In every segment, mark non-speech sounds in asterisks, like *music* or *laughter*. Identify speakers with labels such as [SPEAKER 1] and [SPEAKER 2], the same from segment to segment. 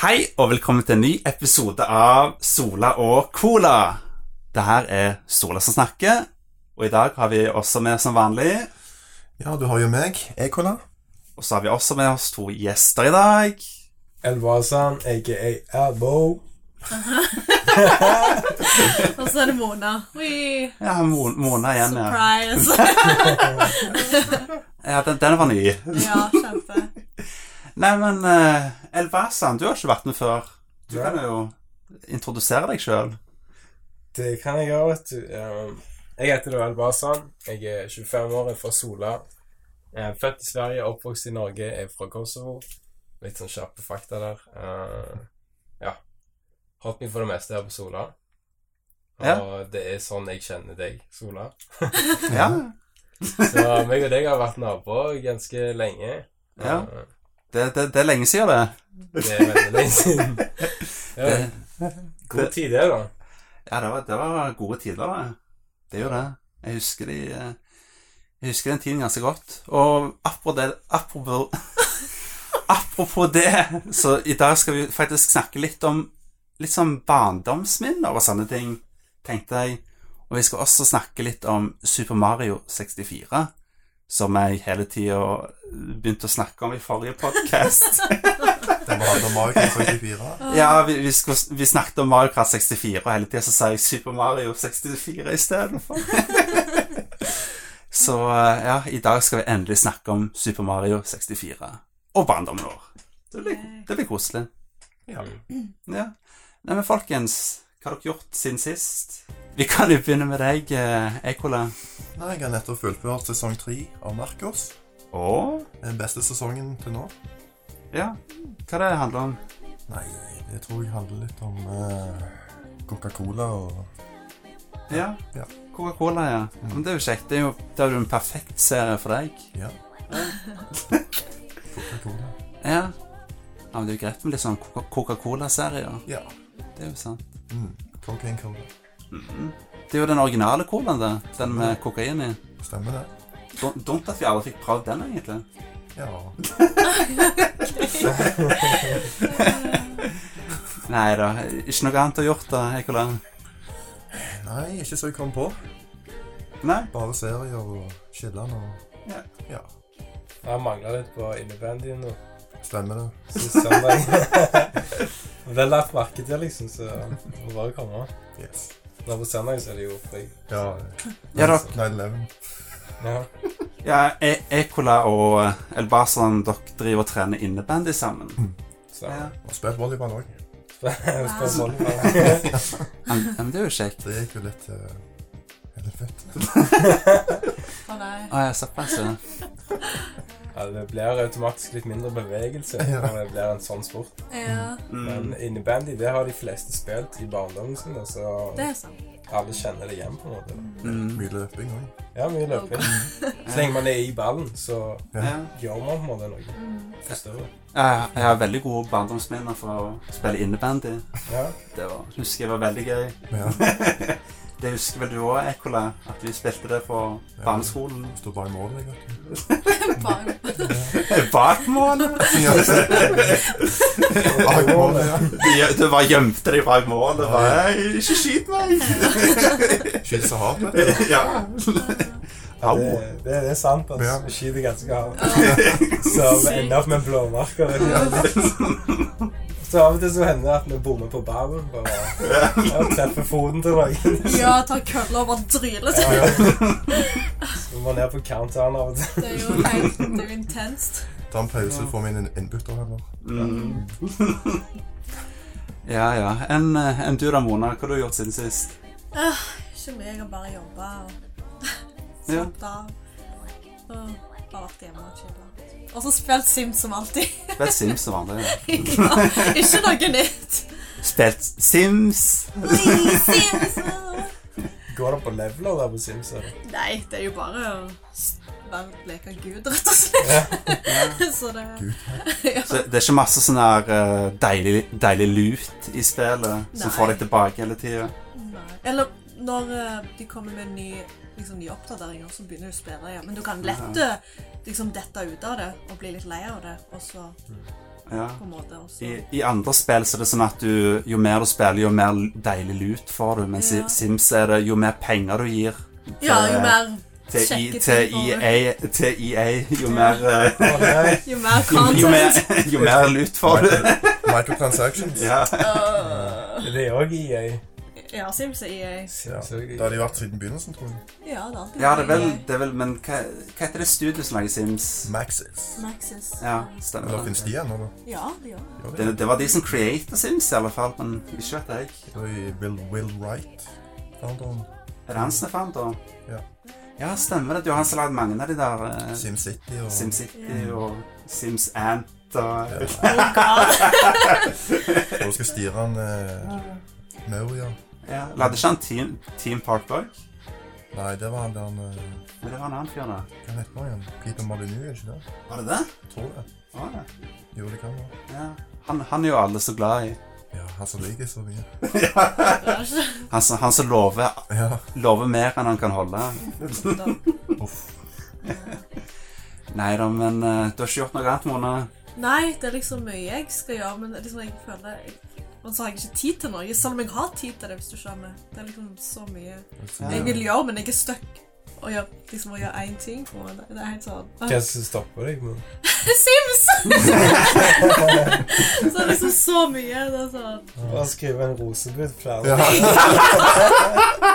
[SPEAKER 1] Hei, og velkommen til en ny episode av Sola og Cola. Det her er Sola som snakker, og i dag har vi også med som vanlig.
[SPEAKER 2] Ja, du har jo meg, Ekola.
[SPEAKER 1] Og så har vi også med oss to gjester i dag.
[SPEAKER 3] Elvazan, aka Elbow.
[SPEAKER 4] Og så er det Mona. Oi,
[SPEAKER 1] Ja, Mon- Mona igjen, ja. *laughs*
[SPEAKER 4] surprise!
[SPEAKER 1] ja den, den var ny.
[SPEAKER 4] ja, kjempe.
[SPEAKER 1] Nei, men uh, Elvasan, du har ikke vært med før. Du
[SPEAKER 3] Nei.
[SPEAKER 1] kan jo introdusere deg sjøl.
[SPEAKER 3] Det kan jeg gjøre, vet du. Ehm, Jeg heter da Elvazan. Jeg er 25 år, er fra Sola. Jeg er født i Sverige, oppvokst i Norge, er fra Kosovo. Litt sånn kjappe fakta der. Eh, ja. Hatt meg for det meste her på Sola. Og
[SPEAKER 1] Ja.
[SPEAKER 3] det er sånn jeg kjenner deg, Sola.
[SPEAKER 1] Ja.
[SPEAKER 3] Så meg og deg har vært naboer ganske lenge.
[SPEAKER 1] Ja.
[SPEAKER 3] Eh,
[SPEAKER 1] Det, det, det er lenge siden, det.
[SPEAKER 3] Det er veldig lenge siden.
[SPEAKER 1] *laughs*
[SPEAKER 3] Ja,
[SPEAKER 1] det
[SPEAKER 3] god tid, det, da.
[SPEAKER 1] ja, det var, det var gode tider, det. Det er jo det. Jeg husker de eh, Jeg husker den tiden ganske godt. Og apropos det Apropos, *laughs* apropos det, så i dag skal vi faktisk snakke litt om litt sånn barndomsminner og sånne ting, tenkte jeg. Og vi skal også snakke litt om Super Mario 64, som jeg hele tida begynte å snakke om i forrige podkast.
[SPEAKER 2] Den var da Mario
[SPEAKER 1] *laughs*
[SPEAKER 2] 64.
[SPEAKER 1] Ja, vi, vi, skulle, vi snakket om Mario Kart 64, og hele tida så sa jeg Super Mario 64 istedenfor. så eh, ja, i dag skal vi endelig snakke om Super Mario 64 og barndommen vår. Det blir, det blir koselig. Ja.
[SPEAKER 3] Mm.
[SPEAKER 1] ja. Nei, men folkens, hva har dere gjort siden sist? Vi kan jo begynne med deg, eh, Ekola.
[SPEAKER 2] Nei, jeg har nettopp fullført sesong tre av Narkos.
[SPEAKER 1] Å?
[SPEAKER 2] Den beste sesongen til nå.
[SPEAKER 1] Ja. Hva det handler om?
[SPEAKER 2] Nei, det tror jeg handler litt om eh, Coca-Cola og
[SPEAKER 1] Ja.
[SPEAKER 2] Ja.
[SPEAKER 1] Coca-Cola, ja. Men det er jo kjekt. Det er jo, det er jo en perfekt serie for deg.
[SPEAKER 2] Ja. Coca-Cola.
[SPEAKER 1] Ja. ja men det er jo greit med litt sånn Coca- Coca-Cola-serier.
[SPEAKER 2] Ja.
[SPEAKER 1] Det er jo sant.
[SPEAKER 2] Mm. Cocaine Cola.
[SPEAKER 1] Det er jo den originale colaen, det. Den med kokain i.
[SPEAKER 2] Stemmer det?
[SPEAKER 1] Dum- Dumt at vi aldri fikk prøvd den, egentlig.
[SPEAKER 2] Ja.
[SPEAKER 1] Nei da. Ikke noe annet å gjort, da, Ekola.
[SPEAKER 2] Nei, ikke så jeg kom på.
[SPEAKER 1] Nei?
[SPEAKER 2] Bare serier og chiller'n og
[SPEAKER 1] Ja.
[SPEAKER 2] ja.
[SPEAKER 3] Jeg mangler litt på innebandyen nå.
[SPEAKER 2] Stemmer det.
[SPEAKER 3] Sist søndag. *laughs* det er lagt merke til, liksom, så det må bare komme.
[SPEAKER 2] Yes.
[SPEAKER 3] Nå på søndag så er det jo fri.
[SPEAKER 2] Ja.
[SPEAKER 1] Ja, da.
[SPEAKER 2] 9-11.
[SPEAKER 3] Ja.
[SPEAKER 1] ja e Ekola og Elbasan, dere driver og trener innebandy sammen.
[SPEAKER 3] Så *laughs* sånn
[SPEAKER 1] Ja.
[SPEAKER 2] Og spilt volleyball òg.
[SPEAKER 3] spørs
[SPEAKER 4] Wow.
[SPEAKER 3] volleyball.
[SPEAKER 1] Ja, Men det er jo kjekt.
[SPEAKER 2] Det gikk jo litt eh, Litt fett.
[SPEAKER 4] Å nei.
[SPEAKER 1] Å ja, såpass, ja.
[SPEAKER 3] Ja, det blir automatisk litt mindre bevegelse
[SPEAKER 2] Ja.
[SPEAKER 3] når det blir en sånn sport.
[SPEAKER 4] Ja,
[SPEAKER 3] Men
[SPEAKER 1] Mm.
[SPEAKER 3] innebandy, det har de fleste spilt i barndommen sin, da, så
[SPEAKER 4] det er sant.
[SPEAKER 3] alle kjenner det igjen, på en måte.
[SPEAKER 1] Mm.
[SPEAKER 2] Mye løping òg.
[SPEAKER 3] Ja, mye løping. Så lenge man er i ballen, så
[SPEAKER 1] Ja.
[SPEAKER 3] gjør man på en måte noe. Forstår du?
[SPEAKER 1] Jeg, jeg har veldig gode barndomsminner fra å spille innebandy.
[SPEAKER 3] Ja.
[SPEAKER 1] Det var, husker jeg var veldig gøy.
[SPEAKER 2] Ja.
[SPEAKER 1] Det husker vel du òg, Ekkola, at vi spilte det på
[SPEAKER 2] Ja.
[SPEAKER 1] barneskolen?
[SPEAKER 2] Står bare i mål, jeg. vet du.
[SPEAKER 1] *laughs*
[SPEAKER 4] Bare.
[SPEAKER 1] Bak målet?
[SPEAKER 2] Bak målet, ja.
[SPEAKER 1] Du bare gjemte deg bak målet. Bare, «Hei, ikke skyt meg! *laughs*
[SPEAKER 2] Skyter så hardt, vet du.
[SPEAKER 1] Ja.
[SPEAKER 3] Ja,
[SPEAKER 1] Au.
[SPEAKER 3] det, det, det er sant, altså.
[SPEAKER 2] Ja.
[SPEAKER 3] Vi skyter ganske
[SPEAKER 2] *laughs*
[SPEAKER 3] hardt. Så vi ender opp med blåmerker. i alle. Så av og til så hender det at vi bommer på ballen. Bare ja, treffer foten til noen.
[SPEAKER 4] Ja, ta kølla og bare dryle til.
[SPEAKER 3] Ja. Så må ned på counteren av og til.
[SPEAKER 4] Det er jo helt det er jo intenst.
[SPEAKER 2] Ta en pause for min inn- innbytter, eller?
[SPEAKER 1] Mm. Ja, ja. Enn en du da, Mona? Hva har du gjort siden sist?
[SPEAKER 4] Ikke mye, jeg har bare jobba og
[SPEAKER 1] *laughs* Ja.
[SPEAKER 4] slappet av. Og bare vært hjemme og chilla. Og så spilt Sims som alltid. *laughs*
[SPEAKER 1] Spilt Sims som vanlig. ja.
[SPEAKER 4] Ja, ikke noe nytt.
[SPEAKER 1] Spilt Sims!
[SPEAKER 4] Oi, Sims! ah.
[SPEAKER 3] Går det på leveler der på Sims? eller?
[SPEAKER 4] Nei, det er jo bare å s- være leke gud, rett og slett. *laughs* Så det
[SPEAKER 1] Så det er ikke masse sånn her eh, deilig, deilig lut i spillet som
[SPEAKER 4] Nei.
[SPEAKER 1] får deg tilbake hele tida?
[SPEAKER 4] Nei. Eller når eh, de kommer med ny, liksom, nye oppdateringer, så begynner du å spille igjen. Men du kan lett eh, liksom, dette ut av det og bli litt lei av det, og så
[SPEAKER 1] Ja.
[SPEAKER 5] på en måte. Og så
[SPEAKER 1] I, I andre spill så er det sånn at du, jo mer du spiller, jo mer deilig lut får du. Mens
[SPEAKER 5] Ja.
[SPEAKER 1] i Sims er det jo mer penger du gir til,
[SPEAKER 5] Ja, jo mer
[SPEAKER 1] til, I,
[SPEAKER 5] sjekke ting
[SPEAKER 1] til,
[SPEAKER 5] får du.
[SPEAKER 1] EA, til EA, jo mer eh,
[SPEAKER 3] Å, nei.
[SPEAKER 5] Jo mer
[SPEAKER 1] jo, jo, mer,
[SPEAKER 5] content.
[SPEAKER 1] jo mer lut får du.
[SPEAKER 2] Microtransactions.
[SPEAKER 1] Ja.
[SPEAKER 5] Øh,
[SPEAKER 3] Det er E òg EA.
[SPEAKER 5] *laughs* ja, Sims er EA.
[SPEAKER 2] Ja.
[SPEAKER 3] Selvfølgelig.
[SPEAKER 2] Det har de vært siden begynnelsen, tror jeg.
[SPEAKER 5] Ja, det har alltid
[SPEAKER 1] ja, det er
[SPEAKER 5] vært
[SPEAKER 1] vel,
[SPEAKER 5] EA.
[SPEAKER 1] det er vel Men hva, hva heter det studioet som lager Sims?
[SPEAKER 2] Maxis.
[SPEAKER 5] Maxis.
[SPEAKER 1] Ja,
[SPEAKER 2] Men da
[SPEAKER 1] stemmer det.
[SPEAKER 2] finnes de ennå, da.
[SPEAKER 5] Ja, det gjør det.
[SPEAKER 2] Gjør de
[SPEAKER 1] Det, det var de som created Sims, i alle fall. Men ikke vet jeg.
[SPEAKER 2] Det var i Will, Will Wright. Founderen.
[SPEAKER 1] Er det han som er fan, da?
[SPEAKER 2] Ja.
[SPEAKER 1] ja, stemmer det. Det er jo han som har lagd mange av de der eh,
[SPEAKER 2] SimCity og
[SPEAKER 1] SimCity
[SPEAKER 5] Ja.
[SPEAKER 1] og Sims Ant og
[SPEAKER 2] Ja.
[SPEAKER 5] Oh god.
[SPEAKER 2] Og du skal styre han eh, Maria.
[SPEAKER 1] Ja, Lagde ikke han Team, team Park Boy?
[SPEAKER 2] Nei, det var han der han eh,
[SPEAKER 1] Men det var en annen fyr, da.
[SPEAKER 2] Hva heter han igjen? Peter Molyneux, er det ikke det?
[SPEAKER 1] Var det det?
[SPEAKER 2] Tror jeg.
[SPEAKER 1] Var det?
[SPEAKER 2] Jo, det kan være.
[SPEAKER 1] Ja. Han, han er jo alle så glad i.
[SPEAKER 2] Ja, han som liker så mye.
[SPEAKER 5] Det er ikke
[SPEAKER 1] Han, som- han som lover,
[SPEAKER 2] Ja.
[SPEAKER 1] lover mer enn han kan holde.
[SPEAKER 5] sånn da.
[SPEAKER 1] *laughs*
[SPEAKER 2] Uff.
[SPEAKER 1] Nei da, men eh, du har ikke gjort noe annet, *laughs* Mona.
[SPEAKER 5] Nei, det er liksom mye jeg skal gjøre, men det er liksom jeg føler jeg, Men så har jeg ikke tid til noe, selv om jeg har tid til det, hvis du skjønner. Det er liksom så mye jeg vil gjøre, men jeg er stuck. Og gjør, liksom å gjøre én ting på en Det er helt sånn
[SPEAKER 3] Hva er det som stopper deg? Men?
[SPEAKER 5] Sims! *laughs* så det er liksom så mye. Det er sånn
[SPEAKER 3] Bare skrive en rosebudplan.
[SPEAKER 2] Ja. *laughs*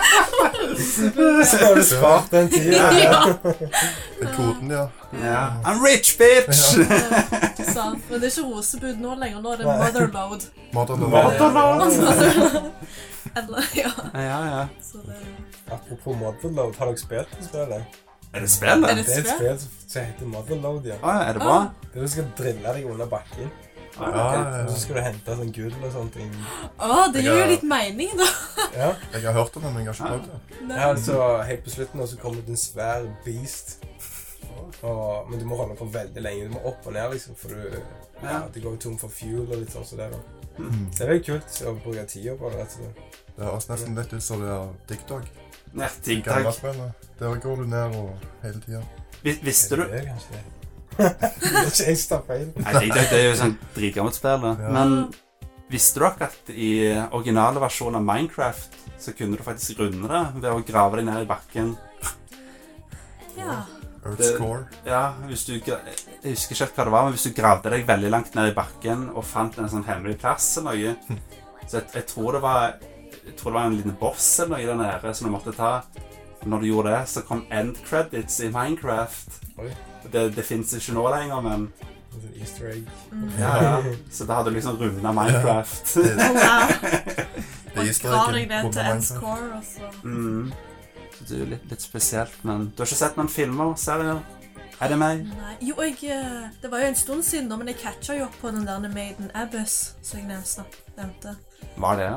[SPEAKER 3] Så har du spart den tida.
[SPEAKER 5] Ja,
[SPEAKER 2] Den koden, ja.
[SPEAKER 1] Ja. I'm rich, bitch!
[SPEAKER 5] sant. Men det er ikke rosebud nå lenger. Nå er det motherload. *laughs*
[SPEAKER 2] Modern
[SPEAKER 3] Modern
[SPEAKER 2] Love.
[SPEAKER 5] Eller, ja.
[SPEAKER 1] *laughs* Ja, ja.
[SPEAKER 5] Så det
[SPEAKER 3] Apropos Motherload, har dere spilt det spillet?
[SPEAKER 1] Er det
[SPEAKER 5] er
[SPEAKER 1] spillet?
[SPEAKER 5] det
[SPEAKER 3] Det er et
[SPEAKER 5] spill.
[SPEAKER 3] spill som- som heter Motherload, ja.
[SPEAKER 1] Å ja, er det bra?
[SPEAKER 3] Der du skal drille deg under bakken.
[SPEAKER 1] Å,
[SPEAKER 2] Ja,
[SPEAKER 1] ok.
[SPEAKER 2] ja,
[SPEAKER 3] Og så
[SPEAKER 2] ja.
[SPEAKER 3] skal du hente sånn gull og sånne ting.
[SPEAKER 5] Å, det gir jo litt mening, da.
[SPEAKER 3] Ja,
[SPEAKER 2] Jeg har hørt om det, men jeg har ikke prøvd det.
[SPEAKER 5] Nei.
[SPEAKER 3] ja så helt på slutten nå så kommer det en svær beast. Og, men du må holde på veldig lenge. Du må opp og ned, liksom, for du, ja,
[SPEAKER 1] Ja. Mm.
[SPEAKER 3] du går jo tom for fuel og litt sånn som det. da. Så det er veldig kult å bruke tida på det. rett og slett.
[SPEAKER 2] Det høres nesten litt ut som det er TikTok.
[SPEAKER 1] Ja, digg, takk.
[SPEAKER 2] Gammelspillet. Der går du ned og hele tida.
[SPEAKER 1] Vi- Visste du
[SPEAKER 3] Eller det er kanskje det. *laughs* Ikke jeg tar feil.
[SPEAKER 1] Nei, digg, takk. Det er jo sånn dritgammelt spill, da.
[SPEAKER 2] Ja.
[SPEAKER 1] Men visste dere at i originale versjonen av Minecraft så kunne du faktisk runde det ved å grave deg ned i bakken?
[SPEAKER 5] Ja.
[SPEAKER 1] Det-
[SPEAKER 2] Earth's Core.
[SPEAKER 1] Ja, hvis du, gra- jeg husker ikke helt hva det var, men hvis du gravde deg veldig langt ned i bakken og fant en sånn hemmelig plass eller noe Så jeg, jeg, tror det var, jeg tror det var en liten boss eller noe der nede som du måtte ta. Og Når du gjorde det, så kom end credits i Minecraft.
[SPEAKER 3] Oi.
[SPEAKER 1] Det, det fins ikke nå lenger, men
[SPEAKER 3] En sånn Easter egg.
[SPEAKER 1] ja,
[SPEAKER 3] *laughs*
[SPEAKER 1] ja. Så da hadde du liksom runda Minecraft.
[SPEAKER 2] Det, det,
[SPEAKER 5] Wow.
[SPEAKER 2] det
[SPEAKER 5] Og
[SPEAKER 2] er
[SPEAKER 5] drar deg
[SPEAKER 2] historikken
[SPEAKER 5] ned til altså.
[SPEAKER 2] under
[SPEAKER 5] ends
[SPEAKER 2] Minecraft.
[SPEAKER 5] core, og så
[SPEAKER 1] Mm. Så det er jo litt, litt spesielt, men du har ikke sett noen filmer? Serier? Er det meg?
[SPEAKER 5] Nei. Jo, jeg eh, Det var jo en stund siden, da, men jeg catcha jo opp på den der Maiden Abyss som jeg nevnte. snak- nevnte.
[SPEAKER 1] Var det?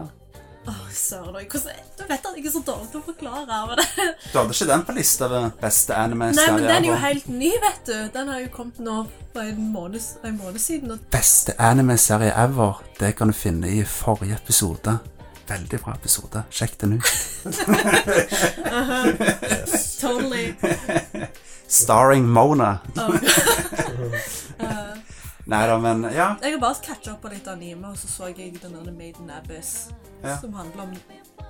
[SPEAKER 5] Åh, søren òg. Du vet at jeg er så dårlig til å forklare. Men det.
[SPEAKER 1] Du hadde ikke den på lista ved beste
[SPEAKER 5] Nei, men
[SPEAKER 1] anime-serier?
[SPEAKER 5] den er jo
[SPEAKER 1] da?
[SPEAKER 5] helt ny, vet du. Den har jo kommet nå for en måned, s- en måned siden. Og
[SPEAKER 1] Beste anime-serie ever, det kan du finne i forrige episode. Veldig bra episode. Sjekk den ut.
[SPEAKER 5] totally
[SPEAKER 1] *laughs* Starring Mona.
[SPEAKER 5] oh. Eh,
[SPEAKER 1] Nei da, men ja.
[SPEAKER 5] Jeg har bare catcha opp på litt anime, og så så jeg den der Maiden Abyss,
[SPEAKER 1] Ja.
[SPEAKER 5] som handler om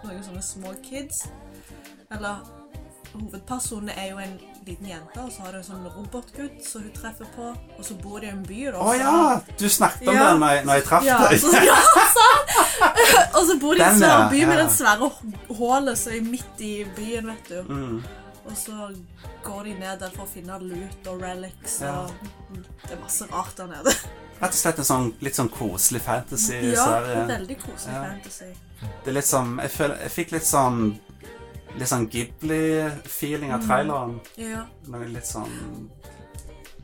[SPEAKER 5] noen sånne små kids. Eller Hovedpersonen er jo en liten jente, og så har du en sånn robotgutt som hun treffer på. Og så bor de i en by, da.
[SPEAKER 1] Å ja! Du snakket om
[SPEAKER 5] Ja.
[SPEAKER 1] den når jeg, når jeg traff
[SPEAKER 5] Ja,
[SPEAKER 1] deg.
[SPEAKER 5] så, *laughs* ja, sant? Og så bor de i en
[SPEAKER 1] Den,
[SPEAKER 5] svær
[SPEAKER 1] ja,
[SPEAKER 5] by med
[SPEAKER 1] ja.
[SPEAKER 5] den svære h- hullet som er midt i byen, vet du.
[SPEAKER 1] Mm.
[SPEAKER 5] Og så går de ned der for å finne loot og relics
[SPEAKER 1] Ja.
[SPEAKER 5] og Det er masse rart der nede.
[SPEAKER 1] Rett og slett en sånn litt sånn koselig
[SPEAKER 5] Ja, det
[SPEAKER 1] fantasy-serie.
[SPEAKER 5] er veldig koselig
[SPEAKER 1] Ja.
[SPEAKER 5] fantasy.
[SPEAKER 1] det er litt sånn Jeg, føler, jeg fikk litt sånn Litt sånn Ghibli-feeling
[SPEAKER 5] Mm.
[SPEAKER 1] av traileren.
[SPEAKER 5] Ja.
[SPEAKER 1] Noe litt sånn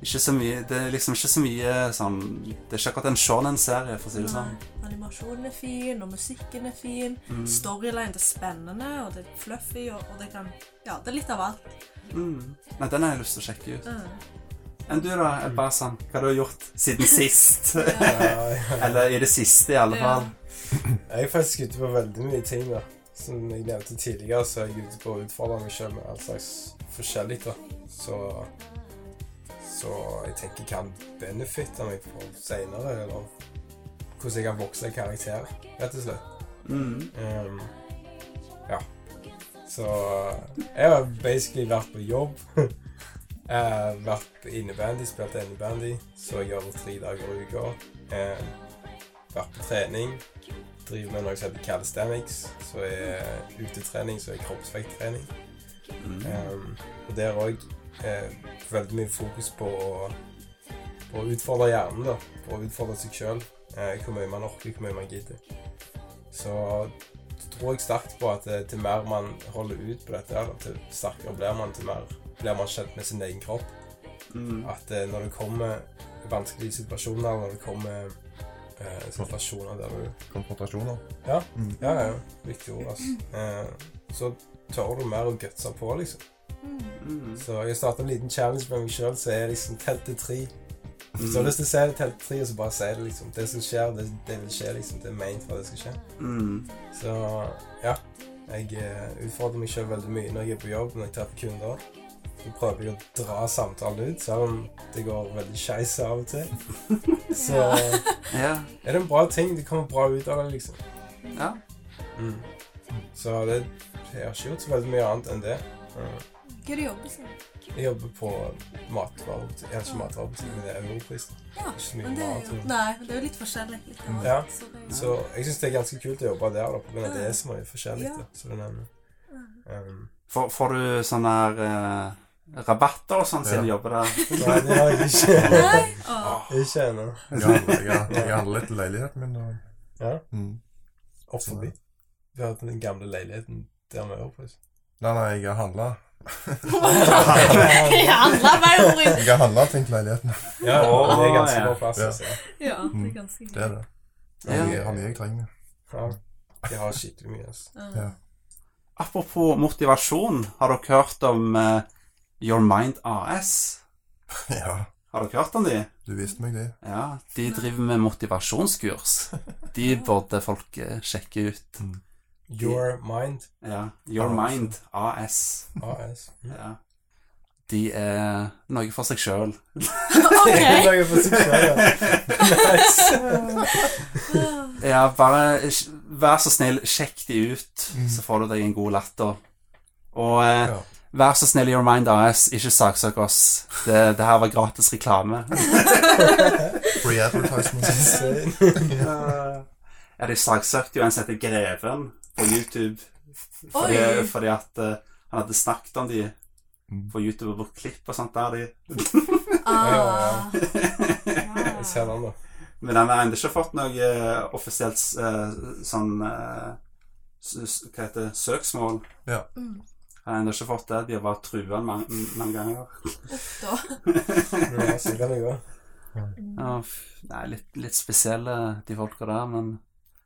[SPEAKER 1] ikke så mye, Det er liksom ikke så mye sånn Det er ikke akkurat en shonen-serie, for å si det sånn.
[SPEAKER 5] Nei, Animasjonen er fin, og musikken er fin. Storyline det er spennende, og det er fluffy, og, og det kan Ja, det er litt av alt.
[SPEAKER 1] Mm. Nei, den har jeg lyst til å sjekke ut.
[SPEAKER 5] Mm.
[SPEAKER 1] Enn du da, Basan? Hva du har gjort siden
[SPEAKER 3] *laughs*
[SPEAKER 1] sist?
[SPEAKER 3] Ja, ja.
[SPEAKER 1] Eller i det siste, i alle
[SPEAKER 5] Ja.
[SPEAKER 1] fall.
[SPEAKER 3] Jeg er faktisk ute på veldig mye ting, da. Som jeg nevnte tidligere, så er jeg ute på å utfordre meg sjøl med all slags forskjellig, da. Så så jeg tenker kan benefitte meg for senere, eller hvordan jeg kan vokse i karakter, rett og slett.
[SPEAKER 1] Mm.
[SPEAKER 3] Ehm, ja. Så jeg har basically vært på jobb. *laughs* Eh, vært innebandy, spilt innebandy, så jeg gjør det tre dager i uka. Eh, vært på trening. Driver med noe som heter calisthenics, som er utetrening, som er kroppsvekttrening.
[SPEAKER 1] Mm.
[SPEAKER 3] Ehm, og der òg eh, veldig mye fokus på å, på å utfordre hjernen, da. På å utfordre seg sjøl. Eh, hvor mye man orker, hvor mye man gidder. Så tror jeg sterkt på at eh, til mer man holder ut på dette, her, til sterkere blir man, til mer blir man kjent med sin egen kropp.
[SPEAKER 1] Mm.
[SPEAKER 3] At eh, når det kommer vanskelige situasjoner, eller når det kommer eh, situasjoner der du
[SPEAKER 2] Konfrontasjoner.
[SPEAKER 3] Ja.
[SPEAKER 2] Mm.
[SPEAKER 3] Ja, ja, viktig ord, altså. Eh, så tør du mer å gutse på, liksom.
[SPEAKER 4] Mm.
[SPEAKER 1] Mm.
[SPEAKER 3] Så jeg starta en liten challenge med meg sjøl, så er liksom telt til tre. Hvis du har
[SPEAKER 1] Mm.
[SPEAKER 3] lyst til å si det, telt til tre, og så bare si det, liksom. Det som skjer, det, det vil skje, liksom. Det er meint for at det skal skje.
[SPEAKER 1] Mm.
[SPEAKER 3] Så ja. Jeg eh, utfordrer meg sjøl veldig mye når jeg er på jobb, når jeg treffer kunder. Så prøver jeg å dra samtalen ut, selv om det går veldig skeis av og til. Så
[SPEAKER 4] Ja.
[SPEAKER 1] Ja.
[SPEAKER 3] er det en bra ting. Det kommer bra ut av det, liksom.
[SPEAKER 1] ja.
[SPEAKER 3] Mm. Så det jeg har ikke gjort så veldig mye annet enn det. Mm.
[SPEAKER 4] Hva er det jobber som?
[SPEAKER 3] Jeg jobber på matvarebutikk. Jeg er ikke matvarebutikk, men det er Europris.
[SPEAKER 4] Ja,
[SPEAKER 3] Ikke så mye
[SPEAKER 4] men det er
[SPEAKER 3] mat,
[SPEAKER 4] jo
[SPEAKER 3] men-
[SPEAKER 4] Nei, det er jo litt forskjellig. Litt annet,
[SPEAKER 3] Ja.
[SPEAKER 4] så det er jo-
[SPEAKER 3] Så jeg syns det er ganske kult å jobbe der, da, på grunn av det er så mye forskjellig.
[SPEAKER 4] Ja.
[SPEAKER 3] Da, som du nevner. Um,
[SPEAKER 1] Får, får du sånne her eh, rabatter og sånn siden du
[SPEAKER 3] *laughs*
[SPEAKER 1] jobber der?
[SPEAKER 3] nei, det har jeg ikke.
[SPEAKER 4] *laughs* Nei? Åh.
[SPEAKER 3] ikke ennå.
[SPEAKER 2] Jeg handler- jeg har- jeg handler litt i leiligheten min. Og,
[SPEAKER 3] Ja.
[SPEAKER 2] mm.
[SPEAKER 3] Opp forbi. Vi har hatt den gamle leiligheten der med Europris.
[SPEAKER 2] Nei, nei, jeg har handla.
[SPEAKER 4] Jeg handler meg rundt.
[SPEAKER 2] Jeg har handla ting til leiligheten.
[SPEAKER 3] Ja, ja, det er ganske
[SPEAKER 1] Å, ja.
[SPEAKER 3] bra plass.
[SPEAKER 2] Ja.
[SPEAKER 3] Altså.
[SPEAKER 4] Ja, det er ganske
[SPEAKER 2] Det er det. Det
[SPEAKER 1] Ja.
[SPEAKER 3] sånn.
[SPEAKER 2] er mye- har mye jeg trenger. *laughs*
[SPEAKER 3] Ja, de har skikkelig mye. Altså.
[SPEAKER 4] Ja.
[SPEAKER 2] Ja.
[SPEAKER 1] Apropos motivasjon, har dere hørt om eh, Your Mind AS?
[SPEAKER 2] Ja,
[SPEAKER 1] Har dere hørt om de?
[SPEAKER 2] du viste meg det.
[SPEAKER 1] Ja, de driver med motivasjonskurs. De burde folk eh, sjekke ut.
[SPEAKER 3] Your Mind
[SPEAKER 1] Ja, Your Mind AS.
[SPEAKER 3] AS.
[SPEAKER 4] *laughs*
[SPEAKER 3] Mm.
[SPEAKER 1] Ja. De er noe for seg sjøl.
[SPEAKER 4] *laughs* OK.
[SPEAKER 3] Lager for seg selv, ja. Nice.
[SPEAKER 1] Ja, bare sj- vær så snill, sjekk de ut,
[SPEAKER 2] Mm.
[SPEAKER 1] så får du deg en god latter. Og eh,
[SPEAKER 2] Ja.
[SPEAKER 1] vær så snill, Your Mind AS, ikke saksøk oss. Det, det her var gratis reklame.
[SPEAKER 2] Free advertisement. *laughs*
[SPEAKER 3] Insane.
[SPEAKER 1] Eh, Ja, de saksøkte jo en som heter Greven på YouTube. Fordi,
[SPEAKER 4] Oi.
[SPEAKER 1] fordi at eh, han hadde snakket om de
[SPEAKER 2] Mm.
[SPEAKER 1] på YouTube og brukt klipp og sånt der. De.
[SPEAKER 4] Ah.
[SPEAKER 3] Jeg ser den, da.
[SPEAKER 1] Men han har ennå ikke fått noe eh, offisielt eh, sånn eh, s- s- Hva heter det? Søksmål.
[SPEAKER 4] Mm.
[SPEAKER 1] Han har ennå ikke fått det. De har bare trua han mange, mange ganger.
[SPEAKER 4] Uff da.
[SPEAKER 3] Ja, så kan det gå.
[SPEAKER 1] Ja, f- nei, litt, litt spesielle, de folka der, men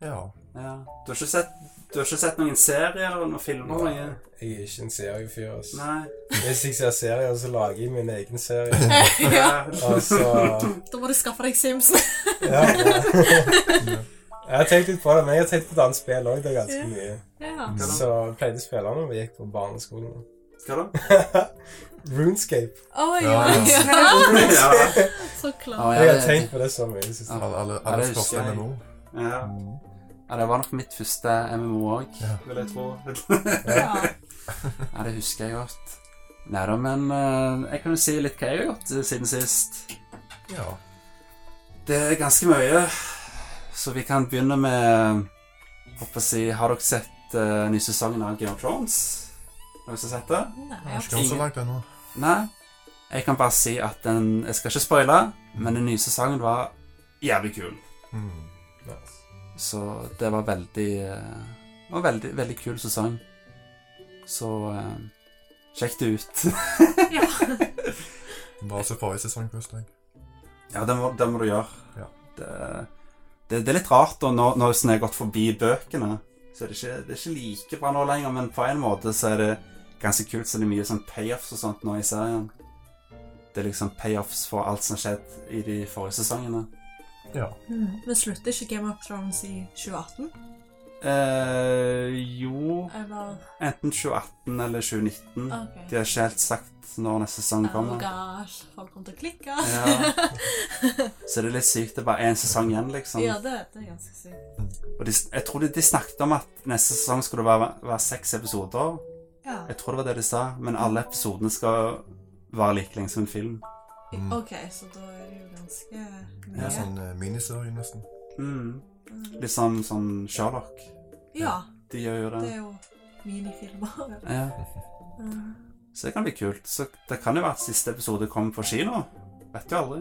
[SPEAKER 2] Ja.
[SPEAKER 1] ja. Du har ikke sett, du har ikke sett noen serier eller noen filmer?
[SPEAKER 3] Nei,
[SPEAKER 1] Noe?
[SPEAKER 3] Jeg er ikke en seriefyr. Altså.
[SPEAKER 1] Nei.
[SPEAKER 3] Hvis jeg ser serier, så lager jeg min egen serie.
[SPEAKER 4] *laughs* Ja,
[SPEAKER 3] Altså
[SPEAKER 4] da må du skaffe deg Simpson.
[SPEAKER 3] Ja. Jeg har tenkt litt på det, men jeg har tenkt på et annet spill òg. Det er ganske mye.
[SPEAKER 4] *laughs* Ja.
[SPEAKER 2] Mm.
[SPEAKER 3] Så jeg pleide å spille når vi gikk på barneskolen.
[SPEAKER 1] Skal du?
[SPEAKER 3] Runescape.
[SPEAKER 4] Oi,
[SPEAKER 2] Ja,
[SPEAKER 4] oi,
[SPEAKER 2] ja.
[SPEAKER 4] ja.
[SPEAKER 1] Ja.
[SPEAKER 4] *laughs* Så klart.
[SPEAKER 1] Å, ja,
[SPEAKER 3] Jeg har
[SPEAKER 1] det-
[SPEAKER 3] tenkt på det så mye. synes jeg.
[SPEAKER 2] Alle, alle,
[SPEAKER 1] Ja, det
[SPEAKER 2] alle
[SPEAKER 1] husker
[SPEAKER 2] første
[SPEAKER 1] jeg.
[SPEAKER 2] MMO.
[SPEAKER 1] ja.
[SPEAKER 2] Mm. *laughs*
[SPEAKER 1] Ja, det var nok mitt første MMO òg,
[SPEAKER 2] Ja.
[SPEAKER 1] vil jeg tro.
[SPEAKER 4] Ja.
[SPEAKER 1] ja, det husker jeg godt. Nei da, men eh, jeg kan jo si litt hva jeg har gjort eh, siden sist.
[SPEAKER 2] Ja.
[SPEAKER 1] Det er ganske mye, så vi kan begynne med Håper å si Har dere sett uh, ny sesongen av Game of Thrones? Noen som har sett det?
[SPEAKER 4] Nei,
[SPEAKER 2] Jeg
[SPEAKER 4] ja.
[SPEAKER 2] har ikke kommet så langt ennå.
[SPEAKER 1] Nei? Jeg kan bare si at den Jeg skal ikke spoile, men den nye sesongen var jævlig kul.
[SPEAKER 2] Mm.
[SPEAKER 3] Nice.
[SPEAKER 1] Så det var veldig eh, Det var veldig, veldig kul sesong. Så eh, sjekk det ut. *laughs*
[SPEAKER 4] *laughs*
[SPEAKER 2] Bare se forrige sesong først, jeg.
[SPEAKER 1] ja, det må, det må du gjøre.
[SPEAKER 2] Ja.
[SPEAKER 1] Det, det, det er litt rart da, når, når sånn jeg har gått forbi bøkene. Så er det, ikke, det er ikke like bra nå lenger, men på en måte så er det ganske kult. Så det er mye sånn payoffs og sånt nå i serien. Det er liksom payoffs for alt som har skjedd i de forrige sesongene.
[SPEAKER 2] Ja.
[SPEAKER 4] Mm. Men slutter ikke Game of Thrones i 2018?
[SPEAKER 1] Eh, jo
[SPEAKER 4] Eller
[SPEAKER 1] Enten 2018 eller 2019.
[SPEAKER 4] OK.
[SPEAKER 1] De har ikke helt sagt når neste sesong
[SPEAKER 4] Oh my
[SPEAKER 1] kommer.
[SPEAKER 4] gosh, folk kommer til å klikke. *laughs*
[SPEAKER 1] Ja. Så det er litt sykt. Det er bare én sesong igjen, liksom.
[SPEAKER 4] Ja, det, det er ganske sykt.
[SPEAKER 1] Og de, jeg tror de, de snakket om at neste sesong skulle det være, være seks episoder.
[SPEAKER 4] Ja.
[SPEAKER 1] Jeg tror det var det de sa, men alle episodene skal være like lenge som en film.
[SPEAKER 2] Mm.
[SPEAKER 4] OK, så da er det jo ganske
[SPEAKER 2] Det
[SPEAKER 4] mye.
[SPEAKER 2] er sånn eh, miniserie, nesten.
[SPEAKER 1] Mm.
[SPEAKER 4] Mm.
[SPEAKER 1] Litt sånn, sånn Sherlock.
[SPEAKER 4] Ja,
[SPEAKER 1] De gjør jo det.
[SPEAKER 4] det er jo minifilmer.
[SPEAKER 1] Ja.
[SPEAKER 4] Mm.
[SPEAKER 1] Så det kan bli kult. Så det kan jo være at siste episode kommer på kino. Vet du aldri.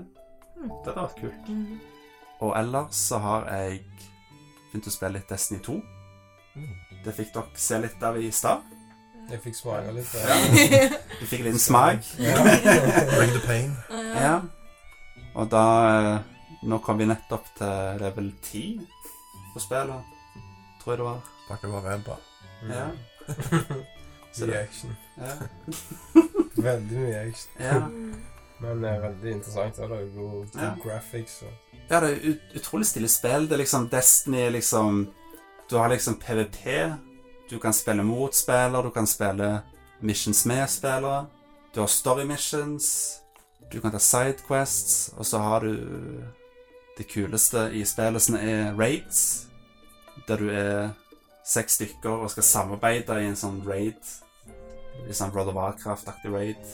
[SPEAKER 4] Mm.
[SPEAKER 1] Det hadde vært kult.
[SPEAKER 4] Mm.
[SPEAKER 1] Og ellers så har jeg begynt å spille litt Destiny 2.
[SPEAKER 2] Mm.
[SPEAKER 1] Det fikk dere se litt av i stad.
[SPEAKER 3] Jeg fikk smake litt.
[SPEAKER 1] Ja.
[SPEAKER 3] Ja.
[SPEAKER 1] Du fikk en liten smak.
[SPEAKER 2] Bring the pain.
[SPEAKER 1] Ja. Og da eh, Nå kom vi nettopp til level 10 på spillet, tror jeg det var.
[SPEAKER 2] Takk for Elba.
[SPEAKER 1] Ja. Så
[SPEAKER 3] *laughs* Mye
[SPEAKER 1] det,
[SPEAKER 3] action.
[SPEAKER 1] ja.
[SPEAKER 3] Veldig mye action.
[SPEAKER 1] Ja.
[SPEAKER 3] Men det er veldig interessant. og Det er jo god, god
[SPEAKER 1] Ja.
[SPEAKER 3] graphics og
[SPEAKER 1] Ja, det er ut utrolig stille spill. Det er liksom Destiny er liksom Du har liksom PVP. Du kan spille mot spiller, du kan spille missions med spillere. Du har story missions. Du kan ta sidequests, og så har du Det kuleste i spillet som er raids, der du er seks stykker og skal samarbeide i en sånn raid. Litt sånn World of Warcraft-aktig raid.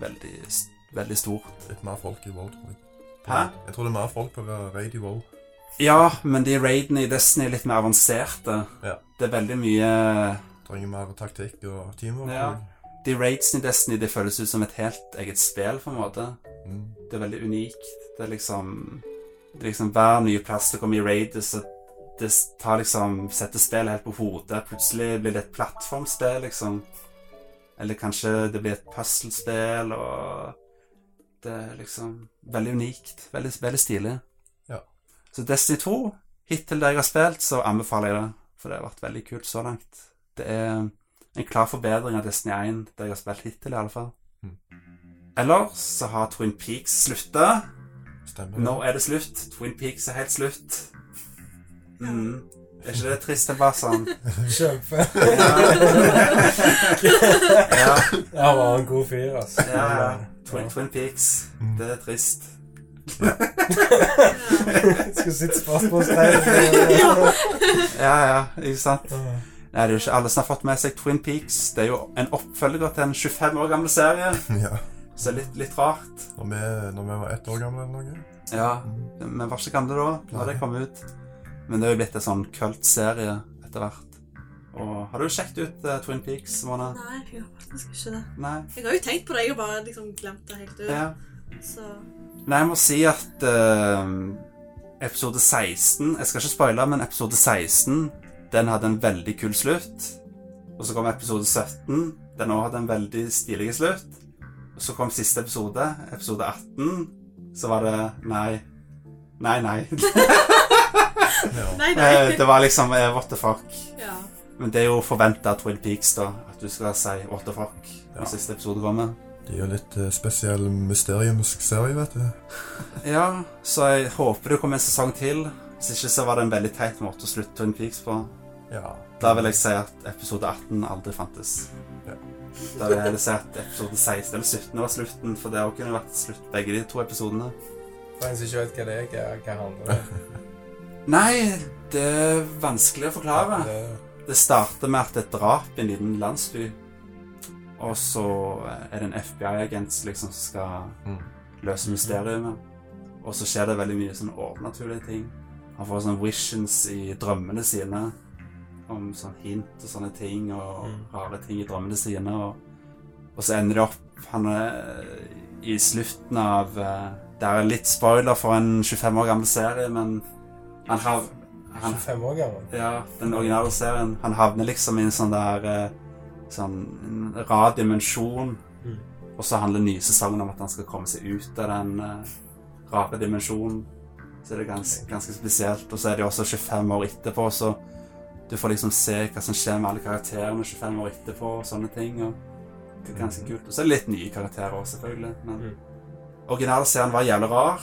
[SPEAKER 1] Veldig, s- veldig stort.
[SPEAKER 2] Litt mer folk i World, tror jeg.
[SPEAKER 1] Hæ?
[SPEAKER 2] Jeg tror det er mer folk på raid i World.
[SPEAKER 1] Ja, men de raidene i Destiny er litt mer avanserte.
[SPEAKER 2] Ja.
[SPEAKER 1] Det er veldig mye
[SPEAKER 2] Trenger mer taktikk og teamwork.
[SPEAKER 1] Ja.
[SPEAKER 2] tror
[SPEAKER 1] De raidsene i Destiny det føles ut som et helt eget spill, på en måte.
[SPEAKER 2] jeg. Mm.
[SPEAKER 1] Det er veldig unikt. Det er liksom det er liksom Hver nye plass du kommer i raidet, så det tar liksom setter spillet helt på hodet. Plutselig blir det et plattformspill, liksom. Eller kanskje det blir et puslespill, og Det er liksom veldig unikt. Veldig, veldig stilig.
[SPEAKER 2] Ja.
[SPEAKER 1] Så Destiny 2, hittil det jeg har spilt, så anbefaler jeg det. For det har vært veldig kult så langt. Det er en klar forbedring av Destiny 1, det jeg har spilt hittil, i alle fall.
[SPEAKER 2] Mm.
[SPEAKER 1] Ellers så har Twin Peaks slutta.
[SPEAKER 2] Stemmer.
[SPEAKER 1] Nå er det slutt. Twin Peaks er helt slutt. Mm. Er ikke det trist, det er bare sånn?
[SPEAKER 3] Kjempe. *laughs*
[SPEAKER 1] Ja,
[SPEAKER 3] Han var en god fyr, altså.
[SPEAKER 1] ja, ja. Twin, Twin Peaks.
[SPEAKER 2] Mm,
[SPEAKER 1] Det er trist.
[SPEAKER 3] *laughs* Skulle sitte spørsmålstegn.
[SPEAKER 1] *laughs* Ja, ja, ikke sant?
[SPEAKER 3] Ah.
[SPEAKER 1] Nei, det er jo ikke alle som har fått med seg Twin Peaks. Det er jo en oppfølger til en 25 år gammel serie,
[SPEAKER 2] *laughs* Ja.
[SPEAKER 1] så litt, litt rart.
[SPEAKER 2] Når vi, når vi var ett år gamle eller noe. Mm,
[SPEAKER 1] Ja, vi var ikke gamle da, når det kom ut. Men det er jo blitt en sånn kult-serie etter hvert. Og har du sjekket ut eh, Twin Peaks, Mona?
[SPEAKER 4] Nei, jeg har faktisk ikke det.
[SPEAKER 1] Nei?
[SPEAKER 4] Jeg har jo tenkt på det, jeg har bare liksom glemt det helt ut.
[SPEAKER 1] Ja.
[SPEAKER 4] Så
[SPEAKER 1] Nei, jeg må si at eh, episode 16 Jeg skal ikke spoile, men episode 16 Den hadde en veldig kul slutt. Og så kom episode 17. Den òg hadde en veldig stilig slutt. Og så kom siste episode, episode 18. Så var det Nei. Nei, nei. *laughs*
[SPEAKER 2] Ja.
[SPEAKER 4] Nei,
[SPEAKER 1] Eh,
[SPEAKER 4] nei.
[SPEAKER 1] det var liksom eh, what the fuck.
[SPEAKER 4] Ja.
[SPEAKER 1] Men det er jo forventa av Twin Peaks, da. At du skal si what the fuck når
[SPEAKER 2] Ja.
[SPEAKER 1] siste episode kommer.
[SPEAKER 2] Det er jo litt eh, spesiell mysteriumsk serie, vet du.
[SPEAKER 1] Ja, så jeg håper det kommer en sesong til. Hvis ikke så var det en veldig teit måte å slutte Twin Peaks på.
[SPEAKER 2] Ja.
[SPEAKER 1] Da vil jeg si at episode 18 aldri fantes.
[SPEAKER 2] Ja.
[SPEAKER 1] Da vil jeg heller si at episode 16 eller 17 var slutten, for det har kunne vært slutt begge de to episodene.
[SPEAKER 3] For en som ikke vet hva det er, hva, hva handler det
[SPEAKER 1] *laughs*
[SPEAKER 3] om?
[SPEAKER 1] Nei, det er vanskelig å forklare.
[SPEAKER 3] Det-
[SPEAKER 1] Det starter med at det er et drap i en liten landsby. Og så er det en FBI-agent liksom, som skal
[SPEAKER 2] Mm.
[SPEAKER 1] løse mysteriet. Og så skjer det veldig mye sånn overnaturlige ting. Han får sånne visions i drømmene sine om sånn hint og sånne ting, og
[SPEAKER 3] Mm.
[SPEAKER 1] rare ting i drømmene sine. Og, og så ender det opp Han er i slutten av eh, Det er litt spoiler for en 25 år gammel serie, men han har han,
[SPEAKER 3] 25 år gammel.
[SPEAKER 1] ja, den originale serien. Han havner liksom i en sånn der eh, sånn en rar dimensjon.
[SPEAKER 3] Mm.
[SPEAKER 1] Og så handler nye sesongen om at han skal komme seg ut av den eh, rare dimensjonen. Så det er gans, ganske spesielt. Og så er det jo også 25 år etterpå, så du får liksom se hva som skjer med alle karakterene 25 år etterpå, og sånne ting. Og det er ganske kult. Og så er det litt nye karakterer òg, selvfølgelig. Men
[SPEAKER 3] Mm.
[SPEAKER 1] originale serien var jævlig rar.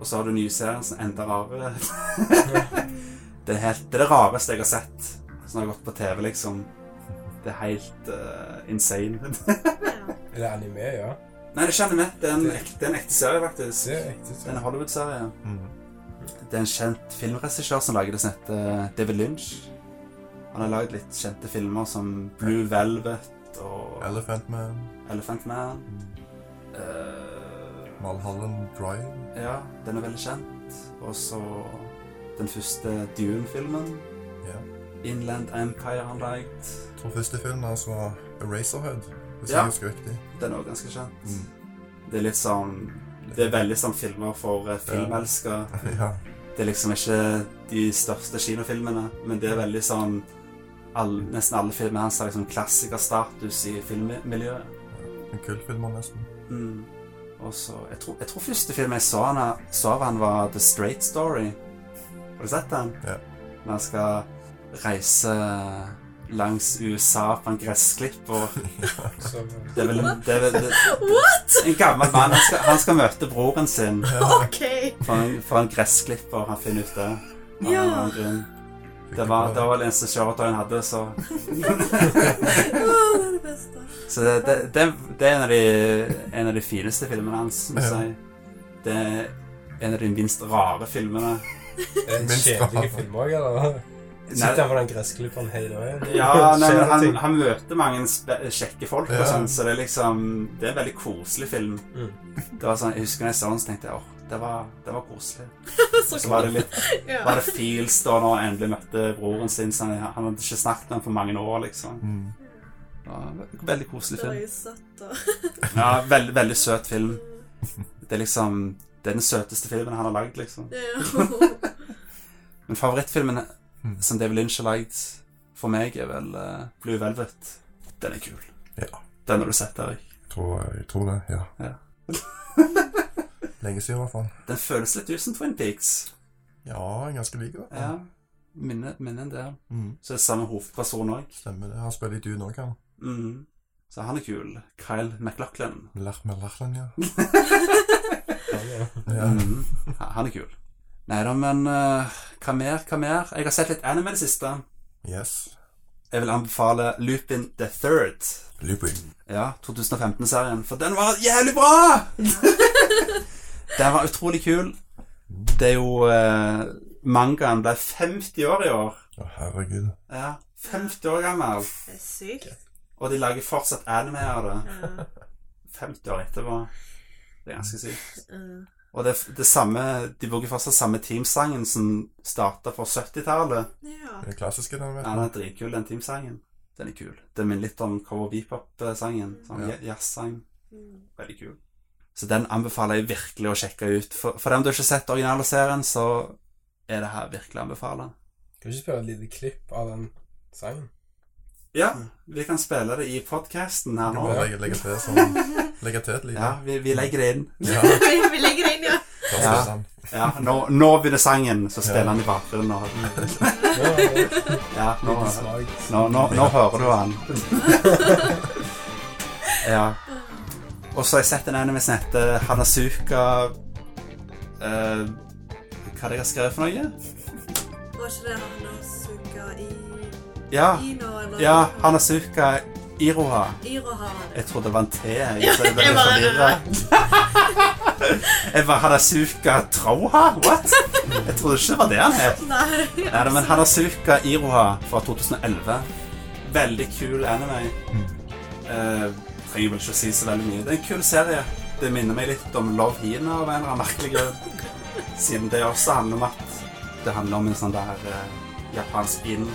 [SPEAKER 1] Og så har du nye serien som er enda rarere. Det er, helt, det er det rareste jeg har sett som har gått på TV, liksom. Det er helt eh, insane. *laughs*
[SPEAKER 3] Er det anime, ja?
[SPEAKER 1] Nei, det kjenner vi. Det er en ekte, det er en ekte serie, faktisk.
[SPEAKER 3] Det er riktig.
[SPEAKER 1] Det er en
[SPEAKER 3] sant.
[SPEAKER 1] Hollywood-serie.
[SPEAKER 2] Mm.
[SPEAKER 1] Det er en kjent filmregissør som lager det som heter eh, David Lynch. Han har lagd litt kjente filmer som Blue Velvet og
[SPEAKER 2] Elephant Man,
[SPEAKER 1] Elephant Man.
[SPEAKER 2] Mm.
[SPEAKER 1] Eh,
[SPEAKER 2] Valhallen Drive,
[SPEAKER 1] ja, den er veldig kjent. Og så den første Dune-filmen.
[SPEAKER 2] Ja.
[SPEAKER 1] Inland Empire han lagd.
[SPEAKER 2] Jeg tror første filmen hans var Eraserhead, hvis
[SPEAKER 1] Ja.
[SPEAKER 2] jeg husker riktig. *laughs*
[SPEAKER 1] Den er òg ganske kjent.
[SPEAKER 2] Mm.
[SPEAKER 1] Det er litt sånn Det er veldig sånn filmer for eh, filmelskere.
[SPEAKER 2] ja.
[SPEAKER 1] Det er liksom ikke de største kinofilmene, men det er veldig sånn all, Nesten alle filmer hans har liksom klassikerstatus i filmmiljøet.
[SPEAKER 2] En kul film,
[SPEAKER 1] *laughs*
[SPEAKER 2] nesten.
[SPEAKER 1] Mm. Og så jeg, tror- jeg tror første film jeg så han, så av han var The Straight Story. Har du sett den?
[SPEAKER 2] Ja.
[SPEAKER 1] Når han skal reise langs USA på en gressklipp, og
[SPEAKER 3] Så,
[SPEAKER 1] *laughs* det er vel det er vel, det,
[SPEAKER 4] What?!
[SPEAKER 1] En gammel mann. Han skal, han skal møte broren sin
[SPEAKER 4] OK!
[SPEAKER 1] på en, på en gressklipp, og han finner ut det. av en
[SPEAKER 4] Ja.
[SPEAKER 1] eller annen grunn. Det var, det var det eneste kjøretøyen hadde, så
[SPEAKER 4] Å, det er det beste.
[SPEAKER 1] Så det, det, det, det er en av, de, en av de fineste filmene hans, må jeg si. Det er en av de minst rare filmene.
[SPEAKER 3] er det en
[SPEAKER 2] Minst
[SPEAKER 3] kjedelig
[SPEAKER 2] rart.
[SPEAKER 3] film òg, eller? Sitter
[SPEAKER 1] Nei,
[SPEAKER 3] han på den gressklipperen hele veien?
[SPEAKER 1] ja, nei, men
[SPEAKER 3] *laughs* Skjer
[SPEAKER 1] han,
[SPEAKER 3] ting?
[SPEAKER 1] han møter mange spe- kjekke folk, og
[SPEAKER 2] Ja.
[SPEAKER 1] sånn, så det er liksom Det er en veldig koselig film.
[SPEAKER 3] Mm.
[SPEAKER 1] Det var sånn, Jeg husker da jeg så den, så tenkte jeg åh, det var, det var koselig.
[SPEAKER 4] Så
[SPEAKER 1] Så var det litt var
[SPEAKER 4] Ja.
[SPEAKER 1] det feels da når han endelig møtte broren sin. Så han, han hadde ikke snakket med ham på mange år, liksom.
[SPEAKER 2] Mm.
[SPEAKER 1] Det var en veldig koselig
[SPEAKER 4] Det var
[SPEAKER 1] film.
[SPEAKER 4] jo søtt og
[SPEAKER 1] Ja, veldig, veldig søt film. Det er liksom Det er den søteste filmen han har lagd, liksom.
[SPEAKER 4] Ja.
[SPEAKER 1] Men favorittfilmen
[SPEAKER 2] Mm.
[SPEAKER 1] som David Lynch har lagd for meg, er vel eh, Blue Velvet. Den er kul.
[SPEAKER 2] Ja.
[SPEAKER 1] Den har du sett, Erik. *laughs*
[SPEAKER 2] Tror, jeg tror det, ja.
[SPEAKER 1] Ja.
[SPEAKER 2] Lenge siden, i hvert fall.
[SPEAKER 1] Den føles litt ut som Twin Peaks.
[SPEAKER 2] Ja, jeg er ganske lik det.
[SPEAKER 1] Ja. Minner minner en det.
[SPEAKER 2] Mm.
[SPEAKER 1] Så er det samme hovedperson òg.
[SPEAKER 2] Stemmer det. Han spiller i Dune òg, han.
[SPEAKER 1] Mm. Så han er kul. Kyle McLaughlin.
[SPEAKER 2] Lach med Lachlan, ja.
[SPEAKER 3] Han, ja.
[SPEAKER 2] ja.
[SPEAKER 1] Mm. Ha- Han er kul. Nei da, men eh, hva mer, hva mer? Jeg har sett litt anime i det siste.
[SPEAKER 2] Yes.
[SPEAKER 1] Jeg vil anbefale Lupin the Third.
[SPEAKER 2] Lupin.
[SPEAKER 1] Ja, 2015-serien. For den var jævlig bra! den var utrolig kul. Det er jo eh, Mangaen ble 50 år i år.
[SPEAKER 2] Å, herregud.
[SPEAKER 1] Ja, 50 år gammel.
[SPEAKER 4] Det er sykt.
[SPEAKER 1] Og de lager fortsatt anime av det.
[SPEAKER 4] Ja.
[SPEAKER 1] 50 år etterpå. Det er ganske sykt.
[SPEAKER 4] Ja.
[SPEAKER 1] Og det, det samme, de bruker fortsatt samme teamsangen som starta på 70-tallet.
[SPEAKER 4] Ja.
[SPEAKER 2] Den klassiske, den, vet
[SPEAKER 1] Ja, den er dritkul, den teamsangen. Den er kul. Den minner litt om cover bebop-sangen. Sånn
[SPEAKER 2] Ja.
[SPEAKER 1] ja. jazzsang.
[SPEAKER 4] Mm.
[SPEAKER 1] Veldig kul. Så den anbefaler jeg virkelig å sjekke ut. For, for dem du ikke har sett originalserien, så er det her virkelig å anbefale.
[SPEAKER 3] Kan vi ikke spille et lite klipp av den sangen?
[SPEAKER 1] Ja, Mm. vi kan spille det i podkasten her
[SPEAKER 2] Du
[SPEAKER 1] nå.
[SPEAKER 2] må legge, legge til
[SPEAKER 1] *laughs*
[SPEAKER 2] sånn. Legge til et lite.
[SPEAKER 1] Ja, vi, vi legger det inn.
[SPEAKER 2] Ja. sånn.
[SPEAKER 4] Vi legger det inn, ja.
[SPEAKER 2] Da
[SPEAKER 1] Ja.
[SPEAKER 2] spiller han.
[SPEAKER 1] Ja, nå, nå begynner sangen, så spiller han i bakgrunnen. og-
[SPEAKER 3] Nå er det
[SPEAKER 1] Ja, nå,
[SPEAKER 3] litt smak.
[SPEAKER 1] nå, nå, nå hører du han. Ja. Og så har jeg sett en anime som heter Hanazuka eh, Hva er det jeg har skrevet for noe?
[SPEAKER 4] Var ikke det han har suga i
[SPEAKER 1] Ja,
[SPEAKER 4] Ino, eller?
[SPEAKER 1] ja Hanazuka Iroha.
[SPEAKER 4] Iroha.
[SPEAKER 1] Jeg trodde det var en T. Jeg, så jeg ble
[SPEAKER 4] jeg
[SPEAKER 1] litt
[SPEAKER 4] bare-
[SPEAKER 1] forvirret. Jeg var Hanazuka Troha? What? Jeg trodde ikke det var det han het.
[SPEAKER 4] Nei.
[SPEAKER 1] Nei, da, men Hanazuka Iroha fra 2011. Veldig kul anime. Eh, trenger vel ikke å si så veldig mye. Det er en kul serie. Det minner meg litt om Love Hina av en eller annen merkelig grunn. Siden det også handler om at det handler om en sånn der eh, japansk inn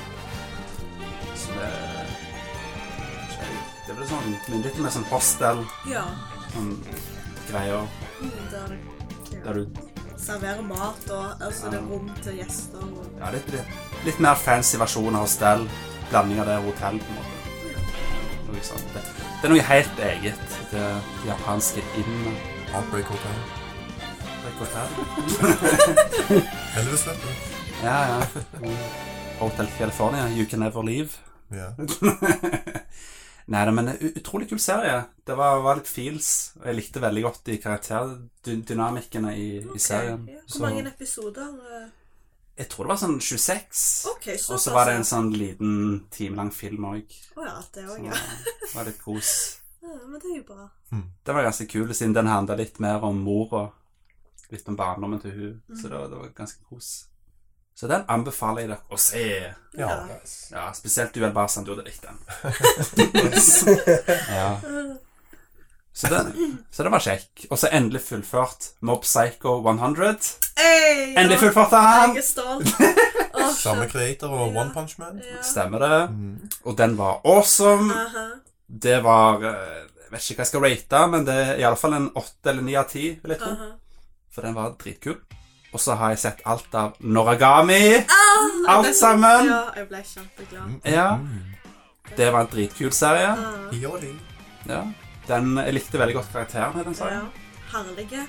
[SPEAKER 1] som er ikke jeg- Det blir sånn men litt mer sånn hostel,
[SPEAKER 4] *laughs* Ja.
[SPEAKER 1] sånn greier
[SPEAKER 4] Mm, Der, ja.
[SPEAKER 1] der du
[SPEAKER 4] Servere mat og altså, det er rom til gjester. Og...
[SPEAKER 1] Ja, litt, litt, litt mer fancy versjon av hostell. Blanding av det og hotell, på en måte. Noe sånt. Det, det er noe helt eget. Det japanske inn
[SPEAKER 2] Heartbreak sånn. Hotel. Elvis, vet du.
[SPEAKER 1] Ja, ja. Hotel California, You Can Never Leave. *laughs*
[SPEAKER 2] Ja.
[SPEAKER 1] Nei da, men det er ut- utrolig kul serie. Det var, var litt feels. Og jeg likte veldig godt de karakterdynamikkene i, i serien.
[SPEAKER 4] Ja. Hvor
[SPEAKER 1] Så
[SPEAKER 4] mange episoder? eh,
[SPEAKER 1] Jeg tror det var sånn 26.
[SPEAKER 5] OK, så
[SPEAKER 1] Og så var det en sånn liten timelang film òg.
[SPEAKER 5] Å ja, det òg, ja.
[SPEAKER 1] Det var litt kos.
[SPEAKER 5] ja. Men det er jo bra.
[SPEAKER 1] Det var ganske kul, siden den handla litt mer om mora. Litt om barndommen til hun. Så det var, det var ganske kos. Så den anbefaler jeg dere å se.
[SPEAKER 2] Ja.
[SPEAKER 3] Nice.
[SPEAKER 1] Ja, Spesielt du, Elbasan. Du hadde likt den. ja. Så, den, så den var kjekk. Og så endelig fullført Mob Psycho 100.
[SPEAKER 5] Hey,
[SPEAKER 1] Endelig
[SPEAKER 5] ja.
[SPEAKER 1] fullført han!
[SPEAKER 5] Jeg er
[SPEAKER 1] *laughs*
[SPEAKER 5] stolt. Åh,
[SPEAKER 2] Samme
[SPEAKER 5] shit.
[SPEAKER 2] creator og One Punch Man.
[SPEAKER 5] Ja.
[SPEAKER 1] Stemmer det.
[SPEAKER 2] Mm.
[SPEAKER 1] Og den var awesome.
[SPEAKER 5] Aha.
[SPEAKER 1] Det var eh, Jeg vet ikke hva jeg skal rate, men det er iallfall en åtte eller ni av ti. vil jeg tro.
[SPEAKER 5] Aha.
[SPEAKER 1] For den var dritkul. Og så har jeg sett alt av Noragami. Alt sammen.
[SPEAKER 5] Ja, jeg ble kjempeglad.
[SPEAKER 1] Ja.
[SPEAKER 2] Mm.
[SPEAKER 1] Det var en dritkul serie.
[SPEAKER 5] Ah,
[SPEAKER 2] Yoli.
[SPEAKER 1] Ja. Den, jeg likte veldig godt karakteren i den
[SPEAKER 5] ja.
[SPEAKER 1] serien.
[SPEAKER 5] Herlige.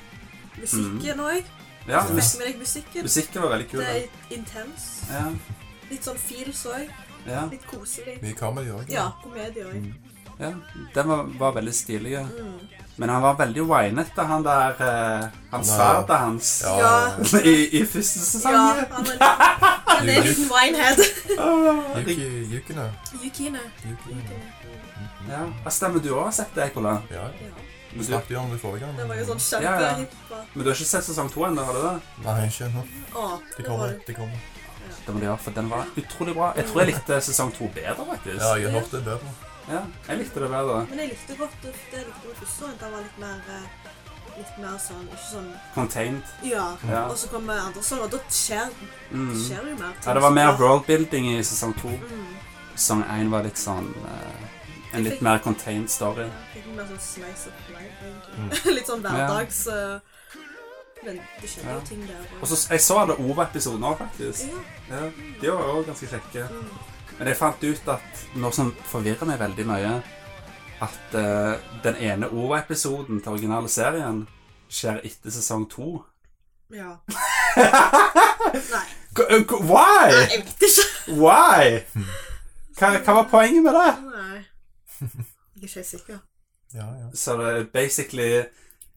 [SPEAKER 5] Musikken òg.
[SPEAKER 1] Ja,
[SPEAKER 5] Fikk
[SPEAKER 1] mus
[SPEAKER 5] med deg musikken.
[SPEAKER 1] Mhm. Musikken var veldig kul.
[SPEAKER 5] Det
[SPEAKER 1] den.
[SPEAKER 5] er intens.
[SPEAKER 1] Ja,
[SPEAKER 5] Litt sånn feels òg.
[SPEAKER 1] ja,
[SPEAKER 5] Litt koselig.
[SPEAKER 2] Mye kamera i år.
[SPEAKER 5] Ja, komedie Mm. òg.
[SPEAKER 1] ja. Den var, var veldig stilig. ja. Men han var veldig whinete, han der eh, Han
[SPEAKER 2] Nei.
[SPEAKER 1] sverdet hans
[SPEAKER 2] Ja.
[SPEAKER 5] Ja.
[SPEAKER 1] *laughs* i, i første
[SPEAKER 5] Ja,
[SPEAKER 1] sesong.
[SPEAKER 5] han er litt- han er en liten winehead.
[SPEAKER 1] Ah,
[SPEAKER 2] Yuki, Yukina.
[SPEAKER 5] Yukine.
[SPEAKER 1] Mm.
[SPEAKER 2] Yukina.
[SPEAKER 1] Ja. Hva stemmer du òg, sett det, Kola?
[SPEAKER 2] Ja,
[SPEAKER 5] Ja.
[SPEAKER 1] Men du,
[SPEAKER 2] snakket jo om det forrige gang.
[SPEAKER 5] Det var jo sånn
[SPEAKER 1] Ja, ja.
[SPEAKER 5] kjempehipp. og-
[SPEAKER 1] men du har ikke sett sesong to ennå, har du det?
[SPEAKER 2] Nei, ikke ennå.
[SPEAKER 5] Å,
[SPEAKER 2] Det
[SPEAKER 5] det var
[SPEAKER 2] kommer.
[SPEAKER 5] det.
[SPEAKER 2] Det kommer.
[SPEAKER 1] Det må du gjøre, for den var utrolig bra. Jeg tror jeg likte sesong to bedre,
[SPEAKER 2] Ja,
[SPEAKER 1] faktisk.
[SPEAKER 2] jeg har hørt det bedre.
[SPEAKER 1] Ja, jeg likte det bedre.
[SPEAKER 5] Men jeg likte godt det jeg likte med første sånn. Den var litt mer eh, Litt mer sånn Ikke sånn
[SPEAKER 1] Contained.
[SPEAKER 5] Ja.
[SPEAKER 1] Ja.
[SPEAKER 5] Og så kommer andre sånn, og da skjer
[SPEAKER 1] Mm.
[SPEAKER 5] skjer det jo mer. ting.
[SPEAKER 1] Ja, det var mer worldbuilding i sesong to.
[SPEAKER 5] Mm.
[SPEAKER 1] Sesong én var litt sånn eh, En litt mer contained story.
[SPEAKER 5] Litt mer sånn slice of life, egentlig.
[SPEAKER 2] Mm.
[SPEAKER 5] *laughs* litt sånn hverdags eh, Men det skjer jo
[SPEAKER 1] Ja.
[SPEAKER 5] ting der.
[SPEAKER 1] Og så, Jeg så alle Ove-episodene òg, faktisk.
[SPEAKER 5] ja.
[SPEAKER 1] Ja, de var òg ganske kjekke.
[SPEAKER 5] Mm.
[SPEAKER 1] Men jeg fant ut at noe som forvirrer meg veldig mye, at eh, den ene Ove-episoden til originale serien skjer etter sesong to. *laughs*
[SPEAKER 5] ja.
[SPEAKER 1] K- eh, k- Why?
[SPEAKER 5] Jeg vet ikke.
[SPEAKER 1] Why? Hva, hva var poenget med det?
[SPEAKER 5] Nei. Jeg er ikke helt sikker.
[SPEAKER 2] Ja, ja.
[SPEAKER 1] Så det er basically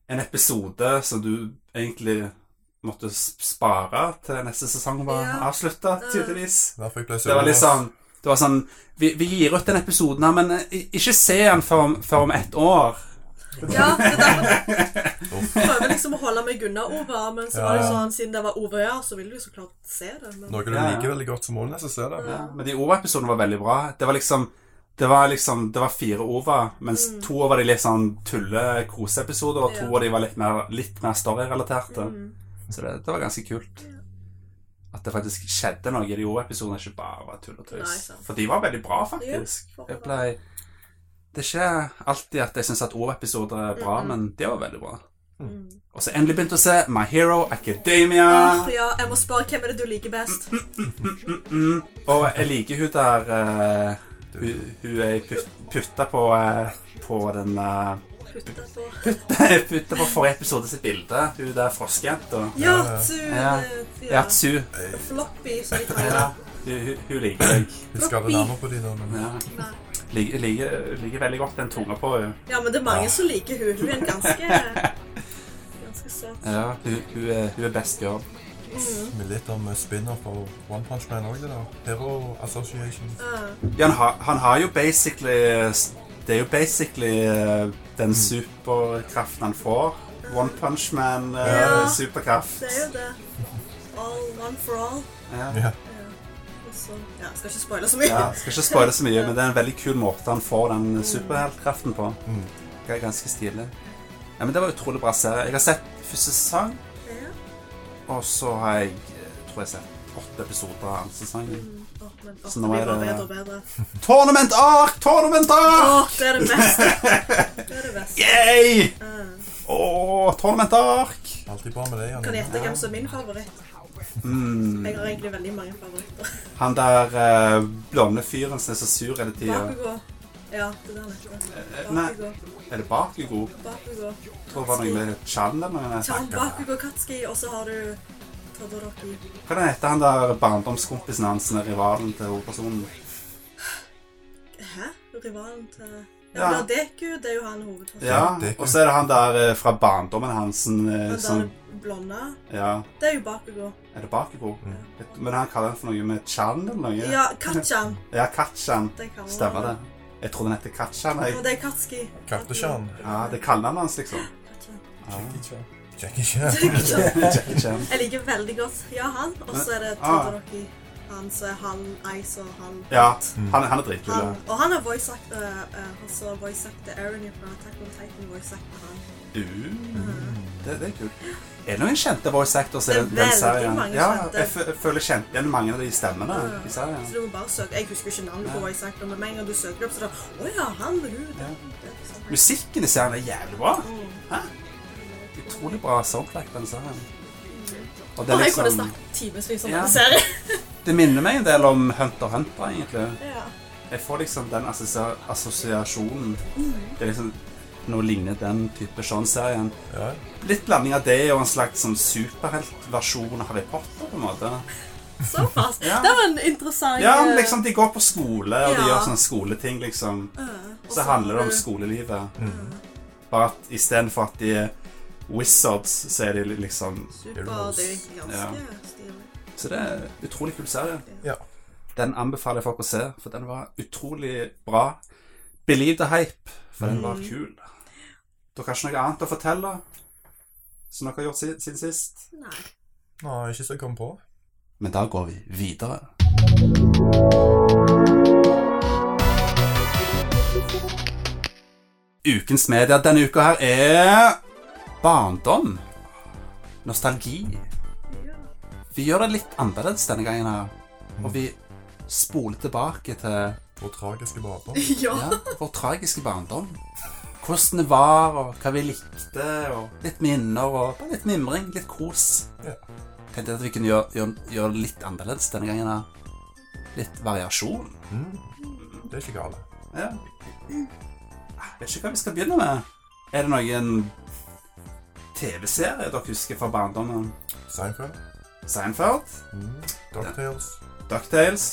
[SPEAKER 1] en episode som du egentlig måtte s- spare til neste sesong var
[SPEAKER 5] Ja.
[SPEAKER 1] avslutta, tydeligvis.
[SPEAKER 2] Derfor jeg ble
[SPEAKER 1] Det var litt sånn det var sånn Vi, vi gir ut den episoden her, men eh, i- ikke se den før om, før om ett år.
[SPEAKER 5] Ja, det er derfor jeg prøver liksom å holde meg unna Ove, men så var det
[SPEAKER 2] Ja, ja.
[SPEAKER 5] sånn, siden det var Ove, ja, så ville du jo så klart se det. Men...
[SPEAKER 2] Noe du
[SPEAKER 1] Ja, ja.
[SPEAKER 2] liker veldig godt, så må du nesten se det.
[SPEAKER 1] Ja, men de OVA-episodene var veldig bra. Det var liksom det var liksom, det var fire OVA, mens to av de litt sånn tulle-koseepisoder, og to
[SPEAKER 5] Mm. Ja. Mm.
[SPEAKER 1] av de var litt mer, litt mer story-relaterte. Så det, det var ganske kult. At det faktisk skjedde noe i de OVA-episodene, ikke bare var tull og
[SPEAKER 5] Nei,
[SPEAKER 1] tøys.
[SPEAKER 5] sant.
[SPEAKER 1] For de var veldig bra, faktisk.
[SPEAKER 5] Ja, for
[SPEAKER 1] Jeg ble, det er ikke alltid at jeg syns at OVA-episoder er bra, men det var veldig bra.
[SPEAKER 5] mm.
[SPEAKER 1] Og så endelig begynte jeg å se My Hero Academia.
[SPEAKER 5] Åh, ja, jeg må spørre hvem er det du liker best.
[SPEAKER 1] Mm. Og jeg liker hun der eh, hun, hun er put, putta på eh, På den eh, *laughs*
[SPEAKER 5] Putta på.
[SPEAKER 1] Putta på forrige episode sitt bilde. Hun der froskejenta.
[SPEAKER 5] Ja,
[SPEAKER 2] ja.
[SPEAKER 5] du
[SPEAKER 1] Ja.
[SPEAKER 5] eh, ja.
[SPEAKER 1] Yatsu.
[SPEAKER 5] Floppy, som de kaller
[SPEAKER 1] Ja.
[SPEAKER 5] det.
[SPEAKER 1] Hun, hun, hun liker jeg.
[SPEAKER 2] Vi skader nærmere på de der. men-
[SPEAKER 1] Ja.
[SPEAKER 5] Nei.
[SPEAKER 1] Liker, liker, liker veldig godt den tunga på henne.
[SPEAKER 5] Ja, men det er mange som liker hun. Hun er en *laughs* ganske Ganske søt. Mm.
[SPEAKER 1] Ja, hun, hun, er, hun er best girl.
[SPEAKER 2] Med litt om eh, spin-off og One Punch Man òg, det der. Hero Association.
[SPEAKER 5] Ah,
[SPEAKER 1] Ja, han, har, han har jo basically Det er jo basically eh, den superkraften han får. One Punch eh,
[SPEAKER 5] Ja.
[SPEAKER 1] Man-superkraft.
[SPEAKER 5] det er jo det. All one for all.
[SPEAKER 1] ja.
[SPEAKER 2] Ja.
[SPEAKER 5] Og så Ja, jeg skal ikke spoile så mye.
[SPEAKER 1] Ja, skal ikke spoile så mye, men det er en veldig kul måte han får den superheltkraften på.
[SPEAKER 2] Mm.
[SPEAKER 1] Det er ganske stilig. Ja, men Det var en utrolig bra serie. Jeg har sett første sesong,
[SPEAKER 5] Ja.
[SPEAKER 1] og så har jeg eh, tror jeg har sett åtte episoder av andre sesongen.
[SPEAKER 5] Mm. Åh, men åh,
[SPEAKER 1] Så
[SPEAKER 5] det
[SPEAKER 1] nå
[SPEAKER 5] blir
[SPEAKER 1] er
[SPEAKER 5] bare
[SPEAKER 1] det-
[SPEAKER 5] bedre og bedre.
[SPEAKER 1] Tournament Ark! Tournament Ark!
[SPEAKER 5] Åh, det er det
[SPEAKER 1] *laughs*
[SPEAKER 5] beste. Det er det beste.
[SPEAKER 1] Yay!
[SPEAKER 5] Ah.
[SPEAKER 1] Åh, Tournament Ark!
[SPEAKER 2] Alltid bra med det, Janne.
[SPEAKER 5] Kan jeg gjette hvem som er min favoritt?
[SPEAKER 1] Mm.
[SPEAKER 5] Jeg har egentlig veldig mange favoritter.
[SPEAKER 1] Han der eh, blonde fyren som er så sur hele tida.
[SPEAKER 5] Bakugo. Ja, det der nettopp.
[SPEAKER 1] Eh, Nei,
[SPEAKER 5] Bakugo.
[SPEAKER 1] er det Bakugo?
[SPEAKER 5] Bakugo.
[SPEAKER 1] Jeg tror det var noe med Chan eller noe.
[SPEAKER 5] Chan, Bakugo, Katsuki, og så har du Todoroki.
[SPEAKER 1] Hva heter han der barndomskompisen hans, som er rivalen til hovedpersonen?
[SPEAKER 5] Hæ? Rivalen til Ja,
[SPEAKER 1] Ja.
[SPEAKER 5] men Deku, det er jo han hovedpersonen.
[SPEAKER 1] Ja,
[SPEAKER 2] det er
[SPEAKER 1] og så er det han der eh, fra barndommen hans eh,
[SPEAKER 5] Han
[SPEAKER 1] som
[SPEAKER 5] der blonde,
[SPEAKER 1] Ja,
[SPEAKER 5] det er jo Bakugo.
[SPEAKER 1] er det Bakebo?
[SPEAKER 2] Mm.
[SPEAKER 1] Men han kaller han for noe med Chan eller noe?
[SPEAKER 5] Ja, Katjan.
[SPEAKER 1] Ja, Katjan.
[SPEAKER 5] Det kan
[SPEAKER 1] Stemmer det. Jeg trodde den het Katjan. jeg.
[SPEAKER 5] Og det er Katski.
[SPEAKER 2] Katteskjønn.
[SPEAKER 1] Ja, det er kallenavnet hans, liksom.
[SPEAKER 5] Katjan.
[SPEAKER 1] Ja.
[SPEAKER 2] Jackie Chan.
[SPEAKER 5] Katjan.
[SPEAKER 1] *laughs* Jackie Chan.
[SPEAKER 5] Jeg liker veldig godt ja, han. Og så er det
[SPEAKER 1] Ah.
[SPEAKER 5] Todoroki. Han som er halv ice og halv
[SPEAKER 1] Ja,
[SPEAKER 2] Mm.
[SPEAKER 1] han, han er dritkul.
[SPEAKER 5] han,
[SPEAKER 1] ja.
[SPEAKER 5] Og han har voice act, uh, uh, også voice act Aaron fra Attack on Titan. voice act han.
[SPEAKER 1] Uh,
[SPEAKER 5] Mm.
[SPEAKER 1] det, det er kult. Er det noen kjente voice actors i
[SPEAKER 5] Det er
[SPEAKER 1] den, den
[SPEAKER 5] veldig
[SPEAKER 1] serien?
[SPEAKER 5] mange
[SPEAKER 1] ja,
[SPEAKER 5] kjente. Ah.
[SPEAKER 1] jeg, fø- jeg føler jeg kjente igjen mange av de stemmene i serien.
[SPEAKER 5] Så du må bare søke. Jeg husker ikke navnet på
[SPEAKER 1] Ja.
[SPEAKER 5] voice actor, men med en gang du søker opp, så er det Å ja, han er hun.
[SPEAKER 1] Ja.
[SPEAKER 5] Det, det er liksom han.
[SPEAKER 1] Musikken i serien er jævlig bra.
[SPEAKER 5] Mm.
[SPEAKER 1] Hæ? Utrolig bra soundtrack, den serien. Og
[SPEAKER 4] Og jeg kunne snakket timevis om
[SPEAKER 1] liksom- Ja.
[SPEAKER 4] denne serien.
[SPEAKER 1] *laughs* Det minner meg en del om Hunter x Hunter, egentlig.
[SPEAKER 5] Ja.
[SPEAKER 1] Jeg får liksom den assosia- assosiasjonen.
[SPEAKER 5] Mm.
[SPEAKER 1] Det er liksom noe ligner den type Sean-serien.
[SPEAKER 2] Ja.
[SPEAKER 1] Litt blanding av det og en slags sånn superheltversjon av Harry Potter, på en måte.
[SPEAKER 4] Såpass.
[SPEAKER 1] Ja.
[SPEAKER 4] Det var en interessant
[SPEAKER 1] Ja,
[SPEAKER 5] øh,
[SPEAKER 4] eh,
[SPEAKER 1] liksom de går på skole, og de
[SPEAKER 5] Altså- Ja.
[SPEAKER 1] gjør sånne skoleting, liksom.
[SPEAKER 5] Øh, og
[SPEAKER 1] Så handler det om
[SPEAKER 5] har du-
[SPEAKER 1] skolelivet.
[SPEAKER 2] Mm.
[SPEAKER 1] Bare at istedenfor at de er wizards, så er de li- liksom
[SPEAKER 5] Super,
[SPEAKER 2] Heroes.
[SPEAKER 5] det er jo ganske stilig.
[SPEAKER 1] Så det er en utrolig kul serie.
[SPEAKER 2] Ja.
[SPEAKER 1] Den anbefaler jeg folk å se, for den var utrolig bra. Believe the hype, for den var kul. Dere har ikke noe annet å fortelle som dere har gjort si- siden sist?
[SPEAKER 5] Nei.
[SPEAKER 2] Nå, ikke så jeg kom på.
[SPEAKER 1] Men da går vi videre. Ukens media denne uka her er barndom. Nostalgi. Vi gjør det litt annerledes denne gangen her. Og vi spoler tilbake til
[SPEAKER 2] Vår tragiske
[SPEAKER 5] *laughs*
[SPEAKER 2] barndom.
[SPEAKER 4] Ja.
[SPEAKER 1] ja, vår tragiske barndom. Hvordan det var, og hva vi likte, og litt minner, og bare litt mimring, litt kos.
[SPEAKER 2] Ja.
[SPEAKER 1] Tenkte at vi kunne gjøre, gjøre, gjøre det litt annerledes denne gangen. her. Litt variasjon.
[SPEAKER 2] Mm. Det er ikke galt.
[SPEAKER 1] Ja. Jeg vet ikke hva vi skal begynne med. Er det noen TV-serier dere husker fra barndommen?
[SPEAKER 2] Seinfeld.
[SPEAKER 1] Seinfeld?
[SPEAKER 2] Mm. DuckTales.
[SPEAKER 1] Ducktales?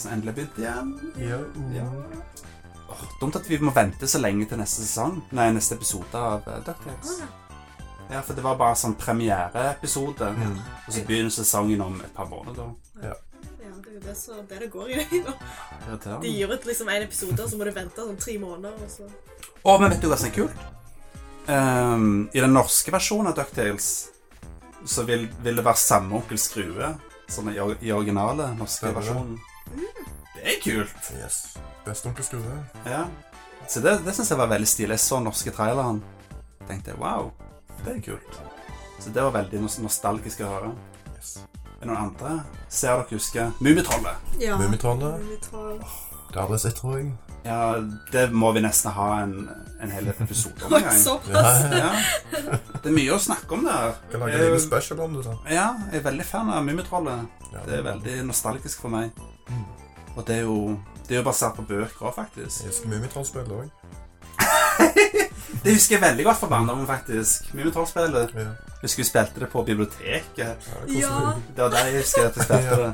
[SPEAKER 1] Som endelig begynte igjen?
[SPEAKER 2] Ja.
[SPEAKER 1] Ja. Åh, dumt at vi må vente så lenge til neste sesong. Nei, neste episode av eh, DuckTales. Ja, for det var bare sånn premiereepisode,
[SPEAKER 2] Mm.
[SPEAKER 1] og så begynner sesongen om et par måneder.
[SPEAKER 5] Ja, det er jo det, så, det, det går i. nå. De
[SPEAKER 1] Irriterende.
[SPEAKER 5] gir ut liksom en episode, og så må du vente sånn tre måneder. Og så.
[SPEAKER 1] Å, men vet du hva som er kult? Ehm, I den norske versjonen av DuckTales så vil, vil det være samme Onkel Skrue som i, or- i originale norske
[SPEAKER 2] Stemmer det.
[SPEAKER 1] versjonen. Det er kult!
[SPEAKER 2] Yes. Best onkel Skrue.
[SPEAKER 1] Ja. Så det, det syns jeg var veldig stilig. Jeg så den norske traileren. Tenkte jeg, wow, det er kult. Så det var veldig nos- nostalgisk å høre.
[SPEAKER 2] Yes.
[SPEAKER 1] Er det noen andre? Ser dere husker Mummitrollet?
[SPEAKER 5] Ja.
[SPEAKER 2] Mummitrollet.
[SPEAKER 5] Mummitroll.
[SPEAKER 2] Det har aldri sett, tror jeg.
[SPEAKER 1] Ja, det må vi nesten ha en, en hel episode
[SPEAKER 5] *laughs*
[SPEAKER 1] om en gang.
[SPEAKER 4] Såpass.
[SPEAKER 1] Ja. Det er mye å snakke om der.
[SPEAKER 2] Kan lage en liten special om det. sånn.
[SPEAKER 1] Ja, jeg er veldig fan av Mummitrollet.
[SPEAKER 2] Ja.
[SPEAKER 1] Det er veldig nostalgisk for meg.
[SPEAKER 2] Mm.
[SPEAKER 1] Og det er jo, det er jo basert på bøker òg, faktisk.
[SPEAKER 2] Jeg husker Mummitroll-spillet òg.
[SPEAKER 1] Det husker jeg veldig godt fra barndommen, faktisk. Mummitrollspillet.
[SPEAKER 2] Ja.
[SPEAKER 1] Husker vi spilte det på biblioteket.
[SPEAKER 2] Ja, det er
[SPEAKER 5] Ja.
[SPEAKER 2] koselig.
[SPEAKER 1] Det var der jeg husker at jeg spilte det.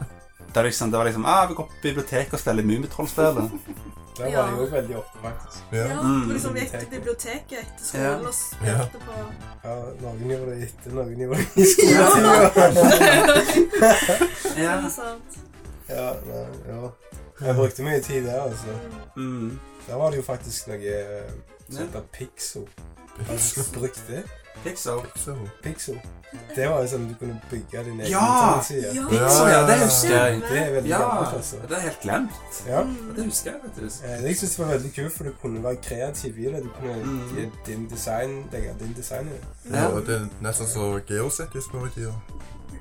[SPEAKER 1] Det var liksom, det var liksom ah, vi går på biblioteket og spiller Mummitrollspillet.
[SPEAKER 3] Der
[SPEAKER 5] Ja.
[SPEAKER 3] var det jo veldig ofte, faktisk.
[SPEAKER 2] Ja.
[SPEAKER 5] Ja,
[SPEAKER 1] Mm.
[SPEAKER 5] for liksom vi gikk til biblioteket etter skolen
[SPEAKER 1] Ja.
[SPEAKER 5] og spilte på *laughs*
[SPEAKER 3] Ja, noen gjorde det etter, noen gjorde det i
[SPEAKER 1] Ja.
[SPEAKER 3] skoletida.
[SPEAKER 1] Ja.
[SPEAKER 5] Er det sant?
[SPEAKER 3] *laughs* Ja, ja, ja. Jeg brukte mye tid der, altså.
[SPEAKER 1] Mm.
[SPEAKER 3] Der var det jo faktisk noe eh, som heter Pixo. Har du brukt det?
[SPEAKER 1] Pixel.
[SPEAKER 2] Så.
[SPEAKER 3] Pixo. Det var jo sånn du kunne bygge din egen
[SPEAKER 1] Ja!
[SPEAKER 3] internettside.
[SPEAKER 5] Ja.
[SPEAKER 1] Pixel, ja, det husker jeg.
[SPEAKER 3] Det er veldig
[SPEAKER 1] Ja,
[SPEAKER 3] gammelt, altså.
[SPEAKER 1] det er helt glemt.
[SPEAKER 3] Ja.
[SPEAKER 1] Det husker jeg, faktisk.
[SPEAKER 3] Eh, Jeg synes det var veldig kult, for du kunne være kreativ i det. Du kunne
[SPEAKER 1] Mm.
[SPEAKER 3] gi din design, legge din design i det.
[SPEAKER 1] Ja.
[SPEAKER 2] Ja, det er nesten så geosettisk før i tida.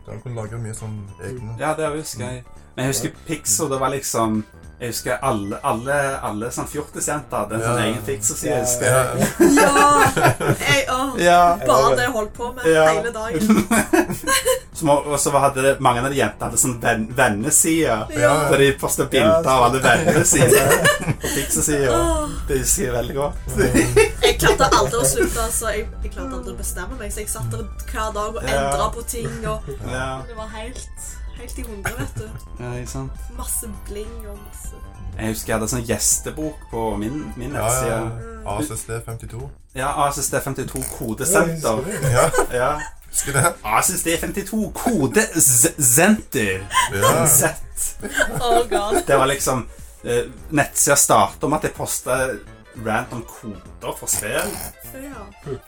[SPEAKER 2] Der kunne lage mye sånn egne
[SPEAKER 1] Ja, det husker jeg. Men jeg husker Pixo, det var liksom Jeg husker alle, alle, alle sånn fjortisjenter hadde en sånn
[SPEAKER 2] Ja.
[SPEAKER 1] egen Pixo-side.
[SPEAKER 3] Ja.
[SPEAKER 1] husker
[SPEAKER 2] Ja,
[SPEAKER 1] jeg. *laughs*
[SPEAKER 2] ja.
[SPEAKER 5] Ja! Jeg, åh,
[SPEAKER 1] Ja.
[SPEAKER 5] bare det jeg holdt på med
[SPEAKER 1] Ja.
[SPEAKER 5] hele dagen.
[SPEAKER 1] *laughs* Som, og og så hadde det, mange av de jentene hadde sånn ven, venneside.
[SPEAKER 2] ja.
[SPEAKER 1] Der de postet bilder
[SPEAKER 3] Ja.
[SPEAKER 1] av alle vennene sine på Pixo-sida. Det husker jeg veldig godt.
[SPEAKER 5] Jeg klarte aldri å slutte, altså. Jeg, jeg klarte aldri å bestemme meg, så jeg satt der hver dag og
[SPEAKER 1] Ja.
[SPEAKER 5] endra på ting. og
[SPEAKER 1] Ja.
[SPEAKER 5] Det var helt, Helt i hundre, vet du.
[SPEAKER 1] Ja, ikke sant?
[SPEAKER 5] Masse bling og masse
[SPEAKER 1] Jeg husker jeg hadde sånn gjestebok på min, min
[SPEAKER 2] Ja, ja,
[SPEAKER 1] nettside.
[SPEAKER 2] ja. ACSD52.
[SPEAKER 1] Ja, ASSD52 kodesenter.
[SPEAKER 2] Ja,
[SPEAKER 1] Ja.
[SPEAKER 2] husker det?
[SPEAKER 1] ASSD52 kodesenter. *laughs*
[SPEAKER 2] Ja.
[SPEAKER 1] Z.
[SPEAKER 5] Oh god.
[SPEAKER 1] Det var liksom eh, Nettsida starta med at jeg posta random koder for spill.
[SPEAKER 5] Ja.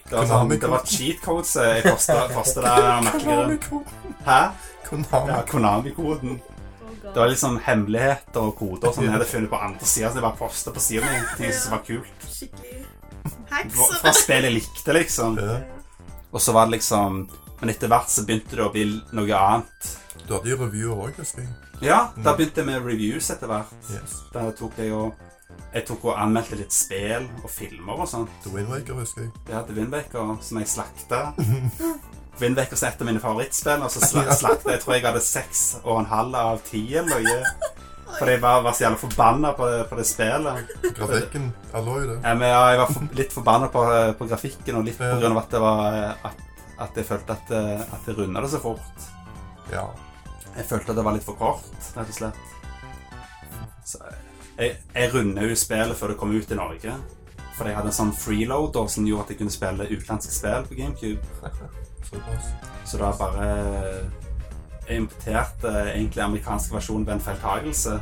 [SPEAKER 1] Det var, sånn, det var cheat codes jeg posta der. merkeligere. Hæ? Ja,
[SPEAKER 2] Konami.
[SPEAKER 1] Konami-koden.
[SPEAKER 5] Oh god.
[SPEAKER 1] Det var liksom hemmeligheter og koder som jeg hadde funnet på andre sida. Så jeg bare posta på sida mi ting som var kult.
[SPEAKER 5] Skikkelig
[SPEAKER 1] Fra-
[SPEAKER 5] hacks.
[SPEAKER 1] Fra spill jeg likte, liksom.
[SPEAKER 2] Ja.
[SPEAKER 1] Og så var det liksom Men etter hvert så begynte det å bli noe annet.
[SPEAKER 2] Du hadde jo reviewer òg, husker jeg.
[SPEAKER 1] Ja, da begynte jeg med reviews etter hvert.
[SPEAKER 2] Yes.
[SPEAKER 1] Da tok jeg og jeg tok og anmeldte litt spill og filmer og sånn.
[SPEAKER 2] The Windwaker, husker jeg.
[SPEAKER 1] Jeg hadde Windbaker som jeg slakta. Windbaker som er et av mine favorittspill. Og så sla- slakta jeg tror jeg hadde seks og en halv av ti eller noe. Fordi jeg var, var så jævla forbanna på, det- på det spillet.
[SPEAKER 2] Grafikken. Alloy, det.
[SPEAKER 1] Ja, men ja, jeg var for, litt forbanna på, eh, på grafikken, og litt på
[SPEAKER 2] Ja.
[SPEAKER 1] grunn av at, det var, eh, at, at jeg følte at, eh, at jeg runda det så fort.
[SPEAKER 2] Ja. *laughs*
[SPEAKER 1] Jeg følte at det var litt for kort, rett og slett. Så eh, jeg, jeg runda jo spillet før det kom ut i Norge. For jeg hadde en sånn freeloader som gjorde at jeg kunne spille utenlandske spill på GameCube.
[SPEAKER 2] Såpass.
[SPEAKER 1] Så da bare Jeg importerte egentlig amerikansk versjon ved en feiltagelse.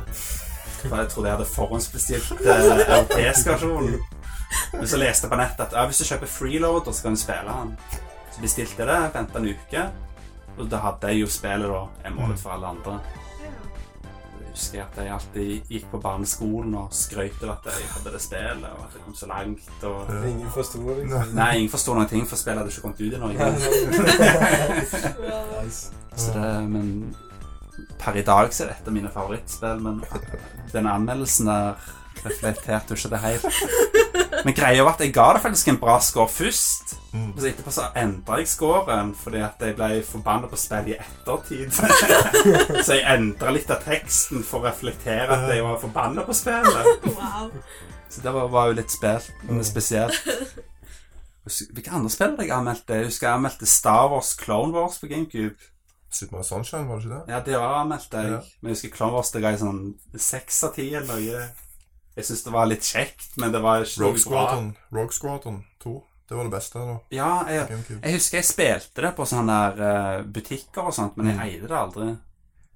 [SPEAKER 1] For jeg trodde jeg hadde forhåndsbestilt eh, europeisk versjon. Men så leste jeg på nettet at ja, hvis du kjøper freeloader, så kan du spille han. Så bestilte jeg det, venta en uke, og da hadde jeg jo spillet da, en måned for alle andre. Jeg husker at jeg alltid gikk på barneskolen og skrøt av at jeg hadde det spillet, og at jeg kom så langt. Og...
[SPEAKER 3] *laughs* Ingen forsto det.
[SPEAKER 2] Nei.
[SPEAKER 3] liksom.
[SPEAKER 1] Nei, ingen forsto noen ting, for spillet hadde ikke kommet ut i Norge.
[SPEAKER 3] *laughs* Nice.
[SPEAKER 1] Så det, men per i dag så er det et av mine favorittspill, men den anmeldelsen der reflekterte jo ikke det helt. Men greia var at jeg ga det faktisk en bra score først.
[SPEAKER 2] Mm.
[SPEAKER 1] Men så etterpå så endra jeg scoren fordi at jeg ble forbanna på spillet i ettertid. så jeg endra litt av teksten for å reflektere at jeg var forbanna på spillet.
[SPEAKER 5] Wow.
[SPEAKER 1] Så det var, var jo litt spel, men spesielt. Husk- Hvilke andre spill har jeg anmeldt? Jeg husker jeg anmeldte Star Wars Clone Wars på GameCube.
[SPEAKER 2] Super Mario Sunshine, var det ikke det?
[SPEAKER 1] Ja, det var anmeldt jeg.
[SPEAKER 2] Ja.
[SPEAKER 1] Men jeg husker Clone Wars det ga jeg sånn seks av ti eller noe. Jeg syns det var litt kjekt, men det var ikke
[SPEAKER 2] Rogue sånn.
[SPEAKER 1] noe bra.
[SPEAKER 2] Squadron. Rogue Squadron 2. Det var det beste, da.
[SPEAKER 1] Ja, jeg,
[SPEAKER 2] GameCube.
[SPEAKER 1] jeg husker jeg spilte det på sånne der eh, butikker og sånt, men
[SPEAKER 2] Mm.
[SPEAKER 1] jeg eide det aldri.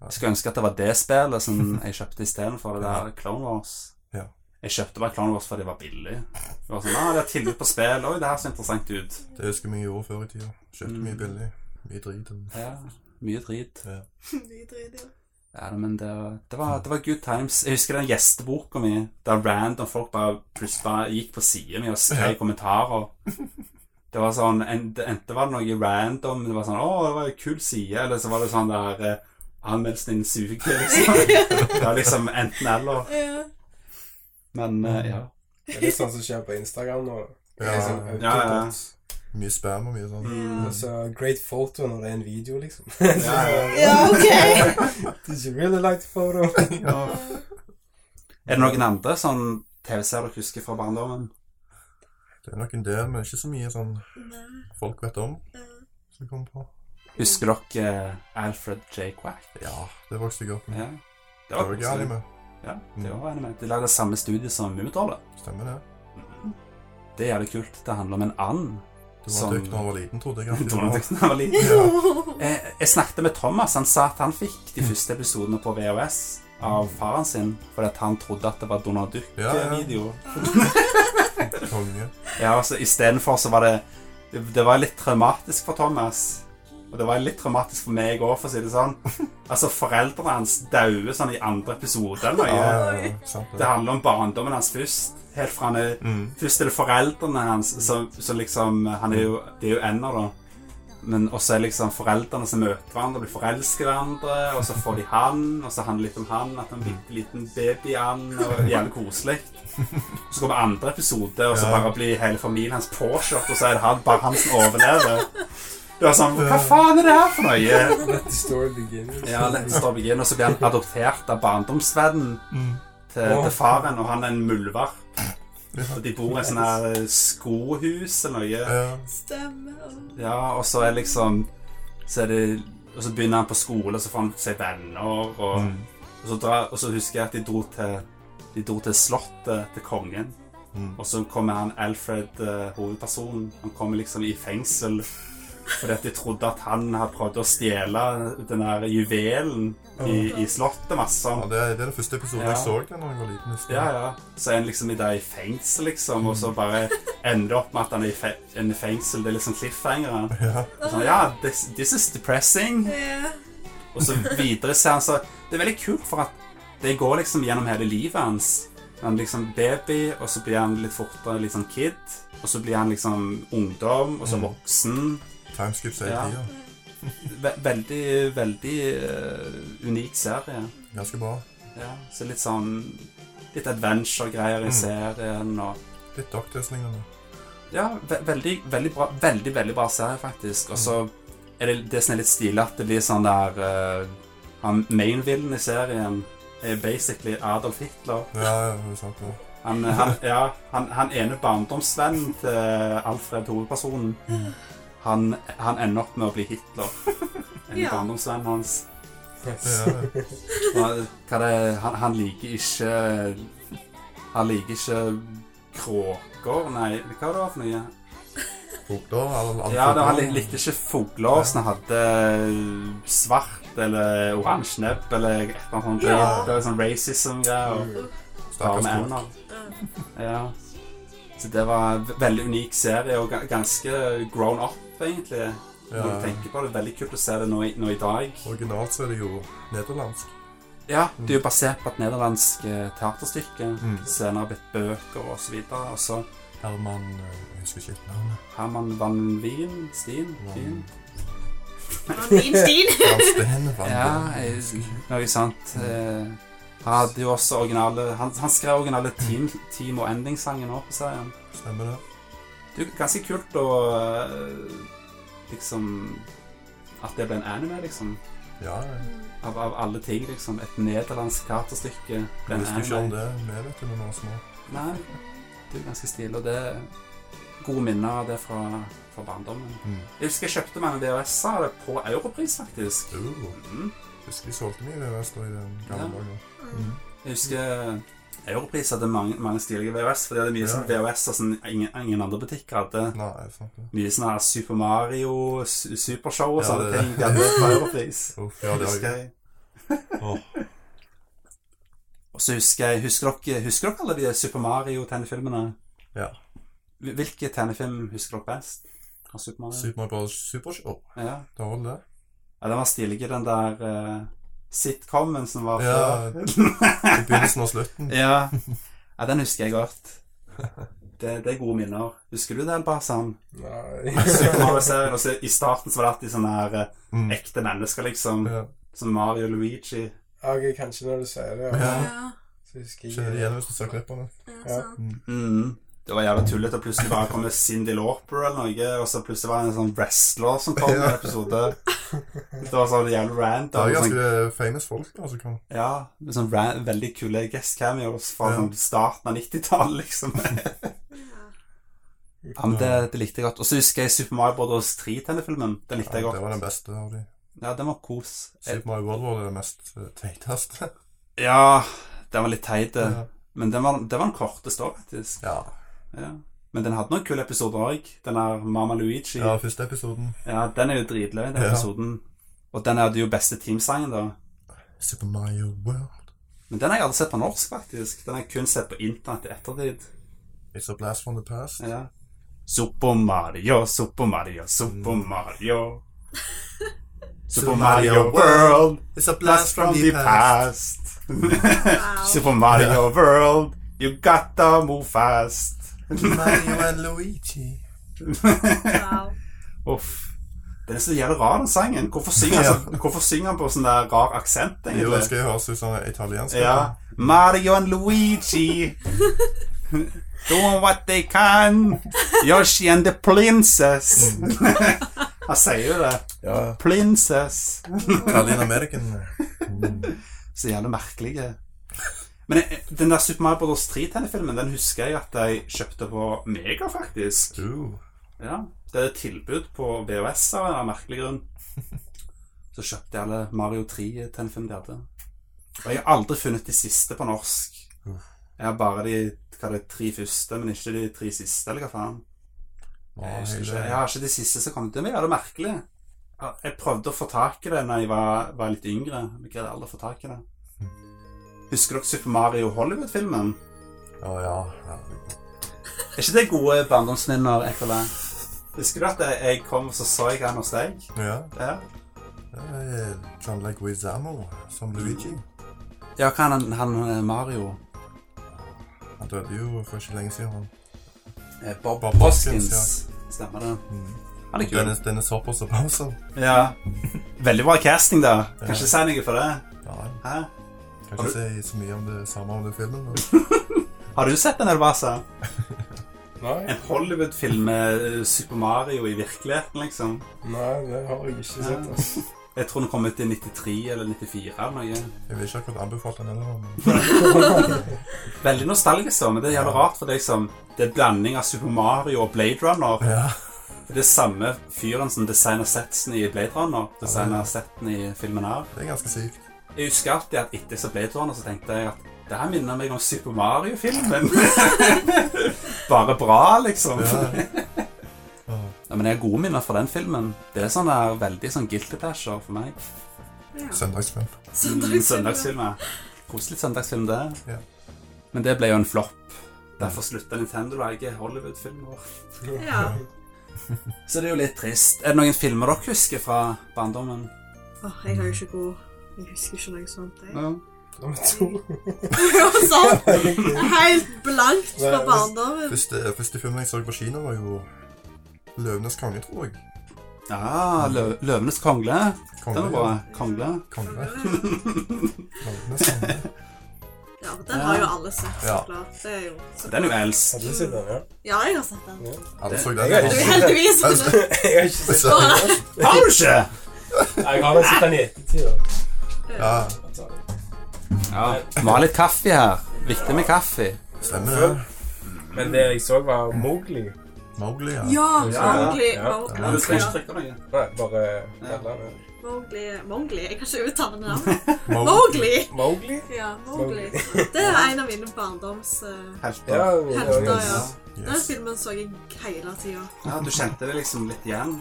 [SPEAKER 1] Jeg skulle ønske at det var det spillet som jeg kjøpte istedenfor det der Clone Wars.
[SPEAKER 2] Ja.
[SPEAKER 1] Jeg kjøpte bare Clone Wars fordi det var billig. Det var sånn, ah, det er tilbud på spill. Oi, det her ser interessant ut.
[SPEAKER 2] Det husker vi gjorde før i tida. Kjøpte
[SPEAKER 1] Mm.
[SPEAKER 2] mye billig. Mye drit. og-
[SPEAKER 1] Ja, mye drit.
[SPEAKER 5] Mye drit, ja.
[SPEAKER 1] Ja, men det, det, var, det var good times. Jeg husker den gjesteboka mi, der random folk bare plutselig bare gikk på siden min og skrev kommentarer. Det var sånn, en- det- Enten var det noe random, det var sånn 'Å, det var en kul side', eller så var det sånn der eh, 'Anmeldelsen din suger', *laughs* liksom. Det var liksom enten-eller.
[SPEAKER 5] Ja.
[SPEAKER 1] Men eh, ja.
[SPEAKER 3] Det er litt sånn som skjer på Instagram nå. Det er liksom
[SPEAKER 2] Ja,
[SPEAKER 1] Ja, ja.
[SPEAKER 3] autobots.
[SPEAKER 2] mye spam og mye sånn.
[SPEAKER 1] Mm.
[SPEAKER 3] Og så great photo når det er en video, liksom.
[SPEAKER 1] Ja, ja.
[SPEAKER 5] ja, ok.
[SPEAKER 3] *laughs* Did you really like the photo? *laughs*
[SPEAKER 1] Er det noen andre sånn TV-serier dere husker fra barndommen?
[SPEAKER 2] Det er nok en del, men ikke så mye sånn
[SPEAKER 5] Nei.
[SPEAKER 2] folk vet om.
[SPEAKER 5] Ja.
[SPEAKER 2] Som kommer på.
[SPEAKER 1] Husker dere eh, Alfred J. Quack?
[SPEAKER 2] Ja, det vokste jeg opp med.
[SPEAKER 1] Ja. Det
[SPEAKER 2] Det
[SPEAKER 1] var
[SPEAKER 2] var ikke
[SPEAKER 1] koselig.
[SPEAKER 2] anime.
[SPEAKER 1] Ja, det var anime. De lagde samme studie som Mummitrollet.
[SPEAKER 2] Stemmer det.
[SPEAKER 1] Det er jævlig kult. Det handler om en *laughs* and.
[SPEAKER 2] Det var
[SPEAKER 1] Som-
[SPEAKER 2] dykt da han var liten, trodde
[SPEAKER 1] *laughs*
[SPEAKER 2] jeg. alltid.
[SPEAKER 1] Donald-teksten var liten. Jeg, Eh, jeg snakket med Thomas. Han sa at han fikk de første episodene på VHS av faren sin fordi at han trodde at *laughs* det var Donald
[SPEAKER 2] Ja, ja.
[SPEAKER 1] Duck-video.
[SPEAKER 2] Konge.
[SPEAKER 1] Ja, altså Istedenfor så var det, det Det var litt traumatisk for Thomas. Og det var litt traumatisk for meg òg, for å si det *laughs* sånn. Altså, foreldrene hans dauer sånn i andre episode eller
[SPEAKER 2] Ja,
[SPEAKER 1] noe.
[SPEAKER 2] ja, ja, sant
[SPEAKER 1] Det
[SPEAKER 2] det.
[SPEAKER 1] handler om barndommen hans først. Helt fra han er,
[SPEAKER 2] Mm.
[SPEAKER 1] Først er det foreldrene hans, som, som liksom han er jo, De er jo ender, da. Men også er liksom foreldrene som møter hverandre, blir forelsket i hverandre. Og så får de han, og så handler det litt om han, at
[SPEAKER 2] Mm.
[SPEAKER 1] han er en bitte liten baby-and. og Jævlig koselig. Så kommer andre episode, og så
[SPEAKER 2] Ja.
[SPEAKER 1] bare blir hele familien hans påkjørt, og så er det han, bare han som overlever. Det var sånn Hva faen er det her for noe?
[SPEAKER 3] Let the story begin. liksom. *laughs*
[SPEAKER 1] Ja, Let's Stop Again, og så blir han adoptert av barndomsvennen
[SPEAKER 2] Mm.
[SPEAKER 1] til,
[SPEAKER 3] Åh.
[SPEAKER 1] til faren, og han er en muldvarp.
[SPEAKER 2] Ja.
[SPEAKER 1] Og de bor i sånne her skohus eller noe.
[SPEAKER 2] Ja,
[SPEAKER 5] Stemmer.
[SPEAKER 1] Ja, og så er liksom Så er det Og så begynner han på skole, og så får han seg venner. Og,
[SPEAKER 2] Mm.
[SPEAKER 1] og, så drar, og så husker jeg at de dro til, de dro til slottet til kongen.
[SPEAKER 2] Mm.
[SPEAKER 1] Og så kommer han Alfred, eh, hovedpersonen, han kommer liksom i fengsel. Fordi at de trodde at han hadde prøvd å stjele den der juvelen i, i slottet. masse
[SPEAKER 2] Ja,
[SPEAKER 1] sånn.
[SPEAKER 2] det, er, det er den første episoden jeg
[SPEAKER 1] Ja.
[SPEAKER 2] så da når jeg var liten. husker jeg.
[SPEAKER 1] Ja, ja. Så er han liksom i det i fengsel, liksom, og så bare ender det opp med at han er i fe en i fengsel. Det er liksom cliffhangeren.
[SPEAKER 2] Ja.
[SPEAKER 1] Og Sånn, ja, this, this is depressing. Og så videre ser han så Det er veldig kult, for at det går liksom gjennom hele livet hans. Han er liksom baby, og så blir han litt fortere litt sånn kid. Og så blir han liksom ungdom, og så
[SPEAKER 2] Mm.
[SPEAKER 1] voksen.
[SPEAKER 2] Timescoops hele
[SPEAKER 1] Ja.
[SPEAKER 2] tida.
[SPEAKER 1] Ve veldig, veldig eh, unik serie.
[SPEAKER 2] Ganske bra.
[SPEAKER 1] Ja, så litt sånn Litt adventure-greier i
[SPEAKER 2] Mm.
[SPEAKER 1] serien og
[SPEAKER 2] Litt Doctors-lignende.
[SPEAKER 1] Ja, ve veldig, veldig bra Veldig, veldig bra serie faktisk Og så er det det som er litt stilig At det blir sånn der eh, Han mainvillen i serien Er basically Adolf Hitler
[SPEAKER 2] Ja, ja, det er sant. Ja.
[SPEAKER 1] Han, eh, han, ja, han, han ene barndomsvennen Til Alfred hovedpersonen han, han ender opp med å bli Hitler En
[SPEAKER 5] Ja.
[SPEAKER 1] barndomsvenn hans
[SPEAKER 2] Det er
[SPEAKER 1] *laughs*
[SPEAKER 2] det.
[SPEAKER 1] Og hva det, han, han liker ikke Han liker ikke Kråker, nei Hva var det for noe?
[SPEAKER 2] Fugler, alle- alle
[SPEAKER 1] Ja, det, han
[SPEAKER 2] fugler.
[SPEAKER 1] lik- likte ikke fugler som hadde eh, svart eller oransje nebb eller et eller annet sånt.
[SPEAKER 5] Ja.
[SPEAKER 1] Det var sånn racism-greier. Bare
[SPEAKER 2] Stakkars
[SPEAKER 1] med
[SPEAKER 2] folk.
[SPEAKER 1] ender. Ja. Så det var en ve- veldig unik serie, og ga- ganske grown up, egentlig. Når
[SPEAKER 2] Ja.
[SPEAKER 1] du tenker på det, Veldig kult å se det nå i, nå i dag.
[SPEAKER 2] Originalt så er det jo nederlandsk.
[SPEAKER 1] Ja, Det er jo basert på et nederlandsk eh, teaterstykke.
[SPEAKER 2] Mm.
[SPEAKER 1] Senere blitt bøker og så videre. Og så
[SPEAKER 2] Herman eh, Jeg husker ikke helt navnet.
[SPEAKER 1] Herman Van Wien Stien?
[SPEAKER 2] Van-
[SPEAKER 1] Wien?
[SPEAKER 5] Din stil!
[SPEAKER 2] Van Steen Van
[SPEAKER 1] Ja,
[SPEAKER 2] Deen.
[SPEAKER 1] jeg, noe sant. Eh, han hadde jo også originale Han, han skrev originale team, team og ending-sangen òg på serien.
[SPEAKER 2] Stemmer det.
[SPEAKER 1] Det er jo ganske kult å eh, liksom At det ble en anime, liksom.
[SPEAKER 2] Ja, jeg
[SPEAKER 1] Av, av alle ting, liksom. Et nederlandsk teaterstykke ble en
[SPEAKER 2] visste ikke om
[SPEAKER 1] anime.
[SPEAKER 2] det. Vi vet jo når vi var små.
[SPEAKER 1] Nei, det er jo ganske stilig, og det er gode minner av det fra, fra barndommen.
[SPEAKER 2] Mm.
[SPEAKER 1] Jeg husker jeg kjøpte meg en VHS av det på europris, faktisk.
[SPEAKER 2] Uh,
[SPEAKER 1] Mm.
[SPEAKER 2] husker de solgte mye VVS da i den gamle
[SPEAKER 1] Ja.
[SPEAKER 2] dagen.
[SPEAKER 5] Mm.
[SPEAKER 1] Jeg husker Europris hadde mange, mange stilige VHS, for de hadde mye sånn
[SPEAKER 2] Ja.
[SPEAKER 1] VHS og sånn ingen, ingen andre butikker hadde.
[SPEAKER 2] Nei, sant det.
[SPEAKER 1] Mye sånn her Super Mario, su- Supershow og
[SPEAKER 2] Ja,
[SPEAKER 1] sånne
[SPEAKER 2] det-
[SPEAKER 1] ting. De hadde på Europris.
[SPEAKER 2] Uff, ja, *laughs* det
[SPEAKER 1] Husker
[SPEAKER 2] er jo
[SPEAKER 1] jeg.
[SPEAKER 2] Åh.
[SPEAKER 1] *laughs* Og så husker jeg Husker dere, husker dere alle de Super Mario-tegnefilmene?
[SPEAKER 2] Ja.
[SPEAKER 1] Hvil- Hvilke tegnefilm husker dere best? Av Super Mario?
[SPEAKER 2] Super Mario Bros. Super Show.
[SPEAKER 1] Ja.
[SPEAKER 2] Da var det det.
[SPEAKER 1] ja, den var stilig, den der eh, sitcomen som var
[SPEAKER 2] Ja.
[SPEAKER 1] før. *laughs*
[SPEAKER 2] I begynnelsen og slutten.
[SPEAKER 1] Ja. *laughs* ja, den husker jeg godt. Det, det er gode minner. Husker du det, Elbasan? Super
[SPEAKER 3] Nei.
[SPEAKER 1] Mario-serien, og så I starten så var det alltid sånne her eh,
[SPEAKER 2] Mm.
[SPEAKER 1] ekte mennesker, liksom.
[SPEAKER 2] Ja.
[SPEAKER 1] Som Mario og Luigi.
[SPEAKER 3] Ok, kanskje når du sier det.
[SPEAKER 2] Ja.
[SPEAKER 5] Ja,
[SPEAKER 3] Så husker
[SPEAKER 2] Kjenner det igjen
[SPEAKER 3] jeg
[SPEAKER 2] hvis du ser klippene.
[SPEAKER 5] ja,
[SPEAKER 3] Ja.
[SPEAKER 5] sant.
[SPEAKER 1] Mm. Det var jævla tullete, og plutselig bare kom det Cindy Lauper eller noe, og så plutselig var det en sånn wrestler som kom i en
[SPEAKER 2] Ja.
[SPEAKER 1] episode. Det var sånn jævla rant.
[SPEAKER 2] Det er
[SPEAKER 1] Og
[SPEAKER 2] jo
[SPEAKER 1] sånn,
[SPEAKER 2] ganske eh, famous folk da, som kan
[SPEAKER 1] ja, med sånn ran- veldig kule guest cameos fra
[SPEAKER 2] Ja.
[SPEAKER 1] sånn starten av 90-tallet,
[SPEAKER 2] *laughs*
[SPEAKER 1] liksom. Ja, men det, det likte jeg godt. Og så husker jeg Super Mario Bros. 3-tegnefilmen. Den likte
[SPEAKER 2] ja,
[SPEAKER 1] jeg
[SPEAKER 2] Det var
[SPEAKER 1] godt.
[SPEAKER 2] den beste av de.
[SPEAKER 1] Ja, den var kos. Jeg-
[SPEAKER 2] Super Mario World var det mest eh, teiteste.
[SPEAKER 1] Ja, den var litt teit, eh.
[SPEAKER 2] Ja.
[SPEAKER 1] men den var, det var den korteste òg, faktisk.
[SPEAKER 2] Ja.
[SPEAKER 1] Ja. Men den hadde noen kule episoder òg. Den der Mama Luigi.
[SPEAKER 2] ja,
[SPEAKER 1] Ja.
[SPEAKER 2] første episoden.
[SPEAKER 1] Den er jo dritløy, den
[SPEAKER 2] Ja.
[SPEAKER 1] episoden. Og den hadde jo beste teamsangen, da.
[SPEAKER 2] Super Mario World.
[SPEAKER 1] Men den har jeg aldri sett på norsk, faktisk. Den har jeg kun sett på internett i ettertid.
[SPEAKER 2] It's a blast from the past.
[SPEAKER 1] Ja. Super Mario, Super Mario, Super Mario. *laughs* Super Mario World,
[SPEAKER 2] It's a
[SPEAKER 1] blast from the *laughs* past.
[SPEAKER 5] Wow.
[SPEAKER 1] Super Mario World, you gotta move fast. *laughs*
[SPEAKER 2] Mario and Luigi.
[SPEAKER 5] wow.
[SPEAKER 1] Uff. Den er så jævlig rar, den sangen. Hvorfor synger han, *laughs* så, hvorfor synger han på sånn der rar aksent,
[SPEAKER 2] Jo, det
[SPEAKER 1] egentlig?
[SPEAKER 2] skal jo høres ut som italiensk.
[SPEAKER 1] Ja. Mario and *laughs* Luigi doing what they can. Yoshi and the *laughs* princess. Han sier jo det.
[SPEAKER 2] ja.
[SPEAKER 1] Princess.
[SPEAKER 2] Italian
[SPEAKER 1] *laughs*
[SPEAKER 2] American. Mm.
[SPEAKER 1] Så jævlig merkelige. Men jeg- den der Super Mario Bros. 3-tegnefilmen den husker jeg at jeg kjøpte på Mega, faktisk.
[SPEAKER 2] Ooh.
[SPEAKER 1] Ja, det er et tilbud på VHS av en eller annen merkelig grunn. Så kjøpte jeg alle Mario 3-telefon de hadde. Og jeg har aldri funnet de siste på norsk.
[SPEAKER 2] Mm.
[SPEAKER 1] Jeg har bare de hva det er, tre første, men ikke de tre siste, eller hva faen. Jeg, husker ikke, jeg har ikke de siste som kom til meg. Ja, det er merkelig. Ja, Jeg prøvde å få tak i det da jeg var, var litt yngre. men Jeg greide aldri å få tak i det. Husker dere Super Mario Hollywood-filmen?
[SPEAKER 2] Ja, ja. herregud.
[SPEAKER 1] Er ikke det gode barndomsminner? jeg føler? Husker du at jeg kom og så så jeg han hos deg?
[SPEAKER 2] ja.
[SPEAKER 1] Ja,
[SPEAKER 2] Det er John Leguizamo som Luigi.
[SPEAKER 1] ja hva han, han eh, Mario?
[SPEAKER 2] Han døde jo for ikke lenge siden. han.
[SPEAKER 1] Eh, Bob,
[SPEAKER 2] Bob
[SPEAKER 1] Hoskins.
[SPEAKER 2] Hoskins,
[SPEAKER 1] Stemmer det.
[SPEAKER 2] Mm.
[SPEAKER 1] Han er kul.
[SPEAKER 2] Dennis, Dennis Hopper som Bowser.
[SPEAKER 1] Ja. Veldig bra casting, da. Kan ikke si noe for det.
[SPEAKER 2] Nei,
[SPEAKER 1] Hæ?
[SPEAKER 2] kan
[SPEAKER 1] Har
[SPEAKER 2] ikke si så mye om det samme om den filmen.
[SPEAKER 1] *laughs*
[SPEAKER 2] men-
[SPEAKER 1] Har du sett den, Elvasa?
[SPEAKER 3] Nei,
[SPEAKER 1] En Hollywood-film med eh, Super Mario i virkeligheten, liksom.
[SPEAKER 3] nei, det har jeg ikke sett. Altså.
[SPEAKER 1] Jeg tror den kom ut i 93 eller 94. eller noe.
[SPEAKER 2] Jeg vil ikke akkurat anbefale den heller. men-
[SPEAKER 1] Veldig nostalgisk, da, men det er jævlig rart, for det er liksom Det er blanding av Super Mario og Blade Runner.
[SPEAKER 2] Ja.
[SPEAKER 1] Det er samme fyren som designer setsen i Blade Runner. Designer setten i filmen her.
[SPEAKER 2] Det er ganske sykt.
[SPEAKER 1] Jeg husker alltid at etter jeg så Blade Runner, så tenkte jeg at det her minner meg om Super Mario-filmen. *laughs* Bare bra, liksom. *laughs*
[SPEAKER 2] Ja.
[SPEAKER 1] Ja.
[SPEAKER 2] Ja.
[SPEAKER 1] men jeg har gode minner fra den filmen. Det er sånn der, veldig sånn guilty pleasure for meg.
[SPEAKER 2] Søndagsfilm.
[SPEAKER 1] Mm,
[SPEAKER 4] Søndagsfilm.
[SPEAKER 1] Søndagsfilmer. Koselig søndagsfilm, det.
[SPEAKER 2] Ja.
[SPEAKER 1] Men det ble jo en flopp. Derfor slutta Nintendo å lage Hollywood-filmer.
[SPEAKER 5] Ja.
[SPEAKER 1] Så det er jo litt trist. Er det noen filmer dere husker fra barndommen?
[SPEAKER 5] Åh, jeg har jo ikke god Jeg husker ikke noe sånt. *laughs* Jeg.
[SPEAKER 1] Ja.
[SPEAKER 3] Nummer to.
[SPEAKER 5] sånn helt blankt fra barndommen.
[SPEAKER 2] Første, første filmen jeg så på kino, var jo 'Løvenes konge', tror jeg.
[SPEAKER 1] Ja, Lø Løvenes kongle. Den
[SPEAKER 2] Konge,
[SPEAKER 1] var bra. Mm. Kongle.
[SPEAKER 2] Konge.
[SPEAKER 5] Ja,
[SPEAKER 2] Løvenes konge.
[SPEAKER 5] men Den har jo alle sett, så klart. Det er jo så
[SPEAKER 1] Den er jo *laughs* eldst.
[SPEAKER 3] Hadde du sett den, ja?
[SPEAKER 5] Ja, jeg har sett den.
[SPEAKER 2] Alle så den.
[SPEAKER 3] Jeg har
[SPEAKER 5] Du er
[SPEAKER 3] ikke-
[SPEAKER 5] heldigvis sånn men-
[SPEAKER 3] Jeg har ikke sett
[SPEAKER 2] Så-
[SPEAKER 1] Har du ikke?
[SPEAKER 3] den. Jeg har nok sett den i ettertid. da.
[SPEAKER 2] Ja,
[SPEAKER 3] Altså,
[SPEAKER 1] Ja. Vi har litt kaffe her. Viktig med kaffe.
[SPEAKER 2] stemmer det.
[SPEAKER 3] Men det jeg så, var Mowgli.
[SPEAKER 2] Mowgli, ja.
[SPEAKER 5] Ja,
[SPEAKER 1] Ja,
[SPEAKER 5] Mowgli.
[SPEAKER 3] ja.
[SPEAKER 5] Mowgli.
[SPEAKER 2] Ja, du skal
[SPEAKER 5] Ja,
[SPEAKER 1] trykke noe.
[SPEAKER 3] Nei, bare ja.
[SPEAKER 5] Mowgli. Mowgli. Jeg kan ikke uttale det navnet.
[SPEAKER 2] Mowgli.
[SPEAKER 5] Mowgli!
[SPEAKER 3] Mowgli?
[SPEAKER 5] Ja, Mowgli. Det er en av mine barndoms... eh,
[SPEAKER 1] Helter.
[SPEAKER 3] Ja,
[SPEAKER 1] Ja.
[SPEAKER 3] vi-
[SPEAKER 5] Helter, ja. Den
[SPEAKER 2] Yes.
[SPEAKER 5] filmen så jeg hele tida.
[SPEAKER 1] du kjente det liksom litt igjen.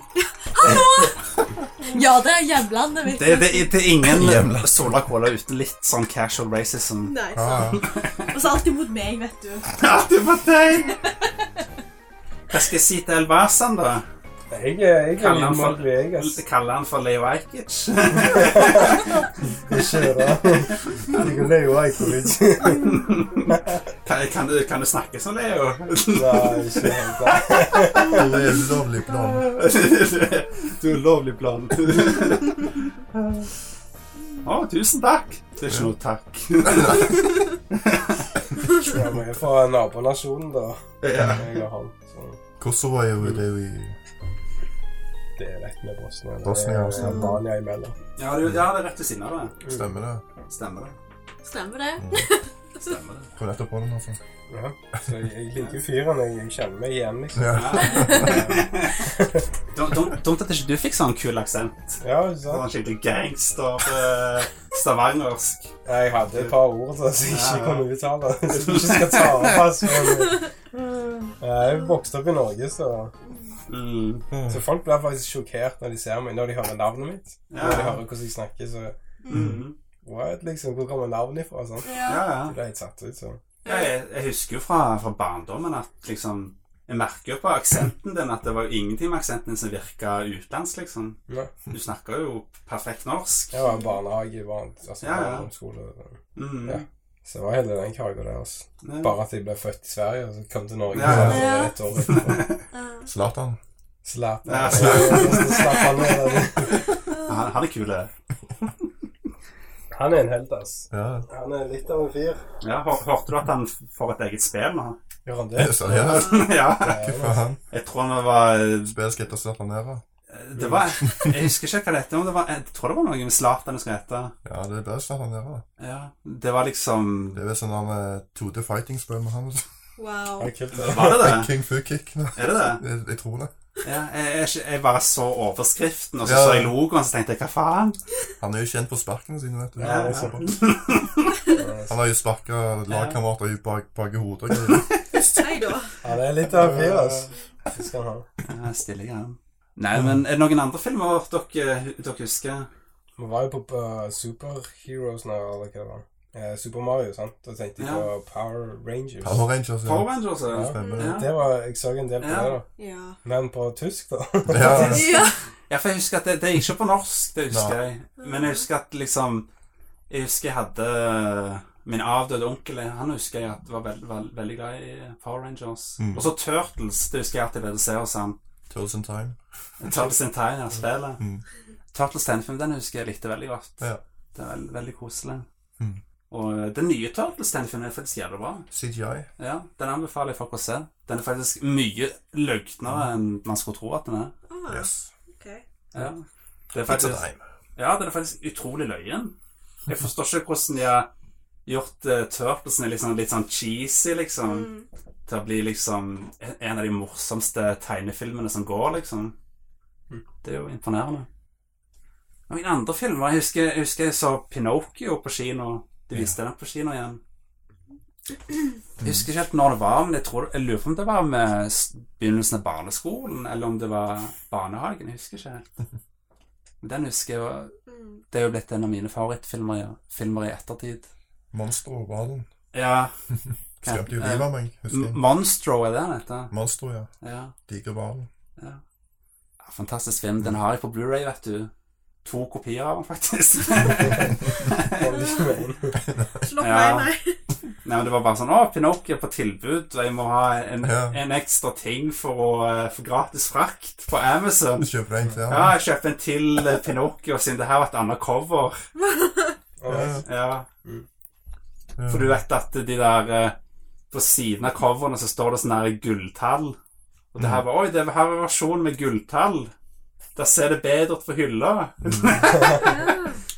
[SPEAKER 4] Ja, det er hjemlandet mitt.
[SPEAKER 1] Det, det, det er ingen
[SPEAKER 2] Jævla.
[SPEAKER 1] Sola Cola uten litt sånn casual racism.
[SPEAKER 5] Nei,
[SPEAKER 2] Ja,
[SPEAKER 5] sant.
[SPEAKER 2] ja.
[SPEAKER 4] Og så alltid mot meg, vet du.
[SPEAKER 1] Ja, du var deg! Hva skal jeg si til Elvasan, da?
[SPEAKER 3] Jeg, er- jeg er
[SPEAKER 1] Kaller
[SPEAKER 3] litt
[SPEAKER 1] han for-
[SPEAKER 3] Mowgli, jeg. ass.
[SPEAKER 1] Kaller han for Leo Ajkic?
[SPEAKER 3] Ikke det. Jeg er jo Ajkovic.
[SPEAKER 1] Kan, kan, du, kan du snakke som Leo?
[SPEAKER 3] Nei, ikke helt. da.
[SPEAKER 2] Det er en lovlig plan.
[SPEAKER 1] Du er lovlig plan. Å, tusen takk. Det er ikke noe takk.
[SPEAKER 3] Ja, men jeg er fra nabonasjonen, da.
[SPEAKER 1] Ja.
[SPEAKER 3] Jeg og han. Så
[SPEAKER 2] Kosovo er jo det vi
[SPEAKER 3] det er rett med Bosnia.
[SPEAKER 2] Bosnia,
[SPEAKER 3] Det er
[SPEAKER 2] Bosnia.
[SPEAKER 3] Albania imellom.
[SPEAKER 1] Ja, du, ja, det er rett ved siden av det.
[SPEAKER 2] Stemmer det.
[SPEAKER 1] Stemmer det.
[SPEAKER 5] Stemmer det?
[SPEAKER 1] Stemmer det.
[SPEAKER 2] Kom nettopp på den, altså.
[SPEAKER 3] Ja. Så jeg, jeg liker fyren. Jeg, jeg kjenner meg igjen, liksom.
[SPEAKER 2] Ja.
[SPEAKER 1] Dum- dum- Dumt at ikke du fikk sånn kul aksent.
[SPEAKER 3] Ja, ikke sant?
[SPEAKER 1] Sånn skikkelig gangster eh, stavangersk.
[SPEAKER 3] Jeg hadde et par ord da, som jeg
[SPEAKER 1] Ja, ja.
[SPEAKER 3] ikke kunne uttale. Som jeg ikke skal ta av. Altså. Men, ja, Jeg vokste opp i Norge, så,
[SPEAKER 1] Mm.
[SPEAKER 3] så folk blir faktisk sjokkert når de ser meg, når de hører navnet mitt. Når de hører hvordan jeg snakker, så
[SPEAKER 1] Mm.
[SPEAKER 3] What, liksom? Hvor kommer navnet ifra? og Sånn.
[SPEAKER 1] ja, ja.
[SPEAKER 3] Det ble helt satt ut, så.
[SPEAKER 1] Ja, jeg, jeg husker jo fra, fra barndommen at liksom Jeg merker jo på aksenten din at det var jo ingenting med aksenten din som virka utenlandsk, liksom.
[SPEAKER 3] Ja.
[SPEAKER 1] Du snakker jo perfekt norsk.
[SPEAKER 3] Jeg var i barnehage, barn, altså
[SPEAKER 1] Ja, ja.
[SPEAKER 3] barndomsskole.
[SPEAKER 1] Mm.
[SPEAKER 3] Ja. Så det var hele den kaka der. Altså.
[SPEAKER 1] Ja.
[SPEAKER 3] Bare at jeg ble født i Sverige, og så kom til Norge
[SPEAKER 1] Ja, ja.
[SPEAKER 3] for et år
[SPEAKER 1] *laughs*
[SPEAKER 3] etterpå.
[SPEAKER 5] Eh,
[SPEAKER 2] Zlatan.
[SPEAKER 3] Slapp
[SPEAKER 1] Ja.
[SPEAKER 3] *laughs* av. Slapp av. altså. nå.
[SPEAKER 1] Han, han er kul. det.
[SPEAKER 3] Han er en helt, ass.
[SPEAKER 2] Ja.
[SPEAKER 3] Han er litt av en fyr.
[SPEAKER 1] Ja, hør, hørte du at han får et eget spill nå? *laughs*
[SPEAKER 3] Gjør han det?
[SPEAKER 2] Seriøst?
[SPEAKER 1] ja.
[SPEAKER 2] Hva faen?
[SPEAKER 1] Jeg tror han var
[SPEAKER 2] Spiller skal hete Zlatan Nera.
[SPEAKER 1] Det var Jeg husker ikke hva det heter, men det var, jeg tror det var noe med Zlatan det skulle hete.
[SPEAKER 2] Ja, det blir Zlatan Nera.
[SPEAKER 1] Ja. Det var liksom
[SPEAKER 2] Det er vel sånn han eh, 2D Fighting-spill med han. altså.
[SPEAKER 5] Wow.
[SPEAKER 3] Han er kult, det.
[SPEAKER 1] Var det det?
[SPEAKER 2] King Fu Kick. nå.
[SPEAKER 1] Er det det?
[SPEAKER 2] Jeg, jeg tror det.
[SPEAKER 1] Ja, jeg, jeg, jeg bare så overskriften, og så
[SPEAKER 2] Ja.
[SPEAKER 1] så jeg logoen, så tenkte jeg hva faen?
[SPEAKER 2] Han er jo kjent på sparkene sine, vet du.
[SPEAKER 1] Ja, ja.
[SPEAKER 2] Han har jo sparka lagkamerater i bak, bak i hodet.
[SPEAKER 1] *laughs*
[SPEAKER 2] og greier.
[SPEAKER 5] Nei da.
[SPEAKER 3] Ja, det er litt av fyr, altså. Det skal han ha.
[SPEAKER 1] Ja, stille greier. Nei, men er det noen andre filmer dere, dere husker?
[SPEAKER 3] Vi var jo på uh, Superheroes nå, eller hva det var. Eh, Super Mario, sant? Da tenkte jeg på Power Rangers.
[SPEAKER 2] Power Rangers.
[SPEAKER 1] Power Rangers?
[SPEAKER 3] Ja.
[SPEAKER 1] Ja.
[SPEAKER 2] Stemmer.
[SPEAKER 1] Ja.
[SPEAKER 3] Det var, Jeg så en del på
[SPEAKER 1] Ja.
[SPEAKER 3] det, da.
[SPEAKER 5] Ja.
[SPEAKER 3] Men på tysk, da. *laughs*
[SPEAKER 2] Ja.
[SPEAKER 1] *laughs*
[SPEAKER 5] ja.
[SPEAKER 1] ja, for jeg husker at det, det gikk ikke på norsk, det husker
[SPEAKER 2] Nei.
[SPEAKER 1] jeg. Men jeg husker at liksom Jeg husker jeg hadde eh, min avdøde onkel Han husker jeg at var veld, veld, veldig glad i Power Rangers.
[SPEAKER 2] Mm.
[SPEAKER 1] Og så Turtles. Det husker jeg at jeg ville se hos han.
[SPEAKER 2] Turtles in Time.
[SPEAKER 1] Turtles in Time, ja, spillet.
[SPEAKER 2] Mm.
[SPEAKER 1] Turtles tegnefilm, den husker jeg likte veldig godt.
[SPEAKER 2] Ja.
[SPEAKER 1] Det er veld, veldig koselig.
[SPEAKER 2] Mm.
[SPEAKER 1] Og eh, den nye Turtles tegnefilmen er faktisk jævlig bra.
[SPEAKER 2] CGI.
[SPEAKER 1] Ja, Den anbefaler jeg folk å se. Den er faktisk mye løgnere enn man skulle tro at den er.
[SPEAKER 5] Ah,
[SPEAKER 2] Yes.
[SPEAKER 5] ok.
[SPEAKER 1] Ja. Det er
[SPEAKER 2] It's a
[SPEAKER 1] faktisk,
[SPEAKER 2] time.
[SPEAKER 1] ja, den er faktisk utrolig løyen. Jeg forstår ikke hvordan de har gjort uh, Turtlesene liksom, litt sånn cheesy, liksom.
[SPEAKER 5] Mm.
[SPEAKER 1] Til å bli liksom en av de morsomste tegnefilmene som går, liksom.
[SPEAKER 3] Mm.
[SPEAKER 1] Det er jo imponerende. Noen andre filmer Jeg husker jeg, husker jeg så Pinocchio på kino. De viste den på kino igjen. Jeg husker ikke helt når det var, men jeg, tror, jeg lurer på om det var med s- begynnelsen av barneskolen, eller om det var barnehagen. Jeg husker ikke helt. Men den husker jeg var
[SPEAKER 5] Mm.
[SPEAKER 1] Det er jo blitt en av mine favorittfilmer ja. filmer i ettertid.
[SPEAKER 2] Monster og hvalen.
[SPEAKER 1] Ja.
[SPEAKER 2] Skremte jo livet av meg, husker
[SPEAKER 1] M-
[SPEAKER 2] jeg.
[SPEAKER 1] Monstro er det den heter.
[SPEAKER 2] Monster, ja.
[SPEAKER 1] Ja.
[SPEAKER 2] Diger hvalen.
[SPEAKER 1] Ja, Fantastisk film. Den har jeg på Blu-ray, vet du. To kopier av den, faktisk.
[SPEAKER 3] Holder ikke med inn.
[SPEAKER 5] Slå
[SPEAKER 1] Ja.
[SPEAKER 5] meg, nei.
[SPEAKER 1] Nei, men Det var bare sånn Å, Pinocchio på tilbud, og jeg må ha en,
[SPEAKER 2] Ja.
[SPEAKER 1] en ekstra ting for å eh, få gratis frakt på Amazon.
[SPEAKER 2] Kjøper deg en til.
[SPEAKER 1] Ja,
[SPEAKER 2] han.
[SPEAKER 1] jeg kjøper en til eh, Pinocchio, siden det her var et annet cover.
[SPEAKER 3] Alright.
[SPEAKER 1] Ja,
[SPEAKER 2] Ja.
[SPEAKER 1] For du vet at de der eh, På siden av coverne så står det sånne her gulltall. Og det
[SPEAKER 2] Mm.
[SPEAKER 1] her var Oi, det her er versjonen med gulltall. Der ser det bedre ut på hylla. *laughs*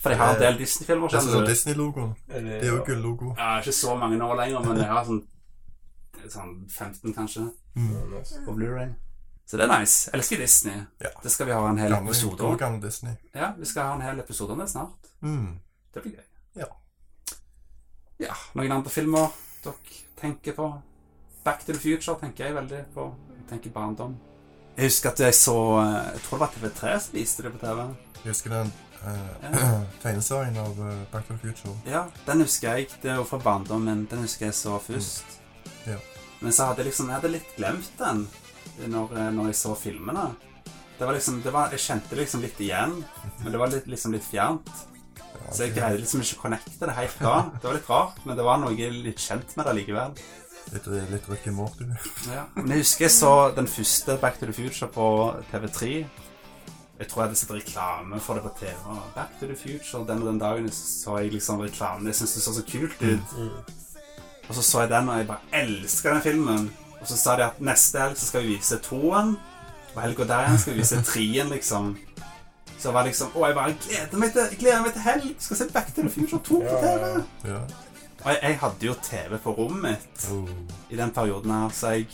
[SPEAKER 1] For jeg har en del Disney-filmer.
[SPEAKER 2] Mm. Det er sånn
[SPEAKER 1] skjønner
[SPEAKER 2] som
[SPEAKER 1] du.
[SPEAKER 2] Disney-logoen.
[SPEAKER 3] Eller-
[SPEAKER 2] Det er jo gull-logo.
[SPEAKER 1] Jeg har ikke så mange nå lenger, men jeg har sånn, sånn 15 kanskje
[SPEAKER 3] Ja, nice.
[SPEAKER 1] på Blu-ray. Så det er nice. Jeg elsker Disney.
[SPEAKER 2] Ja.
[SPEAKER 1] Det skal vi ha en hel
[SPEAKER 2] Gamle,
[SPEAKER 1] episode
[SPEAKER 2] gode
[SPEAKER 1] om.
[SPEAKER 2] gamle Disney.
[SPEAKER 1] Ja, vi skal ha en hel episode om det snart.
[SPEAKER 2] Mm.
[SPEAKER 1] Det blir gøy.
[SPEAKER 2] Ja.
[SPEAKER 1] Ja, noen andre filmer dere tenker på? Back to the Future tenker jeg veldig på. Jeg tenker barndom. Jeg husker at jeg så eh, Jeg tror det var TV3 som viste det på TV.
[SPEAKER 2] Jeg husker den eh, *clears throat* tegneserien av eh, Back to the Future.
[SPEAKER 1] Ja, den husker jeg. Det er jo fra barndommen. Den husker jeg så først.
[SPEAKER 2] Ja.
[SPEAKER 1] Men så hadde jeg liksom Jeg hadde litt glemt den når, eh, når jeg så filmene. Det var liksom det var, Jeg kjente liksom litt igjen, men det var litt, liksom litt fjernt.
[SPEAKER 2] Ja,
[SPEAKER 1] Så jeg
[SPEAKER 2] det er
[SPEAKER 1] greide liksom ikke å connecte det helt da. Det var litt rart, men det var noe litt kjent med det likevel.
[SPEAKER 2] Litt, litt Rick and Morty.
[SPEAKER 1] Ja. Men jeg husker jeg så den første Back to the Future på TV3. Jeg tror jeg hadde sett reklame for det på TV. og Back to the Future, den og den dagen så jeg liksom reklamen. Jeg syntes det så så kult ut.
[SPEAKER 3] Mm.
[SPEAKER 1] Og så så jeg den, og jeg bare elsker den filmen. Og så sa de at neste helg så skal vi vise toen, og helga der igjen skal vi vise trien, liksom. Så jeg var liksom Å, jeg bare gleder meg til, jeg gleder meg til helg! Skal se Back to the Future 2 på
[SPEAKER 3] Ja,
[SPEAKER 1] TV!
[SPEAKER 3] ja, ja.
[SPEAKER 2] *laughs* Ja.
[SPEAKER 1] Og jeg, jeg hadde jo TV på rommet mitt
[SPEAKER 2] Oh.
[SPEAKER 1] i den perioden her, så jeg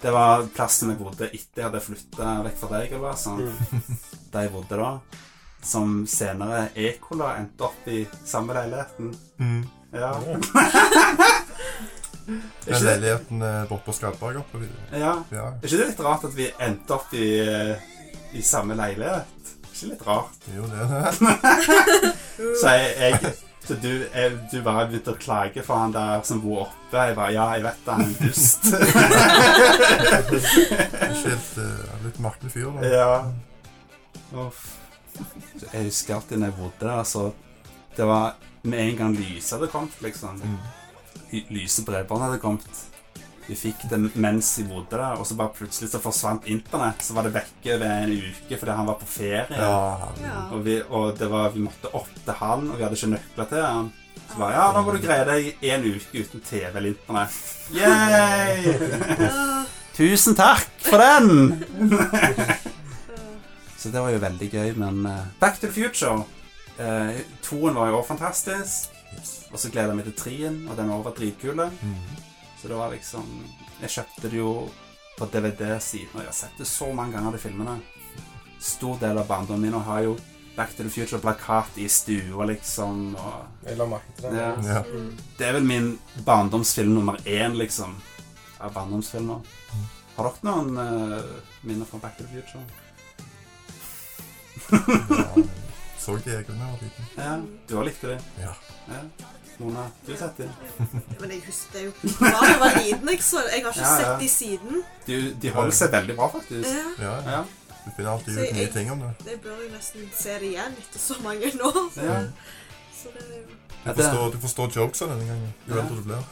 [SPEAKER 1] Det var plassen jeg bodde etter jeg hadde flytta vekk fra deg, eller hva sånn.
[SPEAKER 3] Mm.
[SPEAKER 1] Der jeg bodde da. Som senere Ekola endte opp i samme leiligheten.
[SPEAKER 2] Mm.
[SPEAKER 1] Ja. *laughs*
[SPEAKER 2] Den leiligheten eh, borte på Skalberg oppe. ved-
[SPEAKER 1] ja.
[SPEAKER 2] Ja,
[SPEAKER 1] Er ikke det litt rart at vi endte opp i, eh, i samme leilighet? Er ikke det litt rart?
[SPEAKER 2] det *laughs* er jo det.
[SPEAKER 1] Så jeg, jeg så du, jeg, du bare begynte å klage for han der som bor oppe. Jeg bare Ja, jeg vet det, han er en dust.
[SPEAKER 2] Ikke helt eh, Litt merkelig fyr, da.
[SPEAKER 1] ja. Uff. Så Jeg husker alltid når jeg bodde der, så Det var med en gang lyset hadde kommet, liksom.
[SPEAKER 2] Mm.
[SPEAKER 1] Ly- Lyse bredbånd hadde kommet. Vi fikk det mens vi bodde der, og så bare plutselig så forsvant internett. Så var det vekke over en uke fordi han var på ferie.
[SPEAKER 2] Ja,
[SPEAKER 5] Ja.
[SPEAKER 1] Og, vi, og det var, vi måtte opp til han, og vi hadde ikke nøkler til han. Så bare,
[SPEAKER 5] Ah,
[SPEAKER 1] ja, da må du greie deg en uke uten TV eller internett. Yay!
[SPEAKER 5] Ah,
[SPEAKER 1] *laughs* Tusen takk for den! *laughs*
[SPEAKER 5] ah.
[SPEAKER 1] Så det var jo veldig gøy, men eh, Back to the Future. Uh, toen var jo også fantastisk,
[SPEAKER 2] yes.
[SPEAKER 1] og så gleder jeg meg til trien, og den også var dritkule.
[SPEAKER 2] Mm.
[SPEAKER 1] Så det var liksom Jeg kjøpte det jo på DVD siden. Og jeg har sett det så mange ganger, de filmene. Stor del av barndommen min og har jo Back to the Future-plakat i stua, liksom. Og
[SPEAKER 3] Jeg la merke til det. Mm.
[SPEAKER 1] Ja.
[SPEAKER 2] Ja.
[SPEAKER 1] det er vel min barndomsfilm nummer én, liksom. Av barndomsfilmer. Har dere noen eh, minner fra Back to the Future? *laughs*
[SPEAKER 2] ja. Så jeg egne da jeg var liten.
[SPEAKER 1] Ja, du har likt det.
[SPEAKER 2] Ja.
[SPEAKER 1] ja. Mona, du har sett det.
[SPEAKER 5] Men jeg husker det jo fra jeg var
[SPEAKER 1] *laughs*
[SPEAKER 5] liten. Jeg, så, jeg har ikke
[SPEAKER 1] Ja, ja.
[SPEAKER 5] sett de siden.
[SPEAKER 1] De, de holder seg veldig bra, faktisk.
[SPEAKER 5] Eh,
[SPEAKER 2] *laughs* Ja, ja.
[SPEAKER 1] Ja.
[SPEAKER 2] Du finner alltid
[SPEAKER 5] Så
[SPEAKER 2] ut nye
[SPEAKER 5] jeg-
[SPEAKER 2] ting om det.
[SPEAKER 5] Jeg bør jo nesten se det igjen etter så mange nå. Så,
[SPEAKER 1] Ja.
[SPEAKER 5] så det er jo
[SPEAKER 2] Mm. Du forstår, du forstår jokesa denne gangen, jo
[SPEAKER 1] Ja.
[SPEAKER 2] eldre du blir.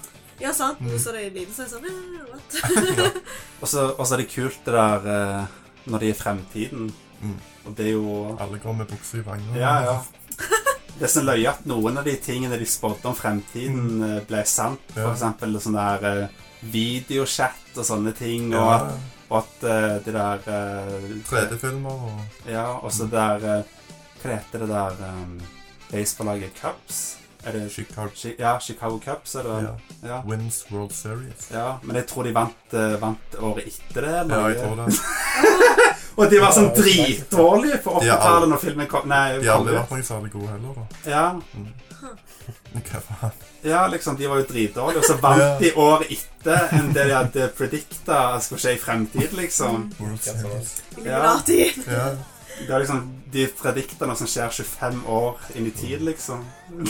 [SPEAKER 5] Ja, sant.
[SPEAKER 1] Mm.
[SPEAKER 5] Nå så det er liten, så er jeg sånn eh, what?
[SPEAKER 1] Og så og så er det kult det der eh, når de er i fremtiden.
[SPEAKER 2] Mm.
[SPEAKER 1] Og det er jo
[SPEAKER 2] Alle går med bukser i vangene.
[SPEAKER 1] Ja, ja. Det er så løye at noen av de tingene de spådde om fremtiden, eh, ble sant. For
[SPEAKER 2] Mm. Ja.
[SPEAKER 1] eksempel sånn der eh, videochat og sånne ting. Og,
[SPEAKER 2] Ja,
[SPEAKER 1] at- og at eh, det der eh,
[SPEAKER 2] 3D-filmer og
[SPEAKER 1] Ja, og
[SPEAKER 2] Mm.
[SPEAKER 1] så det der eh, Hva heter det der um, baseballaget Cubs? Er det
[SPEAKER 2] Chicago
[SPEAKER 1] Chi- Ja, Chicago Cubs, er det vel?
[SPEAKER 2] ja.
[SPEAKER 1] Ja.
[SPEAKER 2] Wins World Series.
[SPEAKER 1] ja. Men jeg tror de vant, eh, vant året etter det.
[SPEAKER 2] Ja,
[SPEAKER 1] eller?
[SPEAKER 2] jeg tror det.
[SPEAKER 1] Og de var sånn
[SPEAKER 3] Ja, jeg vet ikke.
[SPEAKER 1] dritdårlige på
[SPEAKER 2] De har
[SPEAKER 1] 80-tallet når filmen kom. Nei,
[SPEAKER 2] De har aldri
[SPEAKER 1] kom
[SPEAKER 2] vært noe særlig gode heller, da.
[SPEAKER 1] ut. ja.
[SPEAKER 2] Men Hva faen?
[SPEAKER 1] Ja, liksom, de var jo dritdårlige, og så vant
[SPEAKER 2] Ja.
[SPEAKER 1] de året etter enn det de hadde predikta skulle skje i fremtid,
[SPEAKER 5] *laughs*
[SPEAKER 1] liksom.
[SPEAKER 2] World
[SPEAKER 3] Ja, sånn.
[SPEAKER 2] Series.
[SPEAKER 5] Illuminati.
[SPEAKER 2] Ja.
[SPEAKER 1] Det er liksom, De predikta noe som skjer 25 år inn i tid, liksom. *laughs*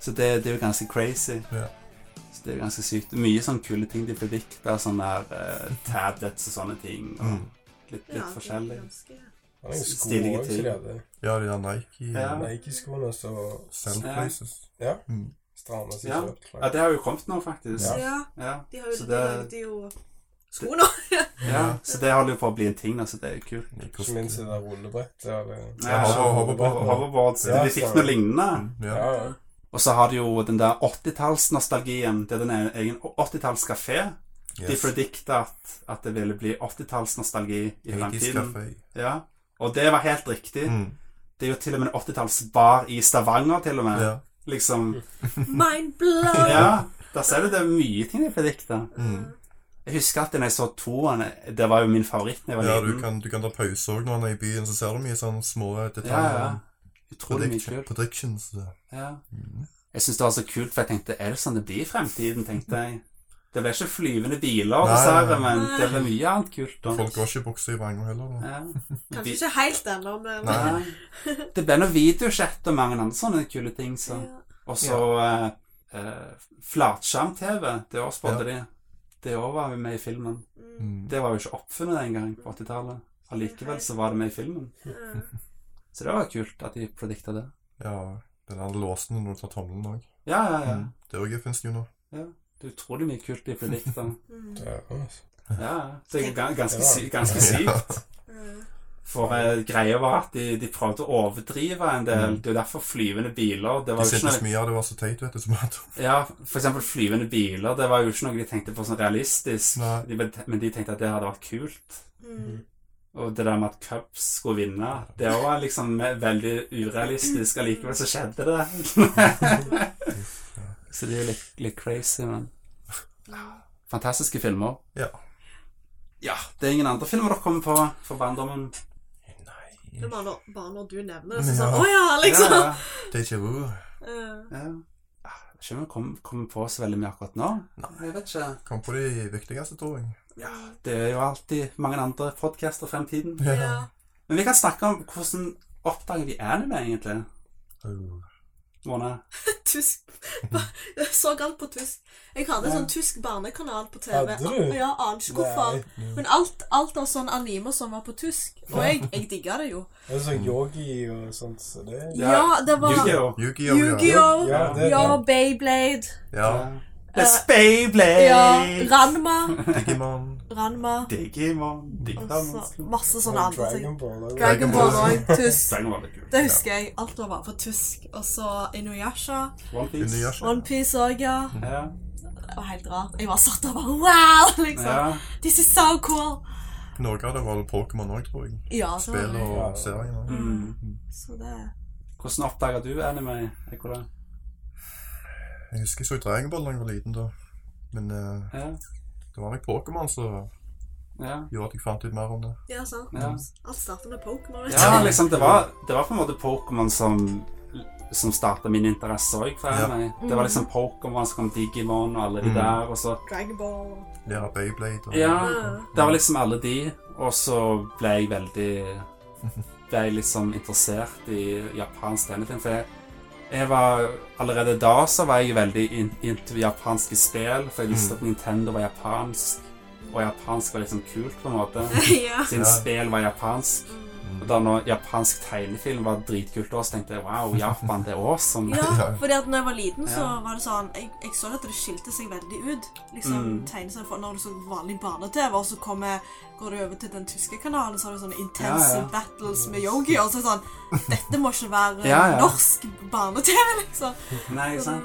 [SPEAKER 1] så det, det er jo ganske crazy.
[SPEAKER 2] Ja.
[SPEAKER 1] Så det er jo ganske sykt. Mye sånn kule ting de predikta, sånn der eh, tablets og sånne ting. Og
[SPEAKER 2] Mm.
[SPEAKER 1] litt, *laughs* litt
[SPEAKER 5] Ja, det er
[SPEAKER 1] forskjellig.
[SPEAKER 5] ganske-
[SPEAKER 3] Det var noen sko
[SPEAKER 1] Stilige
[SPEAKER 3] også,
[SPEAKER 1] ting.
[SPEAKER 3] de hadde.
[SPEAKER 2] ja, de der Nike
[SPEAKER 1] Ja.
[SPEAKER 2] og
[SPEAKER 3] Nike-skoene så
[SPEAKER 2] Self
[SPEAKER 1] Ja.
[SPEAKER 2] Places.
[SPEAKER 3] Ja.
[SPEAKER 2] Mm.
[SPEAKER 3] strammer seg
[SPEAKER 1] Ja.
[SPEAKER 3] så opp.
[SPEAKER 1] Ja, det har jo kommet nå, faktisk.
[SPEAKER 5] Så
[SPEAKER 1] Ja.
[SPEAKER 5] ja,
[SPEAKER 1] Ja.
[SPEAKER 5] de har jo
[SPEAKER 1] Så
[SPEAKER 5] de
[SPEAKER 1] det-
[SPEAKER 5] lagde jo sko
[SPEAKER 1] *laughs*
[SPEAKER 5] nå. *laughs*
[SPEAKER 1] Så det holder jo på å bli en ting, da, så det er jo kult.
[SPEAKER 3] Ikke minst det der rullebrettet. eller-
[SPEAKER 1] Ja,
[SPEAKER 2] hover-
[SPEAKER 1] hoverboard.
[SPEAKER 2] hoverboard.
[SPEAKER 1] hoverboard. Så
[SPEAKER 3] Ja,
[SPEAKER 1] de fikk
[SPEAKER 3] så-
[SPEAKER 1] noe lignende.
[SPEAKER 2] Mm. Ja.
[SPEAKER 3] Ja, ja.
[SPEAKER 1] Og så har de jo den der 80-tallsnostalgien. Det er den egen 80-tallskafé. De
[SPEAKER 2] Yes.
[SPEAKER 1] predikta at, at det ville bli 80-tallsnostalgi i
[SPEAKER 2] 80s
[SPEAKER 1] fremtiden.
[SPEAKER 2] Café.
[SPEAKER 1] Ja. Og det var helt riktig.
[SPEAKER 2] Mm.
[SPEAKER 1] Det er jo til og med en 80-tallsbar i Stavanger, til og med.
[SPEAKER 2] Ja.
[SPEAKER 1] Liksom.
[SPEAKER 5] Mm. Mind blown!
[SPEAKER 1] Ja. Der ser du det er mye ting de predikta.
[SPEAKER 2] Mm.
[SPEAKER 1] Jeg husker at når jeg så toeren Det var jo min favoritt da jeg var
[SPEAKER 2] Ja, du
[SPEAKER 1] liten.
[SPEAKER 2] kan, du kan ta pause òg når han er i byen, så ser du mye sånne små eh,
[SPEAKER 1] Ja,
[SPEAKER 2] detaljer.
[SPEAKER 1] ja.
[SPEAKER 2] om
[SPEAKER 1] eh, Utrolig mye
[SPEAKER 2] prediction-
[SPEAKER 1] kult.
[SPEAKER 2] Predictions. ja.
[SPEAKER 1] Ja.
[SPEAKER 2] Mm.
[SPEAKER 1] Jeg syns det var så kult, for jeg tenkte Er det sånn det blir i fremtiden, tenkte jeg. Det ble ikke flyvende biler,
[SPEAKER 2] Nei,
[SPEAKER 1] dessverre,
[SPEAKER 2] nei,
[SPEAKER 1] men det ble mye annet kult. da.
[SPEAKER 2] Folk går ikke i bukser i vrangen heller. Da.
[SPEAKER 1] Ja.
[SPEAKER 5] Kanskje ikke helt ennå, men
[SPEAKER 2] Nei.
[SPEAKER 1] Nei. Det ble noe videochat og mange andre sånne kule ting. Så.
[SPEAKER 5] Ja.
[SPEAKER 1] Og så eh, eh, flatskjerm-TV. Det år spådde de. Det år var vi med i filmen.
[SPEAKER 5] Mm,
[SPEAKER 2] Mm.
[SPEAKER 1] Det var jo ikke oppfunnet den gang på 80-tallet. Allikevel så var det med i filmen.
[SPEAKER 5] ja. Mm,
[SPEAKER 1] Så det var kult at de predikta det.
[SPEAKER 2] Ja, den der låsen når du tar tommelen òg.
[SPEAKER 1] Ja, ja, ja.
[SPEAKER 2] Mm. Det òg fins jo nå.
[SPEAKER 1] Det er utrolig mye kult de predikta.
[SPEAKER 2] *laughs*
[SPEAKER 5] Mm,
[SPEAKER 3] Det er- altså.
[SPEAKER 1] Ja, ja. det er ga- ganske, sy ganske
[SPEAKER 2] Ja.
[SPEAKER 1] sykt.
[SPEAKER 5] ja.
[SPEAKER 1] For eh, greia var at de, de prøvde å overdrive en del.
[SPEAKER 2] Mm.
[SPEAKER 1] Det er jo derfor flyvende biler det
[SPEAKER 2] De
[SPEAKER 1] var jo ikke sånn-
[SPEAKER 2] syntes
[SPEAKER 1] noe,
[SPEAKER 2] mye av det var så teit, vet du. Som at,
[SPEAKER 1] Ja, for eksempel flyvende biler, det var jo ikke noe de tenkte på sånn realistisk.
[SPEAKER 2] Nei.
[SPEAKER 1] De, men- men de tenkte at det hadde vært kult.
[SPEAKER 5] Mm.
[SPEAKER 1] Og det der med at Cubs skulle vinne, det var liksom veldig urealistisk. Allikevel så skjedde det. så det er jo litt, litt crazy, men Fantastiske filmer.
[SPEAKER 2] Ja.
[SPEAKER 1] Ja, det er ingen andre filmer dere kommer på for barndommen.
[SPEAKER 5] Det er bare når, bare når du nevner det,
[SPEAKER 2] Ja.
[SPEAKER 5] så sånn Å ja, liksom!
[SPEAKER 1] Ja, ja.
[SPEAKER 2] Deja vu.
[SPEAKER 5] Eh,
[SPEAKER 1] Ja. Ah, Jeg skjønner jeg kommer kom på så veldig mye akkurat nå. Jeg vet ikke.
[SPEAKER 2] Kom på de viktigste, tror jeg.
[SPEAKER 1] Ja, det er jo alltid mange andre podcaster i fremtiden.
[SPEAKER 5] *laughs* ja.
[SPEAKER 1] Men vi kan snakke om hvordan oppdager vi anime, egentlig.
[SPEAKER 2] Uh,
[SPEAKER 1] Mona.
[SPEAKER 5] Tysk Jeg *laughs* så alt på tysk. Jeg hadde en sånn tysk barnekanal på TV.
[SPEAKER 3] Hadde du?
[SPEAKER 5] Ja, aner ikke hvorfor.
[SPEAKER 3] Nei.
[SPEAKER 5] Men alt, alt av sånn anime som var på tysk. Og jeg, jeg digga det jo.
[SPEAKER 3] Det er
[SPEAKER 1] Mm.
[SPEAKER 3] sånn yogi og sånt, så det
[SPEAKER 1] Ja,
[SPEAKER 5] Ja, det var
[SPEAKER 1] Yu-Gi-Oh!
[SPEAKER 2] Yugi og
[SPEAKER 5] Yu-Gi-Oh!
[SPEAKER 3] Ja, det er
[SPEAKER 5] Ja,
[SPEAKER 3] det.
[SPEAKER 5] Beyblade.
[SPEAKER 2] Ja.
[SPEAKER 1] The Spayblade!
[SPEAKER 5] Eh, Ja, Ranma.
[SPEAKER 2] Digimon.
[SPEAKER 5] Ranma.
[SPEAKER 1] Digimon.
[SPEAKER 5] Og
[SPEAKER 1] Digimon.
[SPEAKER 5] så masse sånne
[SPEAKER 3] Og
[SPEAKER 5] andre ting.
[SPEAKER 3] Dragon Ball og
[SPEAKER 5] Dragon Ball
[SPEAKER 3] *laughs*
[SPEAKER 5] òg. Tysk.
[SPEAKER 1] Dragon Ball er kul.
[SPEAKER 5] Det husker jeg. Alt var bare på tysk. Og så Inuyasha.
[SPEAKER 1] One Piece.
[SPEAKER 2] Inuyasha.
[SPEAKER 5] Onepiece òg, ja.
[SPEAKER 1] Ja.
[SPEAKER 5] Det var helt rart. Jeg var satt og bare
[SPEAKER 1] ja.
[SPEAKER 5] wow! Liksom. This is so cool.
[SPEAKER 2] Noe av det var vel Pokémon òg, tror jeg.
[SPEAKER 5] Ja, så,
[SPEAKER 2] Spill
[SPEAKER 3] Ja.
[SPEAKER 2] og serien òg.
[SPEAKER 1] Mm.
[SPEAKER 5] så det
[SPEAKER 1] Hvordan oppdager du anime, Ekola?
[SPEAKER 2] Jeg husker jeg så Dragon Ball da jeg var liten, da. Men eh,
[SPEAKER 1] Ja.
[SPEAKER 2] det Det var nok Pokémon som
[SPEAKER 1] Ja.
[SPEAKER 2] gjorde at jeg fant ut mer om det.
[SPEAKER 5] Ja, sant.
[SPEAKER 1] Ja.
[SPEAKER 5] Alt starter med Pokémon. vet
[SPEAKER 1] Ja,
[SPEAKER 5] du.
[SPEAKER 1] liksom, det var, det var på en måte Pokémon som, som starta min interesse òg.
[SPEAKER 2] Ja.
[SPEAKER 1] Det var liksom Pokémon, så kom Digimon og alle de
[SPEAKER 2] Mm.
[SPEAKER 1] der. Og så,
[SPEAKER 5] Dragon Ball.
[SPEAKER 1] *laughs*
[SPEAKER 2] Lære Beyblade og
[SPEAKER 1] ja,
[SPEAKER 5] Ja.
[SPEAKER 1] det var liksom alle de. Og så ble jeg veldig Ble jeg liksom interessert i japansk anything. For jeg, jeg var Allerede da så var jeg veldig in- into japanske spill, for jeg
[SPEAKER 3] Mm.
[SPEAKER 1] visste at Nintendo var japansk, og japansk var liksom kult, på en
[SPEAKER 3] *laughs*
[SPEAKER 1] måte.
[SPEAKER 5] ja.
[SPEAKER 1] Siden
[SPEAKER 2] Ja.
[SPEAKER 1] spill var japansk.
[SPEAKER 3] Mm.
[SPEAKER 1] Og Da når japansk tegnefilm var dritkult også, tenkte jeg wow, Japan, det er awesome.
[SPEAKER 5] Ja, fordi at når jeg var liten, så
[SPEAKER 1] Ja.
[SPEAKER 5] var det sånn Jeg, jeg så at det skilte seg veldig ut. Liksom
[SPEAKER 1] Mm.
[SPEAKER 5] tegneserien for Når du så vanlig barne-TV, og så kommer, går du over til den tyske kanalen, så har du sånne intense
[SPEAKER 1] Ja, ja.
[SPEAKER 5] battles med yogi, og så er det sånn Dette må ikke være eh,
[SPEAKER 1] Ja, ja.
[SPEAKER 5] norsk barne-TV, liksom.
[SPEAKER 1] *laughs* Nei, ikke
[SPEAKER 5] *laughs*
[SPEAKER 1] sant?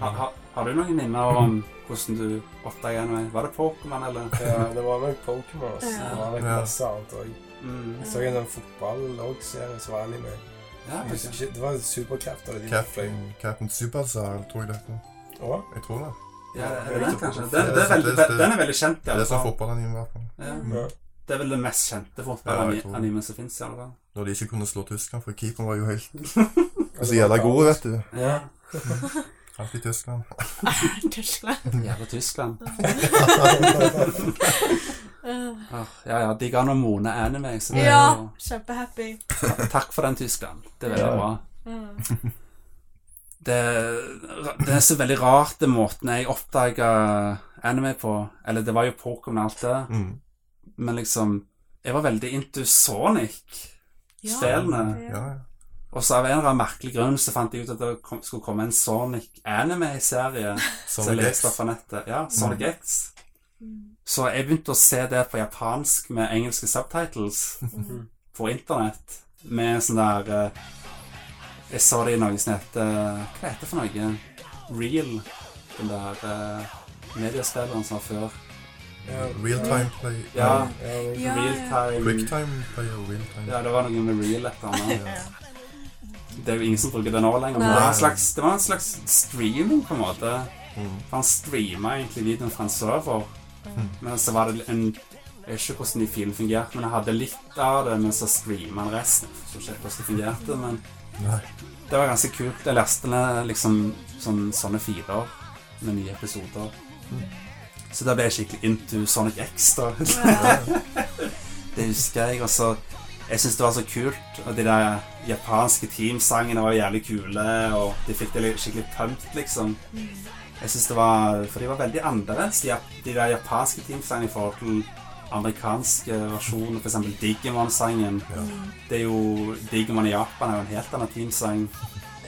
[SPEAKER 1] Ha, ha, har du noen minner om hvordan du oppdaget noe? Var det Pokémon, eller?
[SPEAKER 3] Ja, det var nok Pokémon. og så
[SPEAKER 4] Ja.
[SPEAKER 3] var det
[SPEAKER 2] Ja.
[SPEAKER 3] masse annet òg.
[SPEAKER 1] Mm.
[SPEAKER 3] Jeg så en sånn fotball-serie som var anime.
[SPEAKER 1] Ja,
[SPEAKER 3] Jeg husker
[SPEAKER 1] kanskje.
[SPEAKER 3] ikke- Det var superkrefter. og de fløy.
[SPEAKER 2] Captain, Captain Supercell, tror jeg det heter.
[SPEAKER 3] Å,
[SPEAKER 2] Jeg tror det.
[SPEAKER 1] Ja, er det den, kanskje? Den, den, er veldig, den er veldig kjent, i
[SPEAKER 2] Det er
[SPEAKER 1] alle
[SPEAKER 2] sånn
[SPEAKER 1] fall.
[SPEAKER 2] fotballanime, i hvert fall.
[SPEAKER 1] Ja.
[SPEAKER 3] ja.
[SPEAKER 1] Det er vel det mest kjente fotballanimen som fins, i alle fall.
[SPEAKER 2] Når de ikke kunne slå tyskerne, for keeperen var jo helt
[SPEAKER 3] Og
[SPEAKER 2] så
[SPEAKER 3] det var
[SPEAKER 2] jævla god,
[SPEAKER 3] kaos.
[SPEAKER 2] vet du.
[SPEAKER 1] Ja.
[SPEAKER 2] Alltid Tyskland.
[SPEAKER 5] Tyskland.
[SPEAKER 1] Jævla Tyskland. Ah, Ja ja, de ga noe Mone anime, så det er
[SPEAKER 4] Ja,
[SPEAKER 1] jo-
[SPEAKER 4] kjempehappy.
[SPEAKER 1] Ta- Takk for den, Tyskland. Det er veldig
[SPEAKER 3] Ja.
[SPEAKER 1] bra.
[SPEAKER 4] Mm.
[SPEAKER 1] det, det er så veldig rart den måten jeg oppdaga anime på. Eller det var jo Pokémon og alt det,
[SPEAKER 2] Mm.
[SPEAKER 1] men liksom Jeg var veldig into Sonic-spillene.
[SPEAKER 4] Ja.
[SPEAKER 2] Ja, ja.
[SPEAKER 1] Og så av en eller annen merkelig grunn så fant jeg ut at det kom, skulle komme en Sonic-anime-serie. Så jeg
[SPEAKER 2] Sonic X.
[SPEAKER 1] leste fra nettet. Ja, Sonic X.
[SPEAKER 4] Mm.
[SPEAKER 1] Så jeg begynte å se det på japansk med engelske subtitles
[SPEAKER 5] Mm.
[SPEAKER 1] på internett. Med sånn der eh, Jeg så det i noe som heter Hva heter det for noe? Real. Den der uh, mediespilleren som var før.
[SPEAKER 3] Ja,
[SPEAKER 2] Real time play.
[SPEAKER 1] Ja.
[SPEAKER 3] ja, men-
[SPEAKER 4] Ja,
[SPEAKER 1] real time
[SPEAKER 2] Quick time play og real time.
[SPEAKER 1] Ja, det var noe med real et eller annet.
[SPEAKER 2] Ja.
[SPEAKER 1] Det er jo ingen som bruker det nå lenger. Men
[SPEAKER 4] Nei.
[SPEAKER 1] det var, en slags, det var en slags streaming, på en måte.
[SPEAKER 2] Mm.
[SPEAKER 1] For han streama egentlig videoen fra en server. Men så var det en Jeg vet ikke hvordan de filmene fungerte, men jeg hadde litt av det, men så streama han resten. Så jeg vet ikke hvordan det fungerte, men
[SPEAKER 2] Nei. *laughs*
[SPEAKER 1] Det var ganske kult. Jeg leste ned liksom sånn, sånne filer med nye episoder. Så da ble jeg skikkelig into Sonic X, da. *laughs* det husker jeg. Og så Jeg syns det var så kult. Og de der japanske teamsangene var jævlig kule, og de fikk det litt- skikkelig pumped, liksom. Jeg synes det var For de var veldig annerledes, de, jap- de der japanske teamsangene i forhold til eh, amerikanske versjoner, f.eks. Digimon-sangen.
[SPEAKER 2] Ja.
[SPEAKER 1] Det er jo Digimon i Japan er jo en helt annen teamsang.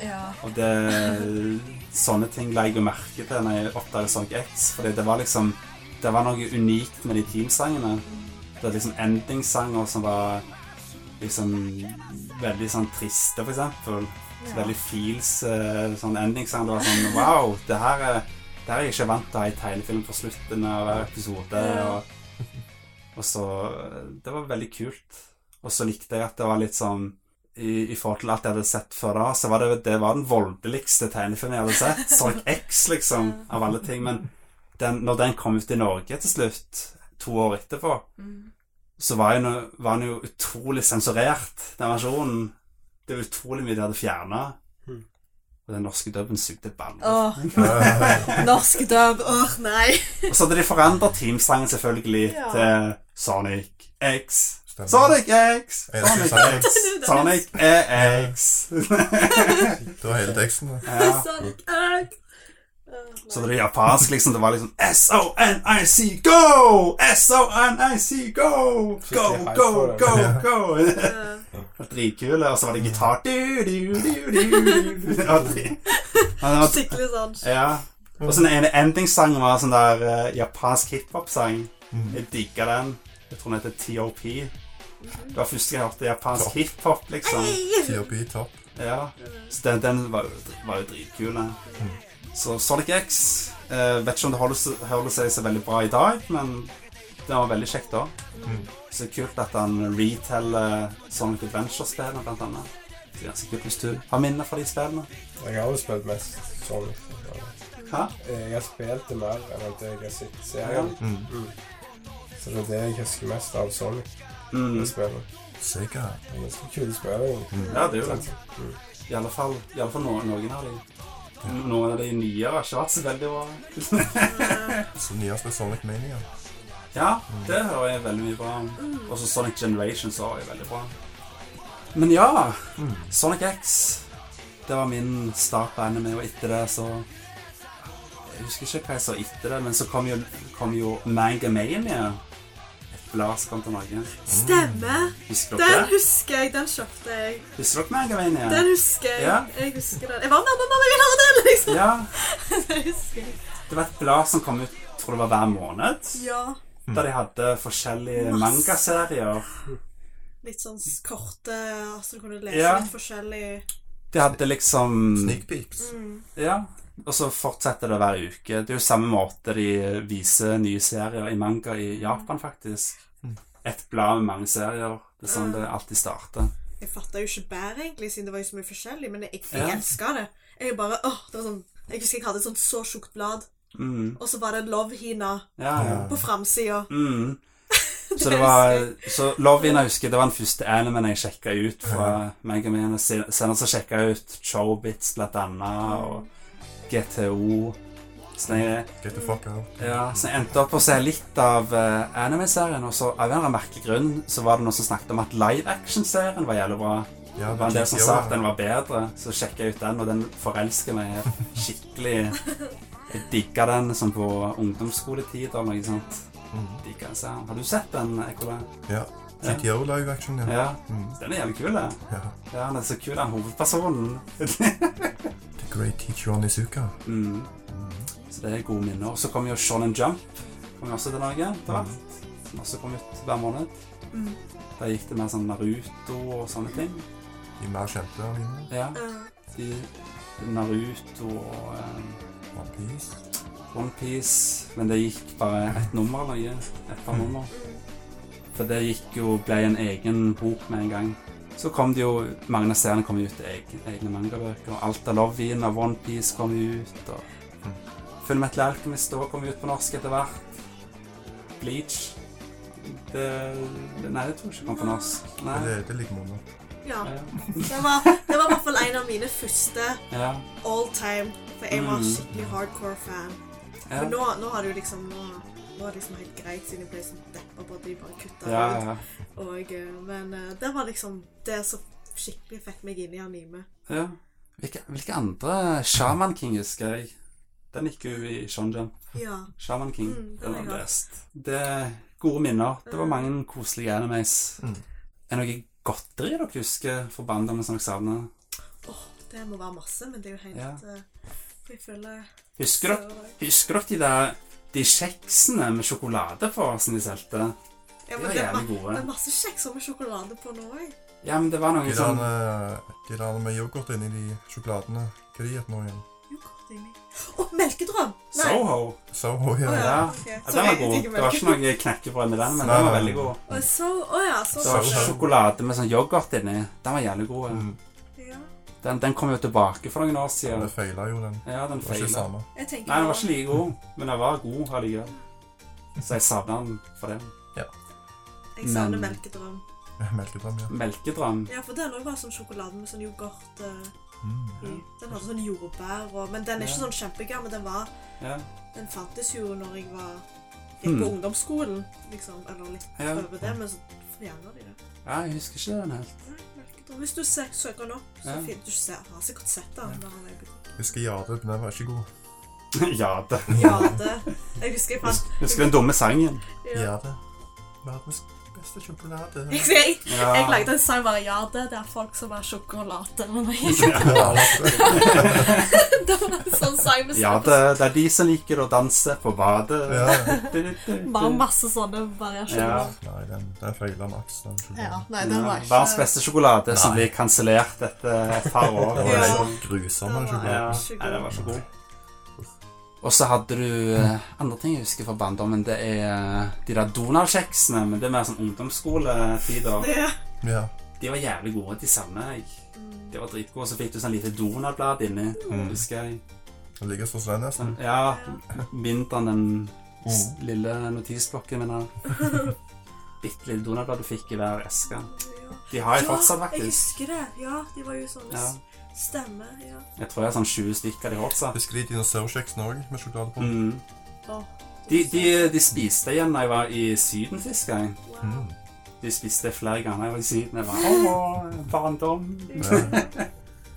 [SPEAKER 4] Ja.
[SPEAKER 1] Og det Sånne ting la jeg jo merke til når jeg oppdaget Sonic X. Fordi det var liksom Det var noe unikt med de teamsangene. Det var liksom endingsanger som var liksom veldig sånn triste, for eksempel. Så Veldig feels eh, sånn endingsanger. Det var sånn Wow, det her er det her er jeg ikke vant til å ha i tegnefilm på slutten av hver episode. Og, og så eh, Det var veldig kult. Og så likte jeg at det var litt sånn i, I forhold til alt jeg hadde sett før da, så var det, det var den voldeligste tegnefilmen jeg hadde sett. Sonic X, liksom, av alle ting. Men den, når den kom ut i Norge til slutt, to år etterpå,
[SPEAKER 5] Mm.
[SPEAKER 1] så var, jo, no- var den jo utrolig sensurert, den versjonen. Det var utrolig mye de hadde fjerna.
[SPEAKER 3] Mhm.
[SPEAKER 1] Og den norske dubben sugde baller.
[SPEAKER 4] Åh,
[SPEAKER 2] Ja.
[SPEAKER 4] norsk dub.
[SPEAKER 5] Åh, nei.
[SPEAKER 1] *laughs* Og så hadde de forandra teamsangen selvfølgelig
[SPEAKER 5] Ja.
[SPEAKER 1] til Sonic X.
[SPEAKER 2] Stemmer.
[SPEAKER 1] Sonic X!
[SPEAKER 2] Er *laughs* det ikke
[SPEAKER 1] Sonic
[SPEAKER 2] Sonic
[SPEAKER 1] X! Sonic E EX!
[SPEAKER 2] Det var hele teksten. da.
[SPEAKER 5] *laughs*
[SPEAKER 1] Ja.
[SPEAKER 5] Sonic X. Sånn, Åh,
[SPEAKER 1] Så det er japansk, liksom. Det var liksom S-O-N-I-C, go! S-O-N-I-C, go! Go,
[SPEAKER 3] Skikkelig hype
[SPEAKER 1] go,
[SPEAKER 3] for det.
[SPEAKER 1] go, go!
[SPEAKER 3] *laughs*
[SPEAKER 5] nei. Eh,
[SPEAKER 1] Dritkule. Og så var det gitar du, du, du, *laughs* du. Og det- og det var-
[SPEAKER 5] Skikkelig sånn.
[SPEAKER 1] Ja. Og så den ene endingssangen var sånn der eh, japansk hiphop-sang.
[SPEAKER 2] Mm.
[SPEAKER 1] Jeg digga den. Jeg tror den heter TOP. Det var første gang jeg hørte japansk hiphop, liksom.
[SPEAKER 2] TOP topp.
[SPEAKER 1] Ja. Så den, den var, jo, var jo dritkul. den. Så Sonic X eh, Vet ikke om det holder, holder seg så veldig bra i dag, men den var veldig kjekk da.
[SPEAKER 2] Mm.
[SPEAKER 1] Så kult at han reteller Sonic Adventure-spillene, blant annet. Så det er ganske kult hvis du har minner fra de spillene.
[SPEAKER 3] Jeg har jo spilt mest sånn. Ja.
[SPEAKER 1] Ja, Hæ?
[SPEAKER 3] Jeg har spilt det mer enn at jeg har sett serien.
[SPEAKER 2] Mm.
[SPEAKER 3] Så det er det jeg husker mest av sånn. Sonic.
[SPEAKER 1] Mm.
[SPEAKER 3] Det spillet.
[SPEAKER 2] Sega.
[SPEAKER 3] Det er ganske kule spill, egentlig.
[SPEAKER 1] Ja, det er jo det.
[SPEAKER 3] Sant? Mm.
[SPEAKER 1] I alle fall, i alle fall noen, noen av de. Noen av de nye har ikke vært så veldig bra.
[SPEAKER 2] Så nyeste er Sonic Mania.
[SPEAKER 1] Ja, det hører jeg veldig mye bra
[SPEAKER 5] Mm.
[SPEAKER 1] om. Og så Sonic Generations også er veldig bra. Men ja, Sonic X. Det var min start på anime, og etter det så Jeg husker ikke hva jeg så etter det, men så kom jo, kom jo Mangamania. Et blad som kom til Norge.
[SPEAKER 5] Stemmer.
[SPEAKER 1] Husker dere
[SPEAKER 5] Den
[SPEAKER 1] det?
[SPEAKER 5] husker jeg. Den kjøpte jeg.
[SPEAKER 1] Husker dere Mangamania?
[SPEAKER 5] Den husker jeg.
[SPEAKER 1] Ja.
[SPEAKER 5] Jeg husker den. Jeg var med mamma, jeg vil ha den, liksom.
[SPEAKER 1] Ja,
[SPEAKER 5] Den husker jeg.
[SPEAKER 1] det var et blad som kom ut tror det var hver måned.
[SPEAKER 5] Ja.
[SPEAKER 1] Der de hadde forskjellige
[SPEAKER 5] Masse.
[SPEAKER 1] mangaserier.
[SPEAKER 5] Litt sånn s- korte, altså du kunne lese
[SPEAKER 1] Ja.
[SPEAKER 5] litt forskjellig.
[SPEAKER 1] De hadde liksom
[SPEAKER 2] Sneak Peeks.
[SPEAKER 5] Mm.
[SPEAKER 1] Ja, og så fortsetter det hver uke. Det er jo samme måte de viser nye serier i manga i Japan, faktisk. Et blad med mange serier. Det er sånn det alltid starter.
[SPEAKER 5] Jeg fatta jo ikke bedre, egentlig, siden det var jo så mye forskjellig, men jeg, jeg
[SPEAKER 1] Ja.
[SPEAKER 5] elska det. Jeg bare, åh, det var sånn, jeg husker jeg hadde et sånt så tjukt blad,
[SPEAKER 1] Mm.
[SPEAKER 5] og så var det Love-hina
[SPEAKER 1] Ja, ja.
[SPEAKER 5] på framsida. *laughs*
[SPEAKER 1] Mm. Så
[SPEAKER 5] Det
[SPEAKER 1] det var
[SPEAKER 5] husker
[SPEAKER 1] Så Love In, jeg husker, det var den første animen jeg sjekka ut fra Megaman. Senere så sjekka jeg ut Chobits, blant annet, og GTO. Så jeg
[SPEAKER 2] Get the fuck out.
[SPEAKER 1] Ja, så jeg endte opp å se litt av eh, anime-serien, og så av en eller annen merkelig grunn så var det noen som snakket om at live-action-serien var jævlig bra.
[SPEAKER 2] Ja,
[SPEAKER 1] Det var en del som
[SPEAKER 2] ja,
[SPEAKER 1] sa at den var bedre, så sjekket jeg ut den, og den forelsker meg helt skikkelig. Jeg digget den som på ungdomsskoletid eller noe sånt.
[SPEAKER 2] Mhm.
[SPEAKER 1] Digget den serien. Har du sett den, Ekola?
[SPEAKER 2] Ja. GTO live action, ja.
[SPEAKER 1] Ja,
[SPEAKER 2] Mm.
[SPEAKER 1] den er jævlig kul, det.
[SPEAKER 2] ja.
[SPEAKER 1] Ja, den er så kul, den hovedpersonen. *laughs*
[SPEAKER 2] The Great Teacher Onizuka.
[SPEAKER 1] mm. Så det er gode minner. Og så kom jo Shonen Jump, kom jo også til Norge etter hvert. Som også kom ut hver måned.
[SPEAKER 5] Mm.
[SPEAKER 1] Da gikk det mer sånn Naruto og sånne ting.
[SPEAKER 2] De mer kjente animene.
[SPEAKER 1] Ja,
[SPEAKER 5] Eh,
[SPEAKER 1] de, Naruto og eh,
[SPEAKER 2] One Piece.
[SPEAKER 1] OnePiece. Men det gikk bare ett nummer eller noe. Et par nummer.
[SPEAKER 5] mm.
[SPEAKER 1] For det gikk jo, ble en egen bok med en gang. Så kom det jo Mange av seriene kom jo ut i egne, egne mangabøker. Og Alta Lovin av OnePiece kom jo ut. Og
[SPEAKER 2] Mm.
[SPEAKER 1] Full Metal Alchemist også kom ut på norsk etter hvert. Bleach det, det, Nei, det tror jeg ikke kom på norsk. Nei.
[SPEAKER 2] Det, det ligger måneder.
[SPEAKER 5] ja.
[SPEAKER 1] Ja.
[SPEAKER 5] Det var, det var i hvert fall en av mine første
[SPEAKER 1] Ja.
[SPEAKER 5] all time, for jeg var
[SPEAKER 1] Mm.
[SPEAKER 5] skikkelig hardcore fan.
[SPEAKER 1] Ja.
[SPEAKER 5] Men nå, nå har det jo liksom nå, nå er det liksom helt greit, siden jeg ble sånn deppa på at de bare kutta
[SPEAKER 1] ja,
[SPEAKER 5] ut.
[SPEAKER 1] ja.
[SPEAKER 5] Og, eh, men eh, det var liksom det som skikkelig fikk meg inn i anime.
[SPEAKER 1] Ja. Hvilke, hvilke andre Shaman King husker jeg? Den gikk jo i Shonjan.
[SPEAKER 5] Ja.
[SPEAKER 1] Shaman King.
[SPEAKER 5] Mm, den
[SPEAKER 1] den
[SPEAKER 5] har jeg Mm.
[SPEAKER 1] har jeg
[SPEAKER 5] hørt.
[SPEAKER 1] lest. Det er gode minner. Det var mange koselige animes.
[SPEAKER 2] Mm.
[SPEAKER 1] Er det noe godteri dere husker fra barndommen som dere savner?
[SPEAKER 5] Det må være masse, men det er jo helt
[SPEAKER 1] Ja.
[SPEAKER 5] eh, Jeg føler
[SPEAKER 1] Husker dere,
[SPEAKER 5] så-
[SPEAKER 1] husker dere de der de kjeksene med sjokolade på som de solgte?
[SPEAKER 5] Ja,
[SPEAKER 1] De
[SPEAKER 5] men
[SPEAKER 1] var
[SPEAKER 5] det, er ma-
[SPEAKER 1] jævlig
[SPEAKER 5] det er
[SPEAKER 1] gode.
[SPEAKER 5] masse kjeks med sjokolade på nå òg.
[SPEAKER 1] Ja, men det var
[SPEAKER 2] De
[SPEAKER 1] noen
[SPEAKER 2] der,
[SPEAKER 1] sånn
[SPEAKER 2] eh, de der med yoghurt inni de sjokoladene. Hva de heter nå igjen?
[SPEAKER 5] Å, melkedrøm! Nei.
[SPEAKER 1] Soho.
[SPEAKER 2] Soho, ja.
[SPEAKER 5] Å,
[SPEAKER 1] ja.
[SPEAKER 5] ok.
[SPEAKER 1] Ja, den
[SPEAKER 5] Sorry,
[SPEAKER 1] var
[SPEAKER 5] jeg
[SPEAKER 1] god.
[SPEAKER 5] digger
[SPEAKER 1] Det var ikke
[SPEAKER 5] melk.
[SPEAKER 1] noe knekkebrød med den, men
[SPEAKER 2] Nei,
[SPEAKER 1] den var
[SPEAKER 2] nei,
[SPEAKER 1] veldig
[SPEAKER 2] nei.
[SPEAKER 1] god.
[SPEAKER 5] Å, Så, å ja, så,
[SPEAKER 1] Det var
[SPEAKER 2] Soho.
[SPEAKER 1] sjokolade med sånn yoghurt inni. Den var jævlig god. ja.
[SPEAKER 2] Mm.
[SPEAKER 5] ja.
[SPEAKER 1] Den, den kom jo tilbake for noen år
[SPEAKER 2] Ja,
[SPEAKER 1] siden.
[SPEAKER 2] Det feila jo, den.
[SPEAKER 1] Ja, den
[SPEAKER 2] Det var ikke
[SPEAKER 1] feila.
[SPEAKER 2] samme.
[SPEAKER 5] Jeg tenker
[SPEAKER 1] Nei, den var
[SPEAKER 5] nå-
[SPEAKER 1] ikke like god, men den var god allikevel. Så jeg savna den for det.
[SPEAKER 5] Jeg savner
[SPEAKER 1] Men-
[SPEAKER 5] melkedrøm.
[SPEAKER 2] Melkedam, ja.
[SPEAKER 1] Melkedrøm.
[SPEAKER 5] Ja, for den òg var sånn sjokolade med sånn yoghurt eh, i.
[SPEAKER 2] Mm.
[SPEAKER 5] Den hadde sånn jordbær og Men den er ikke
[SPEAKER 1] Ja.
[SPEAKER 5] sånn kjempegammel. Den var
[SPEAKER 1] Ja.
[SPEAKER 5] Den fantes jo når jeg var Gikk på
[SPEAKER 1] Hmm.
[SPEAKER 5] ungdomsskolen, liksom. Eller litt
[SPEAKER 1] Ja.
[SPEAKER 5] over det, men så fjerner de det.
[SPEAKER 1] ja, jeg husker ikke den helt.
[SPEAKER 5] Nei, melkedrøm. Hvis du se- søker den opp, så
[SPEAKER 1] Ja.
[SPEAKER 5] finner du ikke se- Har sikkert sett den. når han er på
[SPEAKER 2] Husker Jade, men den var ikke god.
[SPEAKER 1] *laughs* ja,
[SPEAKER 5] *laughs*
[SPEAKER 1] det.
[SPEAKER 5] Jade. Jeg husker jeg fant
[SPEAKER 1] Husker den dumme sangen.
[SPEAKER 5] ja.
[SPEAKER 2] Jade. Verdens beste
[SPEAKER 5] *laughs*
[SPEAKER 2] sjokolade.
[SPEAKER 5] Jeg, jeg,
[SPEAKER 1] Ja.
[SPEAKER 5] jeg lagde en sang bare ja, det er folk som er sjokolade. eller noe.
[SPEAKER 2] Ja, altså.
[SPEAKER 5] det var en sånn sang med
[SPEAKER 1] Ja, det, det er de som liker å danse på badet.
[SPEAKER 2] ja.
[SPEAKER 5] bare masse sånne variasjoner.
[SPEAKER 2] Nei, den, den feila maks, den
[SPEAKER 5] Ja.
[SPEAKER 2] sjokoladen.
[SPEAKER 5] Nei, det var ikke
[SPEAKER 1] Verdens beste sjokolade som
[SPEAKER 2] Nei.
[SPEAKER 1] blir kansellert etter et par år.
[SPEAKER 2] Den var
[SPEAKER 5] Ja.
[SPEAKER 2] den grusomme
[SPEAKER 5] Den var-
[SPEAKER 1] Ja,
[SPEAKER 2] sjokoladen.
[SPEAKER 1] nei, den var så god. Og så hadde du eh, andre ting jeg husker fra barndommen. Det er eh, de der Donald-kjeksene. Men det er mer sånn ungdomsskoletider.
[SPEAKER 5] Ja.
[SPEAKER 2] Ja.
[SPEAKER 1] De var jævlig
[SPEAKER 5] Mm,
[SPEAKER 1] gode, de samme. Jeg. De var dritgode. Så fikk du sånn lite Donald-blad inni, husker jeg.
[SPEAKER 2] Det ligger så slett nesten.
[SPEAKER 1] Sånn, ja, mindre enn den s-
[SPEAKER 2] Mm.
[SPEAKER 1] lille notisblokken min her. Bitte lille donutblad du fikk i hver eske.
[SPEAKER 5] Ja.
[SPEAKER 1] De har jeg
[SPEAKER 5] ja,
[SPEAKER 1] fortsatt,
[SPEAKER 5] jeg
[SPEAKER 1] faktisk.
[SPEAKER 5] husker det. Ja, de var jo sånne
[SPEAKER 1] Ja.
[SPEAKER 5] stemme. Ja.
[SPEAKER 1] Jeg tror jeg har sånn 20 stykker av de fortsatt.
[SPEAKER 2] Husker de dinosaurkjeksene òg, med sjokolade på?
[SPEAKER 1] Mm.
[SPEAKER 5] Åh,
[SPEAKER 1] De, de, de spiste igjen da jeg var i Syden sist gang.
[SPEAKER 5] wow.
[SPEAKER 2] Mm.
[SPEAKER 1] De spiste flere ganger jeg var i Syden. Jeg var Åh, barndom.
[SPEAKER 2] Ja.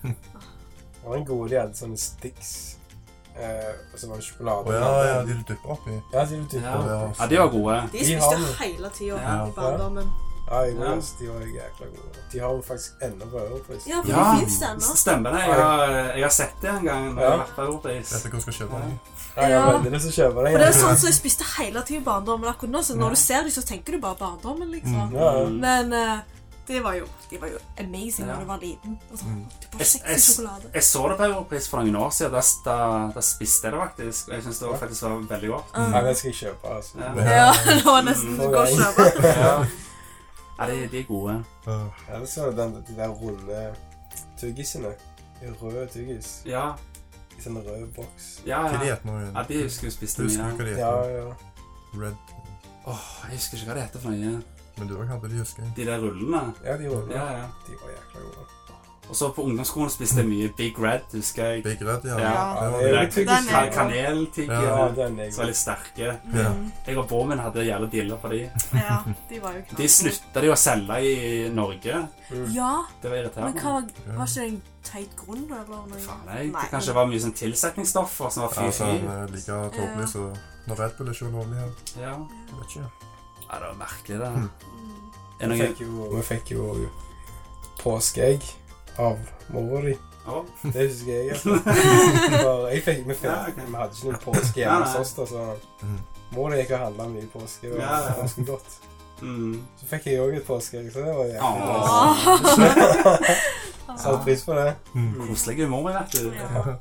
[SPEAKER 3] Det var en god de hadde sånne sticks. Eh, og så var det sjokolade.
[SPEAKER 2] Å ja, ja, de du dypper oppi.
[SPEAKER 3] Ja, de var typ-
[SPEAKER 1] Ja.
[SPEAKER 2] Å, ja.
[SPEAKER 1] Ja, de var gode.
[SPEAKER 5] De
[SPEAKER 3] De
[SPEAKER 5] spiste
[SPEAKER 3] har jo-
[SPEAKER 5] hele tida
[SPEAKER 1] Ja,
[SPEAKER 5] i barndommen.
[SPEAKER 3] Ja, jeg
[SPEAKER 1] Ja.
[SPEAKER 3] var, de var jækla gode. De har jo faktisk ennå på Europris.
[SPEAKER 5] Ja, for
[SPEAKER 1] Ja.
[SPEAKER 5] det fins det ennå.
[SPEAKER 1] Stemmer det. Jeg har, jeg har sett det en gang. når jeg har
[SPEAKER 3] Ja.
[SPEAKER 1] vært på Europris.
[SPEAKER 2] Vet ikke hvor jeg skal kjøpe den.
[SPEAKER 3] Ja, jeg har
[SPEAKER 5] Ja.
[SPEAKER 3] veldig lyst til å kjøpe den.
[SPEAKER 5] For det er
[SPEAKER 3] jeg.
[SPEAKER 5] jo sånn som jeg spiste hele tida i barndommen akkurat nå, så når du ser dem, så tenker du bare barndommen, liksom.
[SPEAKER 3] Ja, ja.
[SPEAKER 1] Mm.
[SPEAKER 5] Men eh, det var jo, de var jo amazing
[SPEAKER 1] Ja. Mm.
[SPEAKER 5] når du var liten. Og så, du bare
[SPEAKER 1] Jeg-
[SPEAKER 5] sexy
[SPEAKER 1] jeg-
[SPEAKER 5] sjokolade.
[SPEAKER 1] Jeg så det på Europris for noen år siden. Da, da, da spiste jeg det faktisk. Og jeg syns det var, faktisk var veldig godt.
[SPEAKER 3] Nei, det skal jeg kjøpe, altså.
[SPEAKER 1] Ja.
[SPEAKER 5] Ja, *laughs* det var nesten
[SPEAKER 1] Mm.
[SPEAKER 5] du går og kjøper.
[SPEAKER 1] Ja, ja de, de er gode.
[SPEAKER 2] Ja.
[SPEAKER 3] Ellers er det den, de der runde tuggisene. De røde tuggis.
[SPEAKER 1] Ja,
[SPEAKER 3] I sånn rød boks.
[SPEAKER 1] ja.
[SPEAKER 2] Hva de
[SPEAKER 1] ja.
[SPEAKER 2] heter nå igjen?
[SPEAKER 1] ja de husker jeg
[SPEAKER 2] Du
[SPEAKER 1] spiste mye.
[SPEAKER 2] husker hva de
[SPEAKER 3] Ja,
[SPEAKER 2] heter?
[SPEAKER 3] ja.
[SPEAKER 2] Red.
[SPEAKER 1] Åh, jeg husker ikke hva det heter for noe.
[SPEAKER 2] Men du òg hadde de, husker jeg.
[SPEAKER 1] De der rullene.
[SPEAKER 3] Ja, de runde.
[SPEAKER 1] Ja, ja.
[SPEAKER 3] De var jækla gode.
[SPEAKER 1] Og så på ungdomsskolen spiste jeg mye Big Red, husker jeg.
[SPEAKER 2] Big Red,
[SPEAKER 1] Ja.
[SPEAKER 2] ja. Det var
[SPEAKER 3] det er
[SPEAKER 2] det.
[SPEAKER 3] jo tuggis.
[SPEAKER 1] Ka- Kaneltigger.
[SPEAKER 3] Ja,
[SPEAKER 1] Ja.
[SPEAKER 3] den er
[SPEAKER 1] Som var
[SPEAKER 3] god.
[SPEAKER 1] litt sterke.
[SPEAKER 2] Ja.
[SPEAKER 1] Jeg og broren min hadde jævla diller på de.
[SPEAKER 5] Ja, de var jo knall.
[SPEAKER 1] De slutta de å selge i Norge.
[SPEAKER 5] Ja,
[SPEAKER 1] Det var
[SPEAKER 5] men hva
[SPEAKER 1] irriterende.
[SPEAKER 5] var, var ikke det en teit grunn, eller noe?
[SPEAKER 1] Faen, jeg, det kanskje var mye sånn tilsetningsstoffer som var
[SPEAKER 2] Ja, altså,
[SPEAKER 1] fy-fy.
[SPEAKER 2] han er like tåpelig så Når Red Bull er ikke ulovlig her.
[SPEAKER 1] Ja.
[SPEAKER 2] Jeg vet ikke.
[SPEAKER 1] ja, det var merkelig, det.
[SPEAKER 5] Mm.
[SPEAKER 1] Er
[SPEAKER 3] Vi
[SPEAKER 1] noen...
[SPEAKER 3] fikk jo, vi fikk jo påskeegg av mora di.
[SPEAKER 1] Å,
[SPEAKER 3] Det husker jeg. altså.
[SPEAKER 1] *laughs*
[SPEAKER 3] For jeg fikk, vi, fikk,
[SPEAKER 1] Ja, ok.
[SPEAKER 3] vi hadde ikke noen påske
[SPEAKER 1] Nei,
[SPEAKER 3] hjemme hos
[SPEAKER 1] nei.
[SPEAKER 3] oss, da, så
[SPEAKER 2] Mhm.
[SPEAKER 3] mor gikk og handla mye påske. Det
[SPEAKER 1] Ja,
[SPEAKER 3] var
[SPEAKER 1] ja.
[SPEAKER 3] ganske godt.
[SPEAKER 1] mm.
[SPEAKER 3] Så fikk jeg òg et påskeegg, så det var jævlig *laughs*
[SPEAKER 1] Åh.
[SPEAKER 3] bra. Satte pris på det.
[SPEAKER 2] Mm.
[SPEAKER 1] Koselig humor, vet du.
[SPEAKER 5] Ja.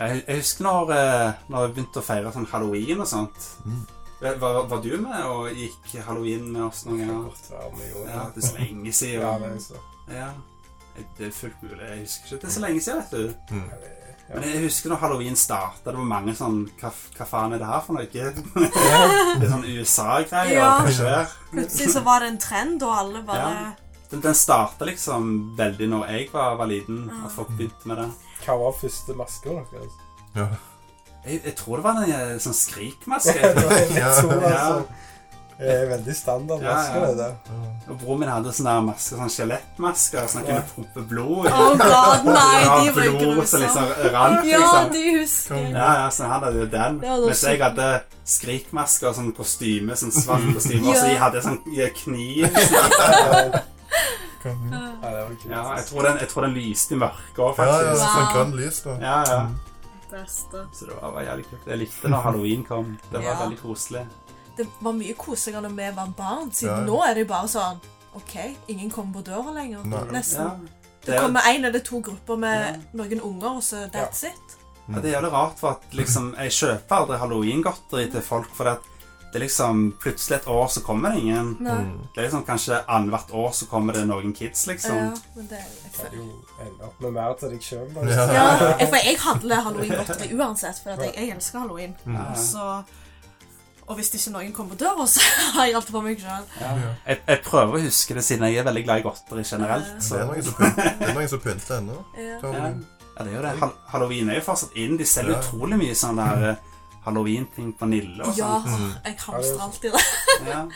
[SPEAKER 1] Jeg, jeg husker når, eh, når jeg begynte å feire sånn halloween og sånt. Eh,
[SPEAKER 2] Mm.
[SPEAKER 1] Var, var du med og gikk halloween med oss noen
[SPEAKER 3] Det kan
[SPEAKER 1] ganger?
[SPEAKER 3] godt være vi gjorde
[SPEAKER 1] Ja,
[SPEAKER 3] det.
[SPEAKER 1] det er så lenge
[SPEAKER 3] Ja,
[SPEAKER 1] siden.
[SPEAKER 3] det er så.
[SPEAKER 1] Ja. Det er fullt mulig. Jeg husker ikke. Det er så lenge siden, vet du.
[SPEAKER 3] Ja, det- ja.
[SPEAKER 1] Men jeg husker når halloween startet, det var mange sånn Hva, hva faen er det her for noe? *laughs* Det er sånn USA-greier.
[SPEAKER 5] Ja.
[SPEAKER 1] Hva skjer?
[SPEAKER 5] Plutselig så var det en trend, og alle bare
[SPEAKER 1] Ja. Den, den starta liksom veldig når jeg var, var liten,
[SPEAKER 5] Ah.
[SPEAKER 1] at folk begynte med det.
[SPEAKER 3] Hva var første maske
[SPEAKER 1] *laughs*
[SPEAKER 3] deres?
[SPEAKER 2] Ja.
[SPEAKER 1] Jeg, jeg tror det var en eh, sånn
[SPEAKER 3] Det
[SPEAKER 1] skrikmaske.
[SPEAKER 3] var litt så,
[SPEAKER 1] *laughs* Ja.
[SPEAKER 3] altså. Det er veldig standard
[SPEAKER 1] Ja,
[SPEAKER 3] maske,
[SPEAKER 1] ja.
[SPEAKER 3] det der.
[SPEAKER 1] Og broren min hadde sånne der masker, sånn skjelettmasker som han kunne pumpe blod i.
[SPEAKER 5] Oh god, nei,
[SPEAKER 1] Ja,
[SPEAKER 5] de var jo
[SPEAKER 1] blod som
[SPEAKER 5] grusomme.
[SPEAKER 1] liksom rant,
[SPEAKER 5] Ja,
[SPEAKER 1] liksom.
[SPEAKER 5] de husker jeg.
[SPEAKER 1] Ja, ja, så han hadde jo den.
[SPEAKER 5] Det var da
[SPEAKER 1] Mens jeg hadde skrikmasker og sånn kostyme, sånn svart kostyme, og så
[SPEAKER 5] Ja.
[SPEAKER 1] de hadde sånn kniv.
[SPEAKER 2] Kan-
[SPEAKER 3] Ja, det var kult.
[SPEAKER 1] Ja, jeg tror den, jeg tror den lyste i mørket òg,
[SPEAKER 2] Ja, ja, Mm.
[SPEAKER 1] faktisk.
[SPEAKER 2] sånn
[SPEAKER 5] Wow.
[SPEAKER 2] grønn lys, da.
[SPEAKER 1] Ja, ja.
[SPEAKER 5] Beste.
[SPEAKER 1] Så det var, var jævlig kult. Jeg likte når halloween kom. Det var
[SPEAKER 5] Ja.
[SPEAKER 1] veldig koselig.
[SPEAKER 5] Det var mye koseligere når vi var barn, siden
[SPEAKER 2] Ja.
[SPEAKER 5] nå er det jo bare sånn OK, ingen kommer på døra lenger.
[SPEAKER 2] Nei.
[SPEAKER 1] Ja.
[SPEAKER 5] Nesten.
[SPEAKER 1] Det,
[SPEAKER 5] Det
[SPEAKER 1] er-
[SPEAKER 5] kommer én eller to grupper med noen unger, og så that's it.
[SPEAKER 1] ja, det er jævlig rart, for at liksom Jeg kjøper aldri halloweengodteri til folk, for at det er liksom plutselig et år så kommer det ingen.
[SPEAKER 5] Nei.
[SPEAKER 1] Det er liksom kanskje annethvert år så kommer det noen kids,
[SPEAKER 5] Ja,
[SPEAKER 1] liksom.
[SPEAKER 5] men det er jeg
[SPEAKER 3] Du
[SPEAKER 5] føler-
[SPEAKER 3] kan jo ende opp med mer til deg sjøl.
[SPEAKER 2] Ja.
[SPEAKER 5] ja, jeg- for jeg handler halloweengodteri uansett, for at jeg, jeg elsker halloween. Og Så, og hvis ikke noen kommer på døra, så har jeg alltid på meg sjøl.
[SPEAKER 1] Jeg, jeg prøver å huske det, siden jeg er veldig glad i godteri generelt.
[SPEAKER 2] Det
[SPEAKER 1] Så.
[SPEAKER 2] er noen som pynter- det er noen som pynter ennå. Tar
[SPEAKER 1] Ja.
[SPEAKER 2] du-
[SPEAKER 1] ja, det er jo det. Hall- Halloween er jo fortsatt inn. De selger
[SPEAKER 2] Ja.
[SPEAKER 1] utrolig mye sånn der eh, halloween-ting på Nille og
[SPEAKER 5] Ja,
[SPEAKER 1] sånn.
[SPEAKER 5] jeg hamstrer alltid det.
[SPEAKER 1] Ja.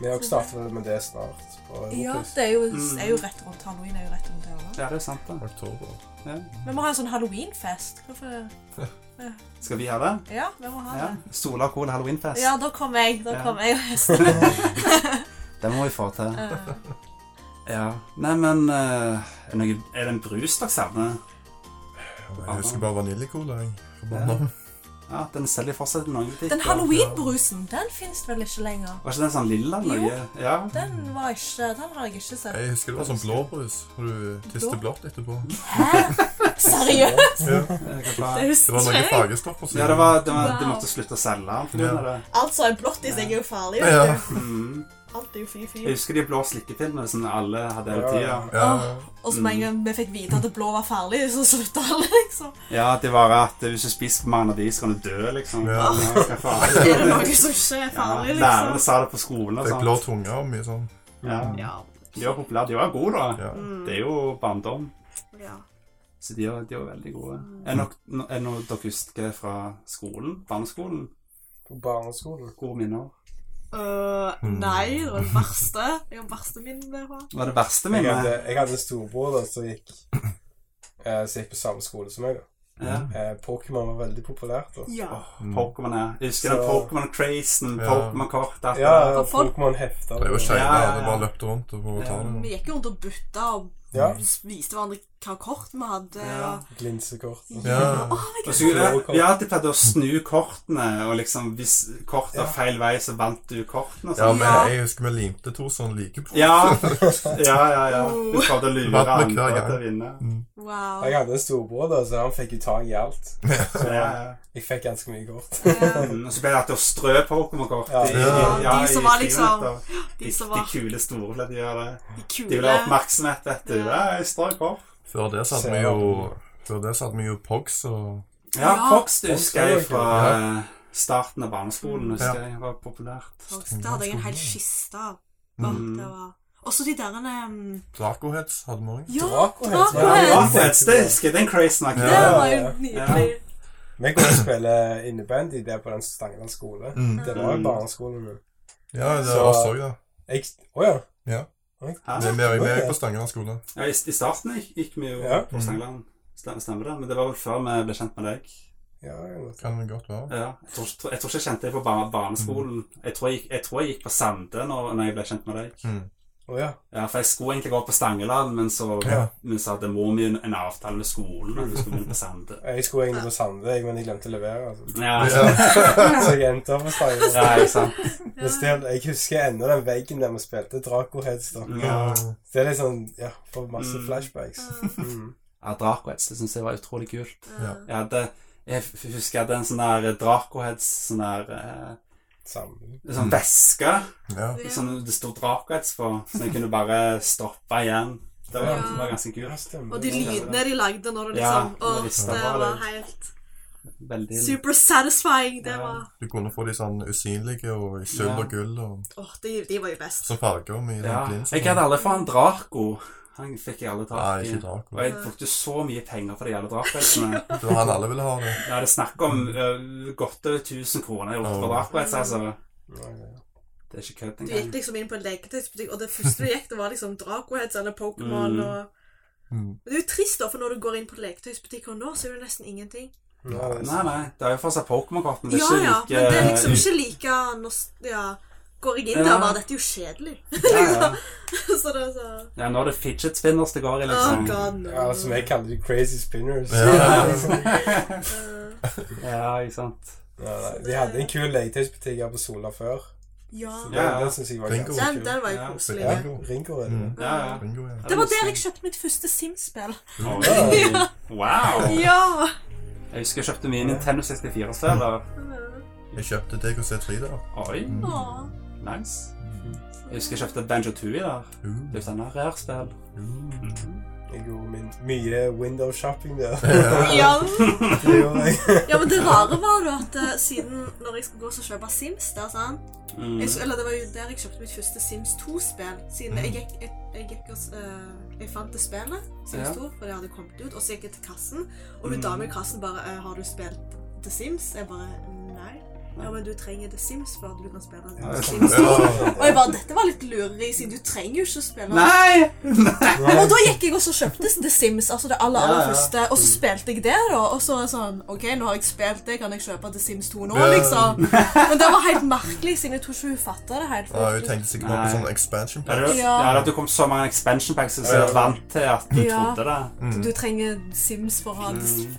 [SPEAKER 3] Vi har også startet med det snart. på
[SPEAKER 5] Ja,
[SPEAKER 3] Europris.
[SPEAKER 5] det er jo, det er jo rett rundt halloween. er jo rett rundt hjørnet.
[SPEAKER 1] ja, det er sant, det.
[SPEAKER 2] Oktober.
[SPEAKER 1] Ja.
[SPEAKER 5] Vi må ha en sånn halloweenfest. Hvorfor
[SPEAKER 1] Skal vi ha det?
[SPEAKER 5] Ja, vi må ha
[SPEAKER 1] Ja.
[SPEAKER 5] det.
[SPEAKER 1] Sola og Cola halloweenfest.
[SPEAKER 5] Ja, da kommer jeg. Da
[SPEAKER 1] Ja.
[SPEAKER 5] kommer jeg. Eh,
[SPEAKER 1] Det må vi få til. Ja. Nei, men eh, er, det noe, er det en brus dere savner?
[SPEAKER 2] Jeg husker bare vaniljekola. jeg.
[SPEAKER 1] Ja.
[SPEAKER 2] Forbanna.
[SPEAKER 1] Ja, den selger fortsatt i noen butikker.
[SPEAKER 5] Den halloweenbrusen, den fins vel ikke lenger?
[SPEAKER 1] Var ikke den sånn lilla
[SPEAKER 5] Jo.
[SPEAKER 1] nøye? Ja.
[SPEAKER 5] Den var ikke Den har jeg ikke sett.
[SPEAKER 2] Jeg husker det var sånn blåbrus, og du tiste
[SPEAKER 5] Blå?
[SPEAKER 2] blått etterpå.
[SPEAKER 5] Seriøst?
[SPEAKER 2] Ja.
[SPEAKER 1] Jeg kan ta-
[SPEAKER 5] Det
[SPEAKER 2] Det var
[SPEAKER 5] husker
[SPEAKER 2] noen
[SPEAKER 5] jeg.
[SPEAKER 2] fargestoffer som
[SPEAKER 1] eh, Ja, det var, det var, de
[SPEAKER 5] Wow.
[SPEAKER 1] måtte slutte å selge den pga. det.
[SPEAKER 5] Altså, en blottis er jo farlig.
[SPEAKER 2] Ja.
[SPEAKER 5] vet du.
[SPEAKER 1] Mm.
[SPEAKER 5] Alt er jo
[SPEAKER 1] Jeg
[SPEAKER 5] fy-fy.
[SPEAKER 1] husker de blå slikkepillene som alle hadde hele tida.
[SPEAKER 3] Ja.
[SPEAKER 2] Ja.
[SPEAKER 5] Og så med en gang vi fikk vite at det blå var ferdig, så slutta alle, liksom.
[SPEAKER 1] Ja, det var at hvis du spiser for mange av de, så kan du dø, liksom. Ja.
[SPEAKER 2] Ja.
[SPEAKER 1] hva faen?
[SPEAKER 5] Er det noe som ikke er
[SPEAKER 1] Ja,
[SPEAKER 5] ferdig,
[SPEAKER 1] Lærerne
[SPEAKER 5] liksom?
[SPEAKER 1] sa det på skolen og
[SPEAKER 2] Fikk blå
[SPEAKER 1] sånt.
[SPEAKER 2] tunge og mye sånn.
[SPEAKER 1] Ja.
[SPEAKER 5] Ja. Mm.
[SPEAKER 1] De var populære. De var gode, da.
[SPEAKER 2] Ja.
[SPEAKER 1] Det er jo barndom.
[SPEAKER 5] ja.
[SPEAKER 1] Så de var, de var veldig gode. Er nok- no- er det noe dere husker fra skolen? Barneskolen?
[SPEAKER 3] På barneskolen.
[SPEAKER 1] Gode minner?
[SPEAKER 5] Øh,
[SPEAKER 1] Mm.
[SPEAKER 5] nei, det var det verste. Det var det verste minnet jeg har.
[SPEAKER 1] Det var det verste
[SPEAKER 3] Jeg
[SPEAKER 1] minnet.
[SPEAKER 3] hadde, jeg hadde en storbror da, som gikk, eh, som gikk på samme skole som meg. da.
[SPEAKER 1] Ja.
[SPEAKER 3] Eh, Pokémon var veldig populært. da.
[SPEAKER 5] Ja.
[SPEAKER 1] Pokémon her. Jeg husker den
[SPEAKER 3] Så-
[SPEAKER 1] Pokémon-crazen,
[SPEAKER 2] Ja.
[SPEAKER 1] Pokémon-kort alt det der.
[SPEAKER 3] Ja,
[SPEAKER 5] For folk-
[SPEAKER 3] Pokémon-hefter.
[SPEAKER 2] Det er jo
[SPEAKER 1] skjønt.
[SPEAKER 2] skeive.
[SPEAKER 1] Ja, ja, ja.
[SPEAKER 2] Alle bare løpte rundt og prøvde å ta det.
[SPEAKER 5] Vi gikk jo rundt og bytta og
[SPEAKER 3] Ja.
[SPEAKER 5] viste hverandre hva kort vi hadde.
[SPEAKER 1] Ja.
[SPEAKER 5] og-
[SPEAKER 3] Glinsekort.
[SPEAKER 2] Ja.
[SPEAKER 5] Å, jeg
[SPEAKER 1] Og så, vi
[SPEAKER 3] Flowkort.
[SPEAKER 1] har alltid pleid å snu kortene, og liksom hvis kortet var feil vei, så vant du kortene og
[SPEAKER 2] Ja,
[SPEAKER 1] sånn.
[SPEAKER 2] men
[SPEAKER 5] Ja.
[SPEAKER 2] jeg husker vi limte to sånne like på. *laughs*
[SPEAKER 1] Ja. ja, ja, ja. Du prøvde å lure
[SPEAKER 2] Vant med hver
[SPEAKER 1] andre
[SPEAKER 2] gang.
[SPEAKER 1] til å vinne.
[SPEAKER 5] Wow.
[SPEAKER 3] Jeg hadde en storbror, da, så han fikk jo tak i alt. Så
[SPEAKER 1] Ja, ja.
[SPEAKER 3] jeg fikk ganske mye kort.
[SPEAKER 5] Ja.
[SPEAKER 1] Mm, Og så ble det alltid å strø Pokémon-kort. i-
[SPEAKER 2] Ja.
[SPEAKER 1] i-
[SPEAKER 5] De som var
[SPEAKER 1] i
[SPEAKER 5] liksom-
[SPEAKER 1] friminutter.
[SPEAKER 5] De
[SPEAKER 1] de,
[SPEAKER 5] som
[SPEAKER 1] de
[SPEAKER 5] var
[SPEAKER 1] kule store ble de gjør det.
[SPEAKER 5] de
[SPEAKER 1] De vil ha
[SPEAKER 5] kule.
[SPEAKER 1] oppmerksomhet, vet du.
[SPEAKER 5] Ja.
[SPEAKER 1] Ja, jeg strø kort.
[SPEAKER 2] Før det satt vi jo Før det satt vi jo Pogs og
[SPEAKER 1] Ja,
[SPEAKER 5] Ja.
[SPEAKER 1] Fox du husker jeg
[SPEAKER 3] Fox er jo
[SPEAKER 1] fra eh, starten av barneskolen. husker jeg var populært.
[SPEAKER 5] Det hadde jeg en
[SPEAKER 1] Mm.
[SPEAKER 5] hel kiste av. Åh, det var... Og så de derene um,
[SPEAKER 2] Dracoheads hadde vi òg.
[SPEAKER 5] Ja,
[SPEAKER 3] Dracoheads,
[SPEAKER 1] Ja, det var
[SPEAKER 5] Dracoheads!
[SPEAKER 1] fett. Det husker jeg. Den crazen var
[SPEAKER 5] Det
[SPEAKER 1] kul.
[SPEAKER 5] var jo nydelig.
[SPEAKER 3] Vi kunne spille innebandy der på den Stangeland skole.
[SPEAKER 1] Mm.
[SPEAKER 3] Det var jo barneskolen min.
[SPEAKER 2] Ja, det
[SPEAKER 3] Så-
[SPEAKER 2] var oss òg, da.
[SPEAKER 3] Jeg Å ja.
[SPEAKER 2] Ja.
[SPEAKER 1] Ja.
[SPEAKER 2] Vi vi er jo med på Stangeland skole.
[SPEAKER 1] Ja, i, I starten gikk, gikk vi jo
[SPEAKER 3] Ja.
[SPEAKER 1] på Stangeland. Stemmer, stemmer det? Men det var vel før vi ble kjent med deg.
[SPEAKER 3] Ja, jeg vet.
[SPEAKER 2] Kan det godt være.
[SPEAKER 1] Ja, jeg, tror, ikke- jeg tror ikke jeg kjente deg på bar barneskolen. Jeg tror jeg, gikk- jeg tror jeg gikk på Sande når, når jeg ble kjent med deg.
[SPEAKER 3] Å ja.
[SPEAKER 1] Ja, for jeg skulle egentlig gå på Stangeland, men så,
[SPEAKER 2] Ja.
[SPEAKER 1] men så hadde mor mi en, en avtale med skolen om vi skulle begynne på Sande.
[SPEAKER 3] Jeg skulle egentlig på Sande, jeg, men jeg glemte å levere. Altså.
[SPEAKER 1] Ja,
[SPEAKER 3] Så jeg endte opp på Stangeland.
[SPEAKER 1] ja, ikke sant.
[SPEAKER 3] Men still, jeg husker ennå den veggen der vi spilte Dracoheads. da.
[SPEAKER 2] Mm.
[SPEAKER 1] Ja.
[SPEAKER 3] Det er litt sånn Ja, får masse
[SPEAKER 1] Mm.
[SPEAKER 3] flashbacks. Mm.
[SPEAKER 1] Ja, Dracoheads, det syns jeg var utrolig kult.
[SPEAKER 2] Ja.
[SPEAKER 1] Jeg hadde jeg f- husker jeg hadde en sånn der Dracoheads Sånn der eh,
[SPEAKER 3] Sammen.
[SPEAKER 1] sånn veske
[SPEAKER 2] Ja.
[SPEAKER 1] sånn, det sto Dracoheads på, så jeg kunne bare stoppe igjen. Det var, det var ganske
[SPEAKER 3] Ja,
[SPEAKER 1] kult.
[SPEAKER 3] stemmer.
[SPEAKER 5] Og de lydene de lagde når du
[SPEAKER 1] Ja,
[SPEAKER 5] liksom
[SPEAKER 1] når
[SPEAKER 5] Åh,
[SPEAKER 1] de
[SPEAKER 5] det
[SPEAKER 1] stemmer,
[SPEAKER 5] var
[SPEAKER 1] det.
[SPEAKER 5] helt
[SPEAKER 1] Veldig
[SPEAKER 5] super satisfying. Det
[SPEAKER 1] Ja.
[SPEAKER 5] var
[SPEAKER 2] Du kunne få de sånn usynlige og i sølv og gull og
[SPEAKER 5] Åh, de, de var jo best.
[SPEAKER 2] som farger med i den
[SPEAKER 1] ja.
[SPEAKER 2] glinsen.
[SPEAKER 1] Jeg hadde aldri fått en Draco. Han fikk jeg aldri
[SPEAKER 2] Nei,
[SPEAKER 1] tak i.
[SPEAKER 2] ikke Draco.
[SPEAKER 1] Og jeg brukte så mye penger på de jævla
[SPEAKER 2] *laughs*
[SPEAKER 1] Dracoheadsene.
[SPEAKER 2] Det var han alle ville ha, det.
[SPEAKER 1] Ja, det er snakk om ø, godt over 1000 kroner jeg har gjort på
[SPEAKER 2] Ja.
[SPEAKER 1] Dracoheads, altså.
[SPEAKER 3] Ja, ja.
[SPEAKER 1] Det er ikke kødd
[SPEAKER 5] Du gikk
[SPEAKER 1] engang.
[SPEAKER 5] liksom inn på en leketøysbutikk, og det første du gikk, det var liksom Dracoheads eller Pokémon
[SPEAKER 1] Mm.
[SPEAKER 5] og
[SPEAKER 2] Mm.
[SPEAKER 5] Men Det er jo trist, da, for når du går inn på leketøysbutikker nå, så er det nesten ingenting.
[SPEAKER 3] Ja, det er
[SPEAKER 1] Nei, nei, det er jo fortsatt Pokémon-kortene. Det
[SPEAKER 5] Ja,
[SPEAKER 1] er
[SPEAKER 5] ja,
[SPEAKER 1] ikke
[SPEAKER 5] men det er liksom
[SPEAKER 1] like
[SPEAKER 5] ikke like nos- Ja. Går jeg inn der og bare Dette er jo kjedelig. *laughs*
[SPEAKER 1] eh, ja, ja.
[SPEAKER 5] så det er så
[SPEAKER 1] ja, nå er det fidget spinners det går i,
[SPEAKER 5] Oh
[SPEAKER 1] liksom.
[SPEAKER 5] god, no.
[SPEAKER 3] Ja, altså. som jeg kaller de crazy spinners.
[SPEAKER 2] Ja.
[SPEAKER 1] Ja, ikke sant.
[SPEAKER 3] *laughs* Ja, nei, de hadde en kul leketøysbutikk her på Sola før.
[SPEAKER 5] Ja.
[SPEAKER 3] Så
[SPEAKER 1] Ja, ja.
[SPEAKER 3] Den, den syns jeg var
[SPEAKER 2] Ringo.
[SPEAKER 3] ganske
[SPEAKER 5] Den,
[SPEAKER 3] kul.
[SPEAKER 5] den var jo
[SPEAKER 1] Ja.
[SPEAKER 5] koselig.
[SPEAKER 3] Ja,
[SPEAKER 5] Ja.
[SPEAKER 3] Ringo er det.
[SPEAKER 2] Mm.
[SPEAKER 1] Ja, ja.
[SPEAKER 2] Ringo, ja.
[SPEAKER 5] Det var der
[SPEAKER 1] sånn-
[SPEAKER 5] jeg kjøpte mitt første Sims-spill. *laughs*
[SPEAKER 1] Oi. Wow!
[SPEAKER 5] Ja!
[SPEAKER 1] Jeg husker jeg kjøpte mye Nintendo 64-spiller.
[SPEAKER 2] Jeg kjøpte deg og C3 der.
[SPEAKER 1] Oi,
[SPEAKER 5] Åh.
[SPEAKER 1] nice. Jeg husker jeg kjøpte Banjo Tooie der.
[SPEAKER 2] Uh,
[SPEAKER 1] Det er jo sånn rare-spill.
[SPEAKER 2] uh.
[SPEAKER 3] Jeg gjorde min, mye window shopping der.
[SPEAKER 5] Ja.
[SPEAKER 3] *laughs* Det gjorde
[SPEAKER 5] *laughs*
[SPEAKER 3] jeg.
[SPEAKER 5] ja, men det rare var jo at eh, siden når jeg skulle gå og kjøpe Sims der, sant
[SPEAKER 1] Mm.
[SPEAKER 5] jeg, s- Eller det var jo der jeg kjøpte mitt første Sims 2-spill. Siden
[SPEAKER 1] Mm.
[SPEAKER 5] jeg gikk, jeg, jeg gikk og s- eh, Jeg fant det spillet, Sims
[SPEAKER 1] Ja. Mm.
[SPEAKER 5] 2, for det hadde kommet ut. Og så gikk jeg til kassen, og hun dama i kassen bare eh, 'Har du spilt The Sims?' Jeg bare Nei. Ja, men du trenger The Sims før du kan spille The Sims 2.
[SPEAKER 2] Ja.
[SPEAKER 5] Og jeg bare, dette var litt lureri, siden du trenger jo ikke å spille
[SPEAKER 1] Nei!
[SPEAKER 5] Og da gikk jeg også og kjøpte The Sims, altså det aller aller
[SPEAKER 1] Ja, ja.
[SPEAKER 5] første. Og så spilte jeg det, da. Og så var jeg sånn OK, nå har jeg spilt det, kan jeg kjøpe The Sims 2 nå,
[SPEAKER 2] Ja.
[SPEAKER 1] *laughs*
[SPEAKER 5] liksom? Men det var helt merkelig, siden jeg tror ikke hun fatta det helt.
[SPEAKER 2] Ja, jeg tenkte sikkert bare på
[SPEAKER 1] Nei.
[SPEAKER 2] sånn expansion
[SPEAKER 1] Ja,
[SPEAKER 2] pack.
[SPEAKER 1] det-
[SPEAKER 5] Ja.
[SPEAKER 1] ja, det at du kom så mange expansion packs, så jeg er vant til at du
[SPEAKER 5] Ja.
[SPEAKER 1] trodde det.
[SPEAKER 5] Du trenger Sims for å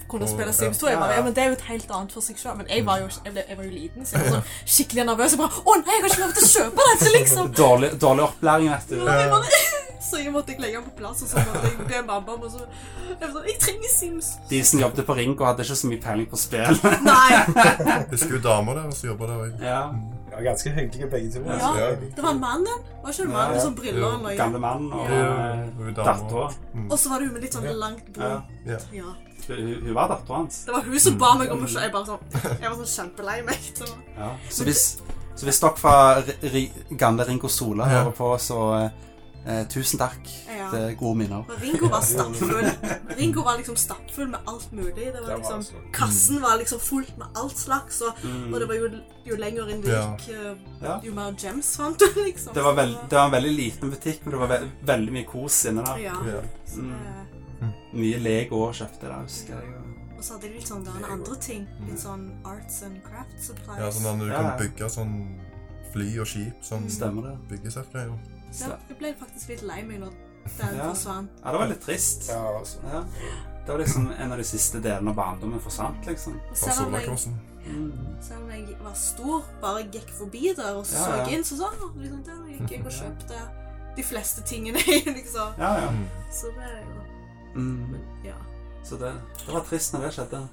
[SPEAKER 5] kunne spille
[SPEAKER 2] Og-
[SPEAKER 5] Sims 2. Jeg bare, ja, men Det er jo et helt annet for seg sjøl. Men jeg var, jo, jeg, ble, jeg var jo liten, så jeg var sånn skikkelig nervøs. Jeg bare Å nei, jeg har ikke lov til å kjøpe dette, liksom!
[SPEAKER 1] Dårlig, dårlig opplæring, vet du.
[SPEAKER 5] Og jeg bare, så jeg måtte ikke legge den på plass. Og så måtte jeg be en bambam, og så jeg var sånn Jeg trenger Sims!
[SPEAKER 1] De som jobbet på Ringo, hadde ikke så mye peiling på spill. *laughs*
[SPEAKER 5] Nei!
[SPEAKER 2] Det skulle jo damer der, og så jobba der òg.
[SPEAKER 1] Ja,
[SPEAKER 3] Det var ganske hyggelige begge to.
[SPEAKER 5] Ja,
[SPEAKER 3] altså.
[SPEAKER 5] det var mannen. Var ikke det
[SPEAKER 1] Ja, ja.
[SPEAKER 5] mannen med sånn briller og noe?
[SPEAKER 1] Gamle mann og eh, dattera.
[SPEAKER 5] Og så var det hun med litt sånn langt
[SPEAKER 1] Ja.
[SPEAKER 5] brun.
[SPEAKER 2] Ja.
[SPEAKER 5] Ja.
[SPEAKER 1] Hun, hun var dattera hans.
[SPEAKER 5] Det var hun som ba meg om å se. Jeg bare sånn Jeg var sånn kjempelei meg. Så.
[SPEAKER 1] Ja. Så, hvis, så hvis dere fra ri, ri, gamle Ringo Sola
[SPEAKER 2] Ja.
[SPEAKER 1] hører på, så eh, tusen takk.
[SPEAKER 5] Ja.
[SPEAKER 1] Det er gode minner.
[SPEAKER 5] Og Ringo var stappfull. Ringo var liksom stappfull med alt mulig. Det
[SPEAKER 3] Det
[SPEAKER 5] var
[SPEAKER 3] var
[SPEAKER 5] liksom
[SPEAKER 1] altså-
[SPEAKER 3] sånn.
[SPEAKER 5] Kassen var liksom fullt med alt slags, og, og det var jo, jo lenger inn du
[SPEAKER 2] Ja.
[SPEAKER 5] gikk, eh,
[SPEAKER 1] Mm. Ja.
[SPEAKER 5] jo mer gems fant du, liksom.
[SPEAKER 1] Det var, veld, det var en veldig liten butikk, men det var ve veldig mye kos inne der.
[SPEAKER 5] Ja.
[SPEAKER 2] Ja.
[SPEAKER 5] Så, eh,
[SPEAKER 1] Mye Lego også kjøpte der, husker jeg. og-
[SPEAKER 5] Og så hadde de litt sånn der, andre ting. Litt sånn arts and craft supplies.
[SPEAKER 2] ja, sånn at du
[SPEAKER 1] Mm. Ja, ja.
[SPEAKER 2] kan bygge sånn fly og skip. Sånn
[SPEAKER 1] Stemmer det.
[SPEAKER 2] byggesettgreier.
[SPEAKER 5] Så
[SPEAKER 1] Så,
[SPEAKER 5] jeg ble faktisk litt lei meg når den
[SPEAKER 1] Ja.
[SPEAKER 5] forsvant.
[SPEAKER 1] ja, det var litt trist.
[SPEAKER 3] Ja, altså.
[SPEAKER 1] Ja. Det var liksom en av de siste delene av barndommen forsvant, liksom.
[SPEAKER 5] Og
[SPEAKER 2] Fra
[SPEAKER 5] selv om, jeg,
[SPEAKER 2] Solakrossen.
[SPEAKER 1] Mm.
[SPEAKER 5] selv om jeg var stor, bare gikk forbi der og så
[SPEAKER 1] Ja, ja.
[SPEAKER 5] inn, så sånn, liksom, der
[SPEAKER 1] *laughs*
[SPEAKER 5] gikk jeg og kjøpte de fleste tingene, liksom.
[SPEAKER 1] Ja, ja.
[SPEAKER 2] Mm.
[SPEAKER 5] Så det er jo
[SPEAKER 1] Mm.
[SPEAKER 5] Ja.
[SPEAKER 1] Så det, det var trist når det skjedde.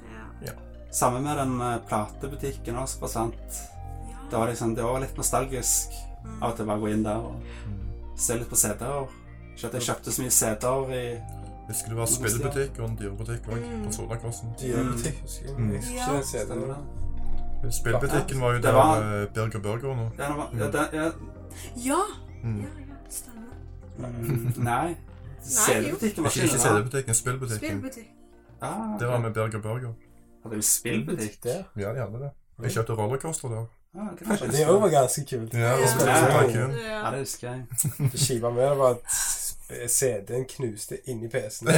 [SPEAKER 5] ja.
[SPEAKER 1] Samme med den eh, platebutikken også forsvant. Det
[SPEAKER 5] ja.
[SPEAKER 1] var liksom, det var litt nostalgisk
[SPEAKER 5] Mm.
[SPEAKER 2] Ah.
[SPEAKER 1] av og til bare å gå inn der og
[SPEAKER 2] Mm.
[SPEAKER 1] se litt på CD-er. Ikke at jeg kjøpte så mye CD-er i
[SPEAKER 2] Husker det var spillbutikk og en dyrebutikk òg
[SPEAKER 1] Mm.
[SPEAKER 2] på Solakrossen.
[SPEAKER 3] Dyrebutikk, husker jeg.
[SPEAKER 2] Mm.
[SPEAKER 3] Jeg husker
[SPEAKER 5] Ja.
[SPEAKER 3] ikke den CD-en.
[SPEAKER 1] Stemmer det?
[SPEAKER 2] Spillbutikken var jo
[SPEAKER 1] Det
[SPEAKER 2] der
[SPEAKER 1] var-
[SPEAKER 2] eh, Birger Burger nå.
[SPEAKER 1] Ja, det var, ja, det, ja.
[SPEAKER 5] Ja,
[SPEAKER 2] Mm.
[SPEAKER 5] ja, ja, stemmer.
[SPEAKER 1] Mm, *laughs* Nei. CD-butikken var
[SPEAKER 2] Ikke, ikke
[SPEAKER 1] ikke inne.
[SPEAKER 2] CD-butikken, spillbutikken.
[SPEAKER 5] Spillbutikk.
[SPEAKER 1] Ah,
[SPEAKER 2] Det var med Birger Burger.
[SPEAKER 1] Hadde vi spillbutikk?
[SPEAKER 3] Der.
[SPEAKER 2] Ja, de hadde det. Jeg kjøpte rollercoaster der.
[SPEAKER 1] Ah, det var
[SPEAKER 3] Og
[SPEAKER 1] ikke
[SPEAKER 3] Det òg var ganske kult.
[SPEAKER 2] Ja,
[SPEAKER 5] Ja.
[SPEAKER 2] og spilte sånn parkour.
[SPEAKER 1] Ja,
[SPEAKER 5] Ja.
[SPEAKER 1] det husker jeg.
[SPEAKER 3] Det Skiva med det var at sp- CD-en knuste inni PC-en.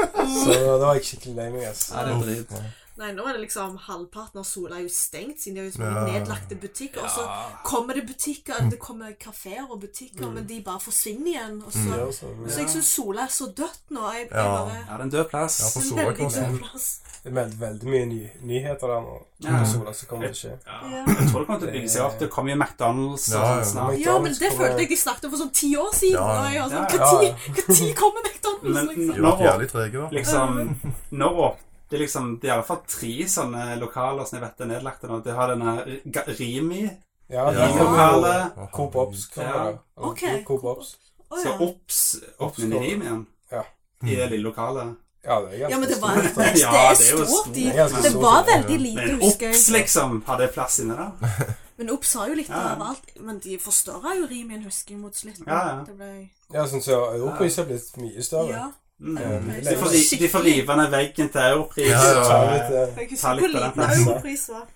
[SPEAKER 2] *laughs* Ja.
[SPEAKER 3] Så da var jeg skikkelig lei meg. altså. ass.
[SPEAKER 1] Ja, det er drit.
[SPEAKER 5] Nei, nå er det liksom halvparten av Sola er jo stengt, siden de har jo så
[SPEAKER 2] Ja. Mm.
[SPEAKER 5] mange nedlagte butikker. Og så kommer det butikker, det kommer kafeer og butikker, men de bare forsvinner igjen. Og så,
[SPEAKER 3] Ja, så-
[SPEAKER 5] så jeg syns Sola er så dødt nå. Jeg, jeg
[SPEAKER 2] Mm. Ja.
[SPEAKER 5] bare
[SPEAKER 1] Ja, det er en død plass.
[SPEAKER 2] Ja, for
[SPEAKER 5] en
[SPEAKER 2] Sola
[SPEAKER 5] veldig
[SPEAKER 2] kan
[SPEAKER 5] død
[SPEAKER 2] også-
[SPEAKER 5] plass.
[SPEAKER 3] Det meldte veldig mye ny nyheter der nå.
[SPEAKER 1] Ja.
[SPEAKER 3] På Sola som kommer til å skje.
[SPEAKER 5] Ja.
[SPEAKER 1] Jeg tror det kommer til å bygge seg opp. Det kommer jo McDonald's og
[SPEAKER 2] Ja, ja.
[SPEAKER 1] sånn snart.
[SPEAKER 5] ja, men det følte jeg de snakket om for sånn ti år siden.
[SPEAKER 2] Ja.
[SPEAKER 5] Og jeg var sånn,
[SPEAKER 1] Ja,
[SPEAKER 3] ja.
[SPEAKER 5] Når tid kommer McDonald's,
[SPEAKER 1] Men
[SPEAKER 5] liksom?
[SPEAKER 2] De var jævlig trege, da.
[SPEAKER 1] Liksom, nå åp- det er liksom, det er i alle fall tre sånne lokaler som jeg vet er nedlagte nå. Det har denne R- Ga- Rimi,
[SPEAKER 3] Ja, det var
[SPEAKER 1] Rimi-lokalet,
[SPEAKER 3] Coop Ops.
[SPEAKER 1] Ja.
[SPEAKER 3] kommer der. Og
[SPEAKER 5] Ok,
[SPEAKER 3] Coop Ops.
[SPEAKER 5] Å,
[SPEAKER 1] så
[SPEAKER 5] ja.
[SPEAKER 1] Ops, opp med Rimi igjen.
[SPEAKER 3] Ja.
[SPEAKER 2] Mm.
[SPEAKER 1] I det lille lokalet.
[SPEAKER 3] Ja, det er ganske
[SPEAKER 5] ja, men det var
[SPEAKER 3] stort.
[SPEAKER 5] Det
[SPEAKER 1] Ja,
[SPEAKER 5] er
[SPEAKER 1] det er jo
[SPEAKER 5] stort.
[SPEAKER 1] stort.
[SPEAKER 5] i-
[SPEAKER 3] Det er ganske
[SPEAKER 5] Det
[SPEAKER 3] stort,
[SPEAKER 5] var
[SPEAKER 3] ja.
[SPEAKER 5] veldig lite,
[SPEAKER 1] Men
[SPEAKER 5] husker
[SPEAKER 1] Ops,
[SPEAKER 5] jeg.
[SPEAKER 1] liksom, hadde plass inne der.
[SPEAKER 5] Men Ops har jo litt
[SPEAKER 1] Ja.
[SPEAKER 5] av alt. Men de forstørra jo Rimin, husker jeg, mot slutten.
[SPEAKER 1] Ja, ja.
[SPEAKER 5] Det ble
[SPEAKER 3] Ja, sånn så Europris har blitt mye større.
[SPEAKER 5] Ja.
[SPEAKER 1] Mm.
[SPEAKER 3] Eh,
[SPEAKER 1] De får, ri- de får rive ned veggen til Europris.
[SPEAKER 2] Ja, ja.
[SPEAKER 3] Så er det litt, eh,
[SPEAKER 5] Jeg
[SPEAKER 1] Ta
[SPEAKER 5] husker
[SPEAKER 1] litt
[SPEAKER 5] hvor
[SPEAKER 1] på den
[SPEAKER 5] liten
[SPEAKER 1] plassen.
[SPEAKER 5] Europris var.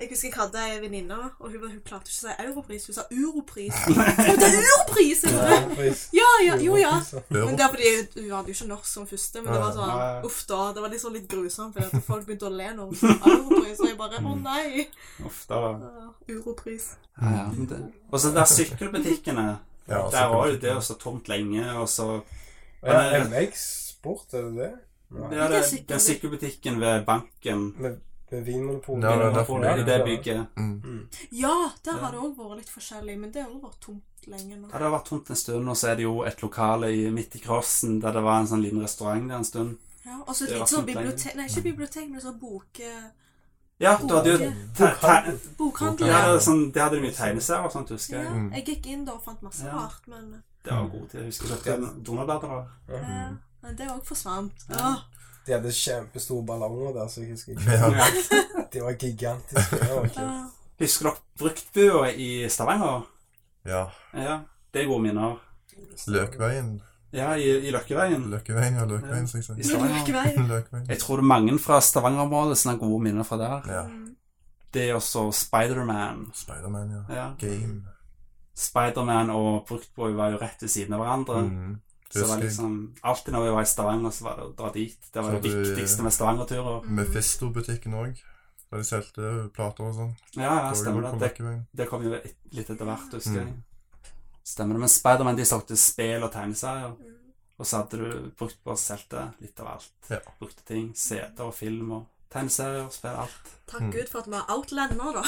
[SPEAKER 5] Jeg husker jeg hadde ei venninne, og hun, var- hun klarte ikke å si Europris. Hun sa
[SPEAKER 1] *laughs*
[SPEAKER 5] Europris. Å, det er Europris! jeg bare,
[SPEAKER 3] Europris.
[SPEAKER 5] Ja, *laughs* ja, jo ja. Men det
[SPEAKER 2] Euro.
[SPEAKER 5] er fordi hun hadde jo ikke norsk som første, men det
[SPEAKER 1] Ja,
[SPEAKER 5] var
[SPEAKER 1] ja.
[SPEAKER 5] sånn uff da. Det var litt sånn litt grusomt, fordi at folk begynte å le når hun sa Europris, og jeg bare å nei.
[SPEAKER 1] Uff, eh, da.
[SPEAKER 5] Ja, Europris.
[SPEAKER 1] Ja, ja, men det. Og så der sykkelbutikkene.
[SPEAKER 2] Ja,
[SPEAKER 1] Der var jo det også tomt lenge, og så
[SPEAKER 3] Ja, MX Sport, er det det?
[SPEAKER 1] ja, det, Den sykkelbutikken ved banken.
[SPEAKER 3] Med, med Vinmonopolet. Mm.
[SPEAKER 2] Ja, det er derfor
[SPEAKER 1] Monopolet, I det bygget.
[SPEAKER 2] Mm.
[SPEAKER 5] Ja, der har det òg vært litt forskjellig, men det har òg vært tomt lenge nå.
[SPEAKER 1] Ja, det har vært tomt en stund, og så er det jo et lokale i, midt i crossen der det var en sånn liten restaurant der en stund.
[SPEAKER 5] Ja, og så et
[SPEAKER 1] Det var
[SPEAKER 5] litt sånn
[SPEAKER 1] tomt lenge.
[SPEAKER 5] bibliotek Nei, ikke bibliotek, men sånn boke...
[SPEAKER 1] Ja, du hadde jo te, te,
[SPEAKER 5] Bokhandel.
[SPEAKER 1] ja,
[SPEAKER 5] Ja,
[SPEAKER 1] det, sånn, det hadde de mye tegneserier og sånt, husker jeg. Mm.
[SPEAKER 5] jeg gikk inn da og fant masse
[SPEAKER 1] Ja.
[SPEAKER 5] rart, men
[SPEAKER 1] Det var god tid. Jeg husker ikke Donald-blader.
[SPEAKER 5] eh, men det òg forsvant. Ja.
[SPEAKER 3] De hadde kjempestore ballonger der, så jeg husker ikke.
[SPEAKER 2] Ja.
[SPEAKER 1] Ja.
[SPEAKER 3] De var gigantiske. Det var kult.
[SPEAKER 5] Ja.
[SPEAKER 1] Husker dere Bruktbua i Stavanger?
[SPEAKER 2] ja.
[SPEAKER 1] Ja, det er gode minner.
[SPEAKER 2] Løkveien.
[SPEAKER 1] Ja, i, i Løkkeveien.
[SPEAKER 2] Løkkeveien, ja. Løkveien, som jeg
[SPEAKER 1] I
[SPEAKER 2] sier.
[SPEAKER 1] Stavanger. *laughs*
[SPEAKER 2] *laughs*
[SPEAKER 5] Løkvei.
[SPEAKER 2] Løkveien.
[SPEAKER 1] Jeg tror det er mange fra Stavanger-området som har gode minner fra der.
[SPEAKER 2] Ja.
[SPEAKER 5] Mm.
[SPEAKER 1] Det er også Spiderman.
[SPEAKER 2] Spiderman, ja.
[SPEAKER 1] Ja.
[SPEAKER 2] Game.
[SPEAKER 1] Spiderman og Bruktboy var jo rett ved siden av hverandre.
[SPEAKER 2] Mm.
[SPEAKER 1] Så det var
[SPEAKER 2] Husker jeg.
[SPEAKER 1] liksom Alltid når vi var i Stavanger, så var det å dra dit. Det var
[SPEAKER 2] Så
[SPEAKER 1] det
[SPEAKER 2] du- eh,
[SPEAKER 1] viktigste med Stavanger-turer.
[SPEAKER 2] Mephisto-butikken òg. Der de solgte plater og sånn.
[SPEAKER 1] Ja, ja,
[SPEAKER 2] Det var jo
[SPEAKER 1] stemmer
[SPEAKER 2] på
[SPEAKER 1] det. det.
[SPEAKER 2] Løkkeveien.
[SPEAKER 1] Det kom jo et- litt etter hvert, husker
[SPEAKER 2] Mm.
[SPEAKER 1] jeg. Stemmer det. Men Spiderman de solgte spill og tegneserier.
[SPEAKER 5] Mm.
[SPEAKER 1] Og så hadde du brukt på å selge litt av alt.
[SPEAKER 2] Ja.
[SPEAKER 1] Brukte ting. CD-er og film og tegneserier og spill. Alt.
[SPEAKER 2] *laughs*
[SPEAKER 5] Takk Gud for at vi har Outland nå, da.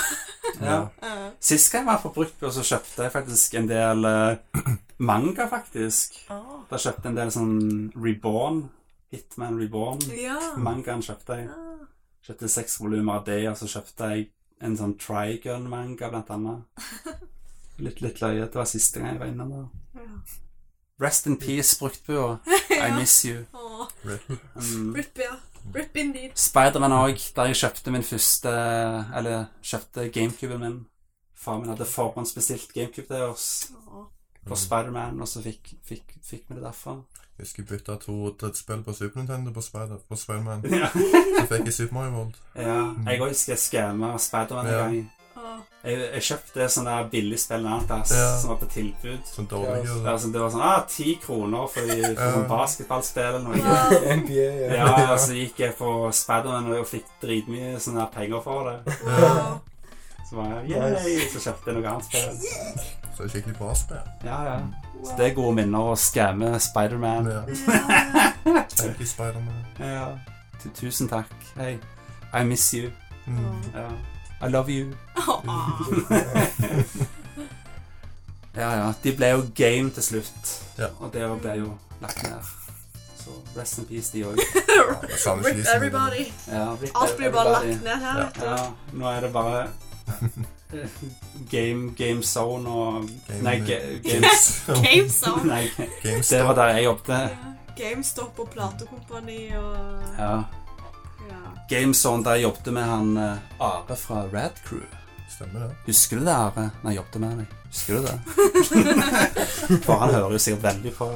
[SPEAKER 5] *laughs*
[SPEAKER 1] Ja.
[SPEAKER 5] Eh,
[SPEAKER 1] Sist gang jeg var på Bruktbua, så kjøpte jeg faktisk en del eh, *clears throat* manga, faktisk.
[SPEAKER 4] Ah.
[SPEAKER 1] Da kjøpte jeg en del sånn Reborn, Hitman Reborn.
[SPEAKER 5] Ja.
[SPEAKER 1] Mangaen kjøpte jeg.
[SPEAKER 5] Ah.
[SPEAKER 1] Kjøpte seks volumer av det, og så kjøpte jeg en sånn Trigun-manga, blant annet. Litt, litt løye. Det var siste gang jeg var innom der.
[SPEAKER 5] Ja.
[SPEAKER 1] Rest in peace, bruktbua. I miss you.
[SPEAKER 5] Åh,
[SPEAKER 1] Mm.
[SPEAKER 5] Rip, ja. Rip indeed.
[SPEAKER 1] Spiderman òg, der jeg kjøpte min første Eller kjøpte GameCuben min. Far min hadde forhåndsbestilt GameCube til oss
[SPEAKER 5] Åh.
[SPEAKER 2] Mm.
[SPEAKER 1] for Spiderman, og så fikk, fikk, fikk vi det derfra.
[SPEAKER 2] Jeg skulle bytte to drittspill på Super Nintendo på Spider- på Spiderman.
[SPEAKER 1] *laughs* Ja.
[SPEAKER 2] Så fikk jeg Super Mario World.
[SPEAKER 1] Jeg òg skal skamme Spiderman en
[SPEAKER 2] Mm. Ja.
[SPEAKER 1] gang. *laughs*
[SPEAKER 5] Åh.
[SPEAKER 1] Jeg, jeg kjøpte sånn der billig spill en annen plass
[SPEAKER 2] Ja.
[SPEAKER 1] som var på tilbud.
[SPEAKER 2] Sånn dårlig
[SPEAKER 1] Det var sånn, det var sånn ah, 10 kroner for, de, for sånn
[SPEAKER 2] Ja.
[SPEAKER 1] basketballspill eller noe.
[SPEAKER 5] Wow.
[SPEAKER 3] NBA, ja.
[SPEAKER 1] Ja, og så gikk jeg på Spiderman og fikk dritmye sånne der penger for det.
[SPEAKER 5] Wow.
[SPEAKER 1] Så var jeg, yay, så kjøpte jeg noe annet spill.
[SPEAKER 2] Så det er skikkelig bra spill.
[SPEAKER 1] Ja, ja. Så det er gode minner å skamme Spiderman.
[SPEAKER 2] Ja.
[SPEAKER 1] *laughs*
[SPEAKER 5] Ja.
[SPEAKER 2] Thank you, Spiderman.
[SPEAKER 1] Ja. Tu- Tusen takk. Hei. I miss you.
[SPEAKER 2] Mm.
[SPEAKER 1] Ja. I love you.
[SPEAKER 2] *laughs*
[SPEAKER 5] Åh.
[SPEAKER 1] Ja, ja. De ble jo game til slutt.
[SPEAKER 2] Ja.
[SPEAKER 1] Og det ble jo lagt ned. Så rest in peace, de òg.
[SPEAKER 2] Jeg savner ikke de
[SPEAKER 5] Rip
[SPEAKER 2] som
[SPEAKER 5] everybody.
[SPEAKER 1] Ja,
[SPEAKER 5] Alt blir bare
[SPEAKER 1] everybody.
[SPEAKER 5] lagt ned her, vet du.
[SPEAKER 1] Ja, nå er det bare eh, Game, game Zone og
[SPEAKER 2] Game-
[SPEAKER 1] Nei, ga,
[SPEAKER 2] *laughs*
[SPEAKER 1] games,
[SPEAKER 2] Oh,
[SPEAKER 1] *laughs*
[SPEAKER 5] GameStop.
[SPEAKER 1] nei, det var
[SPEAKER 2] GameStop.
[SPEAKER 1] der jeg jobbet.
[SPEAKER 5] Ja. GameStop og platekompani og
[SPEAKER 1] Ja.
[SPEAKER 5] ja.
[SPEAKER 1] Game Zone, der jeg jobbet med han eh, Are fra Rad Crew.
[SPEAKER 2] Stemmer det.
[SPEAKER 1] Husker du det, Are? Nei, jeg jobbet med deg. Husker du det? For han hører jo sikkert veldig på.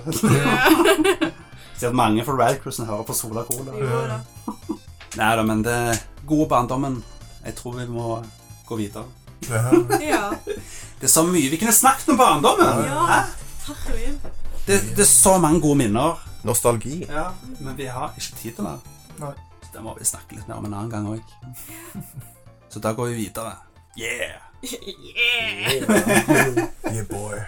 [SPEAKER 1] Sikkert mange fra Rad Crew som hører på Sola Cola.
[SPEAKER 5] Jo da.
[SPEAKER 1] Nei da, men det gode barndommen. Jeg tror vi må gå videre.
[SPEAKER 2] Ja.
[SPEAKER 5] Ja.
[SPEAKER 1] Det er så mye vi kunne snakket om barndommen!
[SPEAKER 5] Ja. Herregud.
[SPEAKER 1] Det, det er så mange gode minner.
[SPEAKER 2] Nostalgi.
[SPEAKER 1] Ja, men vi har ikke tid til det.
[SPEAKER 2] Nei.
[SPEAKER 1] Så det må vi snakke litt mer om en annen gang òg. *laughs* Så da går vi videre. Yeah!
[SPEAKER 5] Yeah.
[SPEAKER 2] Yeah, boy.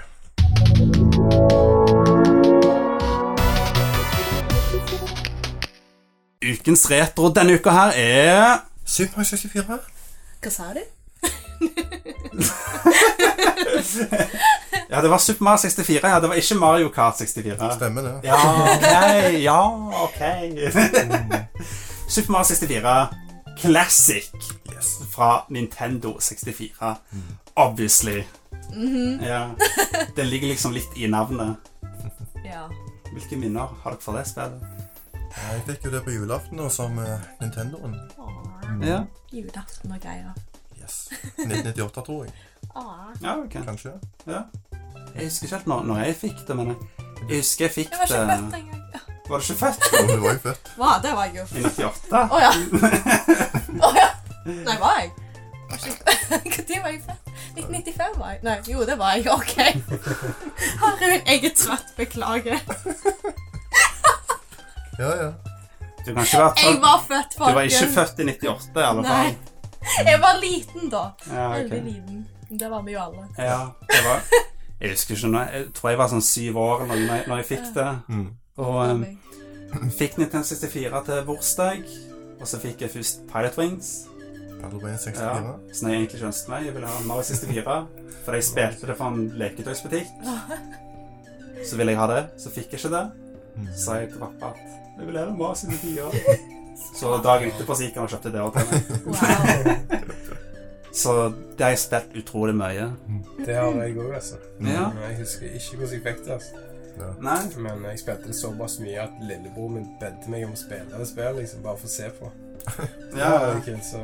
[SPEAKER 1] Ukens retro denne uka her er
[SPEAKER 2] Super Mario 64.
[SPEAKER 4] Hva sa du?
[SPEAKER 1] Ja, det var Super Mario 64. Ja, det var ikke Mario Kart 64.
[SPEAKER 2] Stemmer det.
[SPEAKER 1] Ja, ok. Ja, ok. *laughs* Super Mario 64 Classic
[SPEAKER 2] Yes.
[SPEAKER 1] fra Nintendo 64. Obviously. Ja. Den ligger liksom litt i navnet.
[SPEAKER 4] Ja.
[SPEAKER 1] Hvilke minner har dere fra det spillet?
[SPEAKER 2] Jeg fikk jo det på julaften da, som eh, Nintendoen.
[SPEAKER 1] Ja,
[SPEAKER 4] Julaften og greier.
[SPEAKER 2] Yes. 1998, tror jeg.
[SPEAKER 4] Åh.
[SPEAKER 1] ja ok.
[SPEAKER 2] Kanskje.
[SPEAKER 1] Jeg husker ikke helt når, når jeg fikk det, men jeg, jeg husker jeg fikk
[SPEAKER 4] Jeg var ikke født
[SPEAKER 1] det
[SPEAKER 4] engang. Ja.
[SPEAKER 1] Var du ikke født?
[SPEAKER 2] Jo, du var jo født.
[SPEAKER 4] Hva? Det var jeg jo.
[SPEAKER 1] I 98?
[SPEAKER 4] Å
[SPEAKER 1] *laughs*
[SPEAKER 4] ja. Å ja. Nei, var jeg? *laughs* Når var jeg født? 1995 var jeg? Nei, jo, det var jeg.
[SPEAKER 1] *laughs*
[SPEAKER 4] OK. Herregud, jeg er trøtt. Beklager.
[SPEAKER 2] Ja, ja.
[SPEAKER 1] Du kan ikke være
[SPEAKER 4] *laughs* Jeg
[SPEAKER 1] født.
[SPEAKER 4] var født,
[SPEAKER 1] Altså, Du var ikke
[SPEAKER 4] folkens.
[SPEAKER 1] født i 98, i alle fall.
[SPEAKER 4] Nei. Jeg var liten da.
[SPEAKER 1] Ja, Ah, ok.
[SPEAKER 4] Veldig liten. Det var vi jo alle.
[SPEAKER 1] ja, det var Jeg husker ikke når Jeg tror jeg var sånn syv år når, når, jeg, når jeg fikk det.
[SPEAKER 2] Mm.
[SPEAKER 1] Og em, fikk Nintendo 64 til bursdag. Og så fikk jeg først Pilot Wings.
[SPEAKER 2] Battle 64.
[SPEAKER 1] Ja, så når jeg egentlig ønsket meg, jeg ville ha en Mario 64. For jeg spilte det fra en leketøysbutikk. Så ville jeg ha det, så fikk jeg ikke det.
[SPEAKER 2] Mm.
[SPEAKER 1] Så sa jeg til pappa at jeg vil ha en Mario 64. Så dagen etterpå så gikk han og kjøpte det også til meg. *laughs*
[SPEAKER 4] Wow.
[SPEAKER 1] Så det har jeg spilt utrolig mye.
[SPEAKER 3] Det har jeg òg, altså.
[SPEAKER 1] Ja.
[SPEAKER 3] Men Jeg husker ikke hvordan jeg fikk det. altså.
[SPEAKER 1] Nei,
[SPEAKER 3] Men jeg spilte det såpass mye at lillebror min bedte meg om å spille det spillet, liksom, bare for å se på.
[SPEAKER 1] ja, ja.
[SPEAKER 3] ok, Så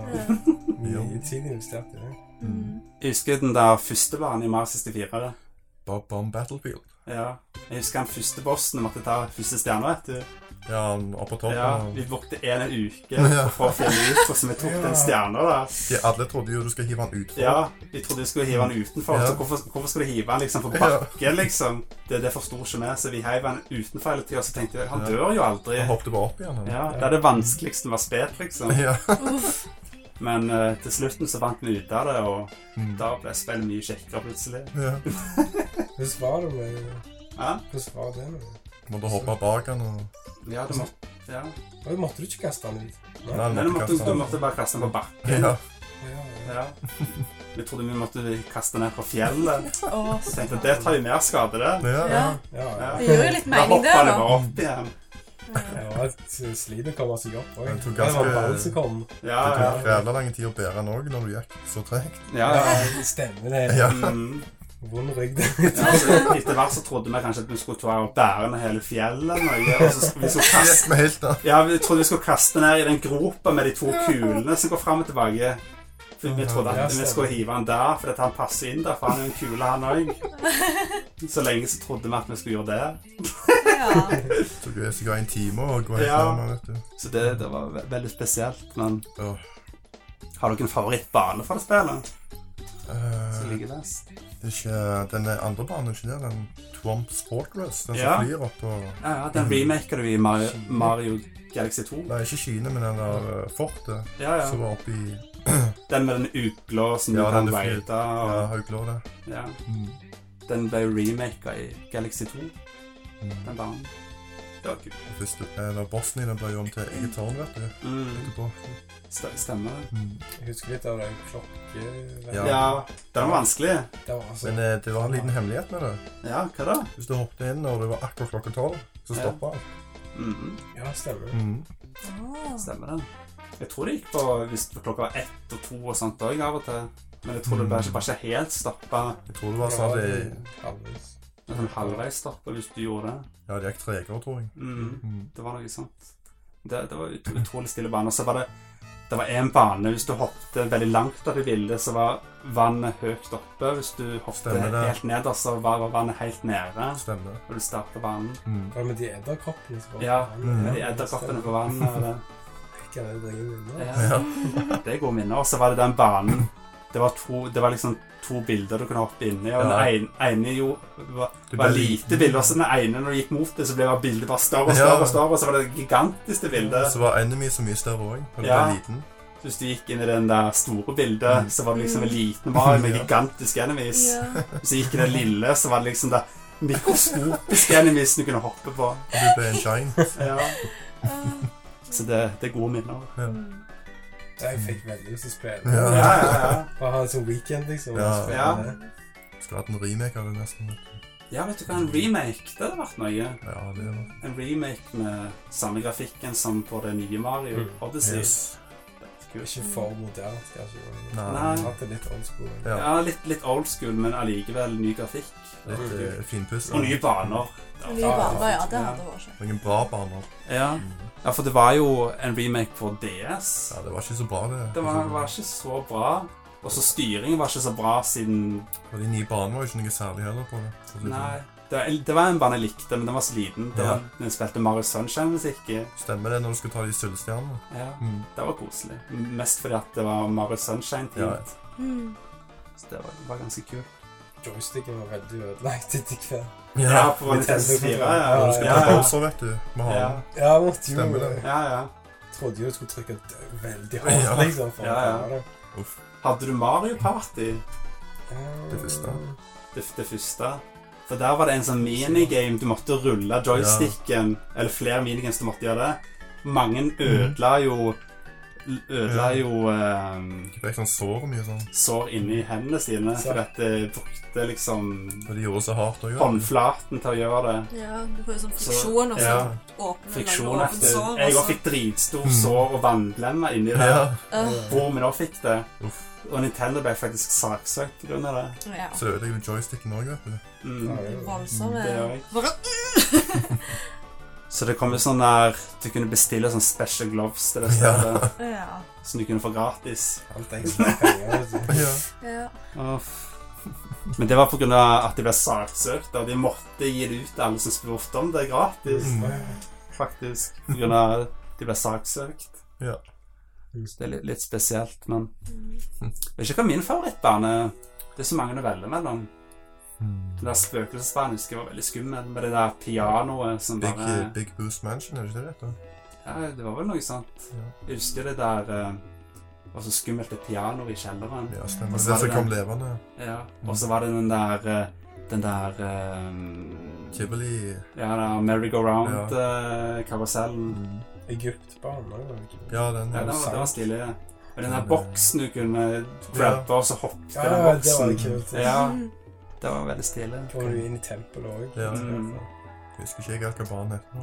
[SPEAKER 3] mye tid investert i det.
[SPEAKER 4] Mm.
[SPEAKER 1] Jeg husker den der første banen i Mario 64.
[SPEAKER 2] Bob Bomb Battlefield.
[SPEAKER 1] Ja. Jeg husker den første bossen måtte ta første stjerne, vet du.
[SPEAKER 2] Ja, han var på toppen.
[SPEAKER 1] Ja,
[SPEAKER 2] og-
[SPEAKER 1] Vi brukte en uke
[SPEAKER 2] Ja.
[SPEAKER 1] for å finne ut hvordan vi tok den stjerna der.
[SPEAKER 2] Ja, alle trodde jo du skulle hive han ut.
[SPEAKER 1] Ja, vi trodde vi skulle hive den utenfor.
[SPEAKER 2] Ja.
[SPEAKER 1] Så hvorfor, hvorfor skulle de hive den liksom på
[SPEAKER 2] Ja.
[SPEAKER 1] bakken, liksom? Det, det forsto ikke vi, så vi heiv den utenfor hele tida. Så tenkte jeg, han
[SPEAKER 2] Ja.
[SPEAKER 1] dør jo aldri.
[SPEAKER 2] Han hoppet bare opp igjen. han.
[SPEAKER 1] Ja, Det er det vanskeligste med spilt, liksom.
[SPEAKER 2] Ja.
[SPEAKER 4] Uff.
[SPEAKER 1] Men eh, til slutten så fant vi ut av det, og
[SPEAKER 2] Mm.
[SPEAKER 1] da ble spillet mye kjekkere plutselig.
[SPEAKER 2] ja.
[SPEAKER 3] Hvordan var det med
[SPEAKER 1] Ja,
[SPEAKER 3] Hvordan var det med det?
[SPEAKER 2] Måtte hoppe bak han og
[SPEAKER 1] ja det må... Ja.
[SPEAKER 3] Måtte du ikke kaste den ut?
[SPEAKER 2] Nei, han
[SPEAKER 1] Nei, du måtte,
[SPEAKER 2] kaste
[SPEAKER 1] du
[SPEAKER 2] han.
[SPEAKER 1] måtte bare kaste den på bakken.
[SPEAKER 2] Ja.
[SPEAKER 3] Ja, ja.
[SPEAKER 1] Ja. Vi trodde vi måtte kaste ned fra fjellet.
[SPEAKER 4] Å,
[SPEAKER 1] Så tenkte jeg, det tar jo mer skade, det.
[SPEAKER 2] Ja, ja.
[SPEAKER 4] Ja.
[SPEAKER 3] Ja, ja.
[SPEAKER 1] Ja.
[SPEAKER 4] Det gjør jo litt
[SPEAKER 1] Da
[SPEAKER 4] mening, det,
[SPEAKER 1] hoppa det
[SPEAKER 4] da.
[SPEAKER 1] bare opp igjen.
[SPEAKER 4] Ja.
[SPEAKER 3] Det var et slit å komme seg opp òg.
[SPEAKER 2] Jeg tok
[SPEAKER 3] Det var
[SPEAKER 2] ganske-
[SPEAKER 3] ballen som kom.
[SPEAKER 1] Ja,
[SPEAKER 2] Det
[SPEAKER 1] ja.
[SPEAKER 2] tok jævla lang tid å bære den òg, når du gikk så tregt.
[SPEAKER 1] ja.
[SPEAKER 3] Ja,
[SPEAKER 1] ja.
[SPEAKER 3] det stemmer det.
[SPEAKER 2] Ja.
[SPEAKER 1] Mm.
[SPEAKER 3] Vond rygg. *laughs*
[SPEAKER 1] Ja, så etter hvert så trodde vi kanskje at vi skulle ta og bære ned hele fjellet. Norge, og så vi skulle kaste
[SPEAKER 2] Gikk vi helt da.
[SPEAKER 1] Ja, vi trodde vi skulle kaste ned i den gropa med de to kulene som går fram og tilbake. For vi trodde
[SPEAKER 3] Ja,
[SPEAKER 1] at vi
[SPEAKER 3] stemmer.
[SPEAKER 1] skulle hive han der, fordi at han passer inn der, for han er jo en kule, han òg. Så lenge så trodde vi at vi skulle gjøre det.
[SPEAKER 4] Ja.
[SPEAKER 2] Tok jo sikkert en time å gå helt
[SPEAKER 1] Ja.
[SPEAKER 2] ned nå, vet du.
[SPEAKER 1] Så det, det var ve veldig spesielt. Men
[SPEAKER 2] Åh.
[SPEAKER 1] har dere en favorittbane fra det spillet? Som
[SPEAKER 2] Eh,
[SPEAKER 1] ligger best?
[SPEAKER 2] det er ikke den andre banen, ikke det? Den Twomps Fortress? Den som
[SPEAKER 1] Ja.
[SPEAKER 2] flyr opp på
[SPEAKER 1] Ja, ja, den remaker du i Mario, Mario Galaxy 2.
[SPEAKER 2] Nei, ikke Kine, men den der eh, fortet
[SPEAKER 1] Ja,
[SPEAKER 2] som
[SPEAKER 1] ja.
[SPEAKER 2] var oppe i
[SPEAKER 1] Den med den uglå som du
[SPEAKER 2] Ja,
[SPEAKER 1] kan
[SPEAKER 2] den du flyr.
[SPEAKER 1] veite.
[SPEAKER 2] ja,
[SPEAKER 1] og-
[SPEAKER 2] Hauglå, det.
[SPEAKER 1] Ja.
[SPEAKER 2] Mm.
[SPEAKER 1] Den ble jo remaka i Galaxy 2,
[SPEAKER 2] Mm.
[SPEAKER 1] den banen. Det var kult.
[SPEAKER 2] Først, eh, når Bosnia den ble jo om til eget tårn, vet du.
[SPEAKER 1] Mm,
[SPEAKER 2] Etterpå.
[SPEAKER 1] st- stemmer det.
[SPEAKER 2] Mm.
[SPEAKER 3] Jeg husker litt av den klokke...
[SPEAKER 2] Ja.
[SPEAKER 1] Ja, den var vanskelig.
[SPEAKER 3] Det var altså...
[SPEAKER 2] Men eh, det var en liten hemmelighet med det.
[SPEAKER 1] Ja, hva da?
[SPEAKER 2] Hvis du hoppet inn når det var akkurat klokka tolv, så
[SPEAKER 1] Ja.
[SPEAKER 2] stoppa alt.
[SPEAKER 1] Mhm,
[SPEAKER 3] Ja, stemmer.
[SPEAKER 2] Mm.
[SPEAKER 4] Å.
[SPEAKER 1] stemmer det. Jeg tror det gikk på hvis klokka var ett og to og sånt òg av og til. Men jeg tror det bare ikke, bare ikke helt stoppa.
[SPEAKER 2] Jeg tror det var sånn at det,
[SPEAKER 3] Halvvis.
[SPEAKER 1] men Sånn halvveis stoppa hvis du gjorde det.
[SPEAKER 2] ja, det gikk tregere, tror jeg.
[SPEAKER 1] Mhm,
[SPEAKER 2] Mm.
[SPEAKER 1] det var noe sånt. Det, det var ut, utrolig stille bane. Og så var det det var én bane hvis du hoppet veldig langt opp i bildet, så var vannet høyt oppe. Hvis du hoppet
[SPEAKER 2] Stemmer det.
[SPEAKER 1] helt nederst, så var, var vannet helt nede.
[SPEAKER 2] Stemmer.
[SPEAKER 1] Og du starta banen.
[SPEAKER 2] Mm.
[SPEAKER 3] Hva med de edderkoppene som var
[SPEAKER 1] Ja,
[SPEAKER 2] Mm.
[SPEAKER 1] med de edderkoppene på vannet. og det.
[SPEAKER 3] Ikke det drevet unna.
[SPEAKER 1] Ja. Det er gode minner. Og så var det den banen Det var, to, det var liksom to bilder du kunne hoppe inni. Og
[SPEAKER 2] Ja.
[SPEAKER 1] den ene, ene jo, var,
[SPEAKER 2] Det
[SPEAKER 1] var
[SPEAKER 2] ble-
[SPEAKER 1] lite bilde, og så den ene når du gikk mot det, så ble bildet bare større og
[SPEAKER 2] Ja.
[SPEAKER 1] større, og større, og så var det det gigantiske bildet.
[SPEAKER 2] Så var Enemy så mye større òg, og det
[SPEAKER 1] Ja.
[SPEAKER 2] ble liten.
[SPEAKER 1] Så Hvis du gikk inn i den der store bildet, så var det liksom en liten Mario med
[SPEAKER 2] Ja.
[SPEAKER 1] gigantiske enemies.
[SPEAKER 4] Ja.
[SPEAKER 1] Hvis du gikk i den lille, så var det liksom det mikroskopiske enemies du kunne hoppe på.
[SPEAKER 2] Du ble en giant.
[SPEAKER 1] Ja. *laughs* Så det, det er gode minner.
[SPEAKER 4] Mm.
[SPEAKER 3] Jeg fikk veldig lyst til å spille.
[SPEAKER 2] Ja.
[SPEAKER 1] Ja, ja, ja.
[SPEAKER 3] Bare ha en sånn weekend, liksom.
[SPEAKER 2] Ja.
[SPEAKER 3] og spille
[SPEAKER 1] Ja.
[SPEAKER 3] det.
[SPEAKER 2] Skulle hatt en remake av det nesten. vet du.
[SPEAKER 1] ja, vet du hva, en remake, det hadde vært noe.
[SPEAKER 2] Ja, det var
[SPEAKER 1] en remake med samme grafikken som på det nye Mario
[SPEAKER 3] Mm.
[SPEAKER 1] Odyssey.
[SPEAKER 2] Yes.
[SPEAKER 3] Ikke for modernt, kanskje.
[SPEAKER 1] Nei.
[SPEAKER 3] men-
[SPEAKER 2] Nei.
[SPEAKER 3] Hatt det litt old school.
[SPEAKER 2] Ja.
[SPEAKER 1] Ja, litt, litt old school, men allikevel ny grafikk.
[SPEAKER 2] Litt eh, finpussa.
[SPEAKER 1] Og nye baner.
[SPEAKER 4] Ny barber, ja. Det hadde vært kjekt.
[SPEAKER 2] Noen bra baner.
[SPEAKER 1] Ja.
[SPEAKER 2] Mm.
[SPEAKER 1] ja, for det var jo en remake på DS.
[SPEAKER 2] Ja, det var ikke så bra, det.
[SPEAKER 1] Det var, var ikke så bra. Og så styringen var ikke så bra siden
[SPEAKER 2] Og de nye banene var jo ikke noe særlig heller på det. Så det
[SPEAKER 1] Nei. Det, var- det var en bane jeg likte, men den var så liten. Det var,
[SPEAKER 2] Ja.
[SPEAKER 1] Den spilte Mario Sunshine-musikk i.
[SPEAKER 2] Stemmer det når du skulle ta de sølvstjernene?
[SPEAKER 1] Ja,
[SPEAKER 2] Mm.
[SPEAKER 1] det var koselig. Mest fordi at det var Mario Sunshine-tid.
[SPEAKER 2] Ja.
[SPEAKER 4] Mm.
[SPEAKER 1] Så det var, var ganske kult.
[SPEAKER 3] Joysticken var veldig ødelagt etter hvert.
[SPEAKER 1] Ja, på Nintendo 64. Ja,
[SPEAKER 2] Når du
[SPEAKER 1] ja,
[SPEAKER 2] skal
[SPEAKER 1] ja.
[SPEAKER 2] ta
[SPEAKER 1] ja.
[SPEAKER 2] Bowser, vet du. Med
[SPEAKER 1] ja.
[SPEAKER 2] halen.
[SPEAKER 3] Ja, måtte jo.
[SPEAKER 2] Stemmer det.
[SPEAKER 3] Jeg
[SPEAKER 1] ja, ja.
[SPEAKER 3] trodde jo du skulle trykke d- veldig
[SPEAKER 2] Ja.
[SPEAKER 3] hardt, liksom. For å
[SPEAKER 1] Ja, ja.
[SPEAKER 3] klare det.
[SPEAKER 2] Uff.
[SPEAKER 1] Hadde du Mario Party,
[SPEAKER 3] Ja.
[SPEAKER 2] Det første.
[SPEAKER 1] det, det første? For der var det en sånn minigame. Du måtte rulle joysticken. Eller flere minigames du måtte gjøre det. Mange ødela jo Ødela
[SPEAKER 2] Ja.
[SPEAKER 1] jo ehm,
[SPEAKER 2] Det fikk sånn sår og mye sånn.
[SPEAKER 1] sår inni hendene sine.
[SPEAKER 3] Så.
[SPEAKER 1] For at det brukte liksom
[SPEAKER 2] Og de gjorde så hardt òg.
[SPEAKER 1] håndflaten til å gjøre det.
[SPEAKER 4] Ja, du får jo sånn friksjon og
[SPEAKER 1] Ja,
[SPEAKER 4] sånn. Åpne,
[SPEAKER 1] friksjon
[SPEAKER 4] lange, åpne
[SPEAKER 1] etter
[SPEAKER 4] sår,
[SPEAKER 1] Jeg
[SPEAKER 5] altså.
[SPEAKER 1] òg
[SPEAKER 4] og så-
[SPEAKER 1] fikk dritstor
[SPEAKER 2] Mm.
[SPEAKER 1] sår og vannlemmer inni
[SPEAKER 2] Ja.
[SPEAKER 1] der.
[SPEAKER 4] Øh,
[SPEAKER 1] Hvor vi nå fikk det.
[SPEAKER 2] Uff.
[SPEAKER 1] Og Nintendo ble faktisk saksøkt pga. det.
[SPEAKER 4] Ja.
[SPEAKER 2] Så ødelegger du joysticken òg, vet du.
[SPEAKER 1] Mm.
[SPEAKER 3] Ja, jo.
[SPEAKER 4] Voldsomme
[SPEAKER 1] Det gjør jeg.
[SPEAKER 4] Bare
[SPEAKER 1] Så det kom jo sånn der Du kunne bestille sånn special gloves til det stedet
[SPEAKER 4] Ja.
[SPEAKER 1] som du kunne få gratis.
[SPEAKER 3] Alt jeg skulle penger, altså. vet du.
[SPEAKER 2] Ja.
[SPEAKER 4] ja.
[SPEAKER 1] Men det var pga. at de ble saksøkt, og de måtte gi det ut til alle som spurte om det gratis.
[SPEAKER 2] Mm.
[SPEAKER 1] Faktisk. Pga. at de ble saksøkt.
[SPEAKER 2] Ja.
[SPEAKER 1] Så det er litt, litt spesielt, men Jeg vet ikke hva min favorittbane er. Det er så mange å velge mellom.
[SPEAKER 2] Mm.
[SPEAKER 1] Den der spøkelsesbanen husker jeg var veldig skummel, med det der pianoet som
[SPEAKER 2] Big, eh,
[SPEAKER 1] bare
[SPEAKER 2] Big Boost Mansion, er det ikke det det heter?
[SPEAKER 1] Ja, det var vel noe sånt. Jeg husker det der eh, var så skummelt det pianoet i kjelleren.
[SPEAKER 2] Ja, stemmer.
[SPEAKER 1] Og så er
[SPEAKER 2] Det
[SPEAKER 1] det
[SPEAKER 2] som kom
[SPEAKER 1] den-
[SPEAKER 2] levende.
[SPEAKER 1] Ja. Og så var det den der eh, Den der eh,
[SPEAKER 2] Tivoli
[SPEAKER 1] Ja, den der eh, merry-go-round-karusellen.
[SPEAKER 2] mm.
[SPEAKER 3] Egypt-banen. var det ikke det?
[SPEAKER 2] Ja, den.
[SPEAKER 1] Ja,
[SPEAKER 2] Ja,
[SPEAKER 1] det var, det var stilig. Men den der boksen du kunne grabbe og så hoppe i
[SPEAKER 3] Ja,
[SPEAKER 1] den
[SPEAKER 3] det var
[SPEAKER 1] boksen
[SPEAKER 3] kult.
[SPEAKER 1] Ja, det var veldig stilig.
[SPEAKER 3] Kommer du inn i tempelet òg?
[SPEAKER 2] Ja.
[SPEAKER 1] Mm.
[SPEAKER 2] Husker ikke jeg helt hva banen heter. nå.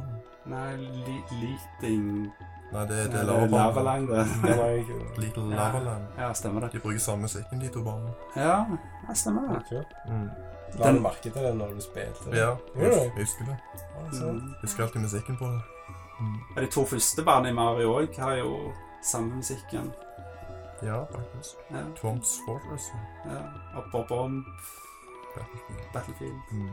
[SPEAKER 1] Nei, li Leating
[SPEAKER 2] Nei, det, det er *laughs* Lavaland.
[SPEAKER 1] Lavalang, det.
[SPEAKER 3] Den var jo kul.
[SPEAKER 2] Little Lavaland.
[SPEAKER 1] Ja, stemmer det.
[SPEAKER 2] De bruker samme musikken, de to banene.
[SPEAKER 1] Ja, ja stemmer det.
[SPEAKER 3] Kul.
[SPEAKER 2] Mm.
[SPEAKER 3] La
[SPEAKER 1] Den-
[SPEAKER 3] du merke til det når du spilte? det?
[SPEAKER 2] Ja, jeg
[SPEAKER 3] Ja.
[SPEAKER 2] hus- jeg husker det.
[SPEAKER 3] Ja, sånn.
[SPEAKER 1] Mm.
[SPEAKER 2] Jeg husker alltid musikken på det.
[SPEAKER 1] Og De to første barna i Mario òg har jo samme musikken.
[SPEAKER 2] Ja, faktisk.
[SPEAKER 1] Ja,
[SPEAKER 2] Tworms Fortress. ja.
[SPEAKER 1] ja. Og Bob Bomb,
[SPEAKER 2] Battlefield.
[SPEAKER 1] Battlefield.
[SPEAKER 2] Mm.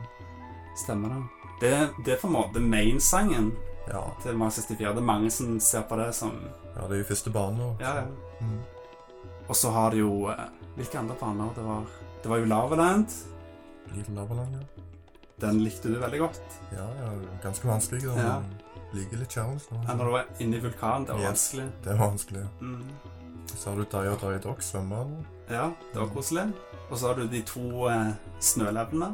[SPEAKER 1] Stemmer det. Det, det er på en måte main-sangen
[SPEAKER 2] Ja.
[SPEAKER 1] til Mario 64. Det er mange som ser på det som
[SPEAKER 2] ja, det er jo første bane nå.
[SPEAKER 1] Ja, ja.
[SPEAKER 2] Mm.
[SPEAKER 1] Og så har de jo eh, Hvilke andre baner det var? Det var jo Lavaland.
[SPEAKER 2] Little Lavaland, ja.
[SPEAKER 1] Den likte du veldig godt.
[SPEAKER 2] Ja, ja, ganske vanskelig. Da.
[SPEAKER 1] Ja.
[SPEAKER 2] Liker litt challenge nå.
[SPEAKER 1] Ja, når du var inne i vulkanen, det var
[SPEAKER 2] Yes.
[SPEAKER 1] vanskelig.
[SPEAKER 2] Det er vanskelig.
[SPEAKER 1] Mm.
[SPEAKER 2] Så har du Daya Daya Dog, svømmebanen.
[SPEAKER 1] Ja, det var koselig. Og så har du de to eh, snølevene.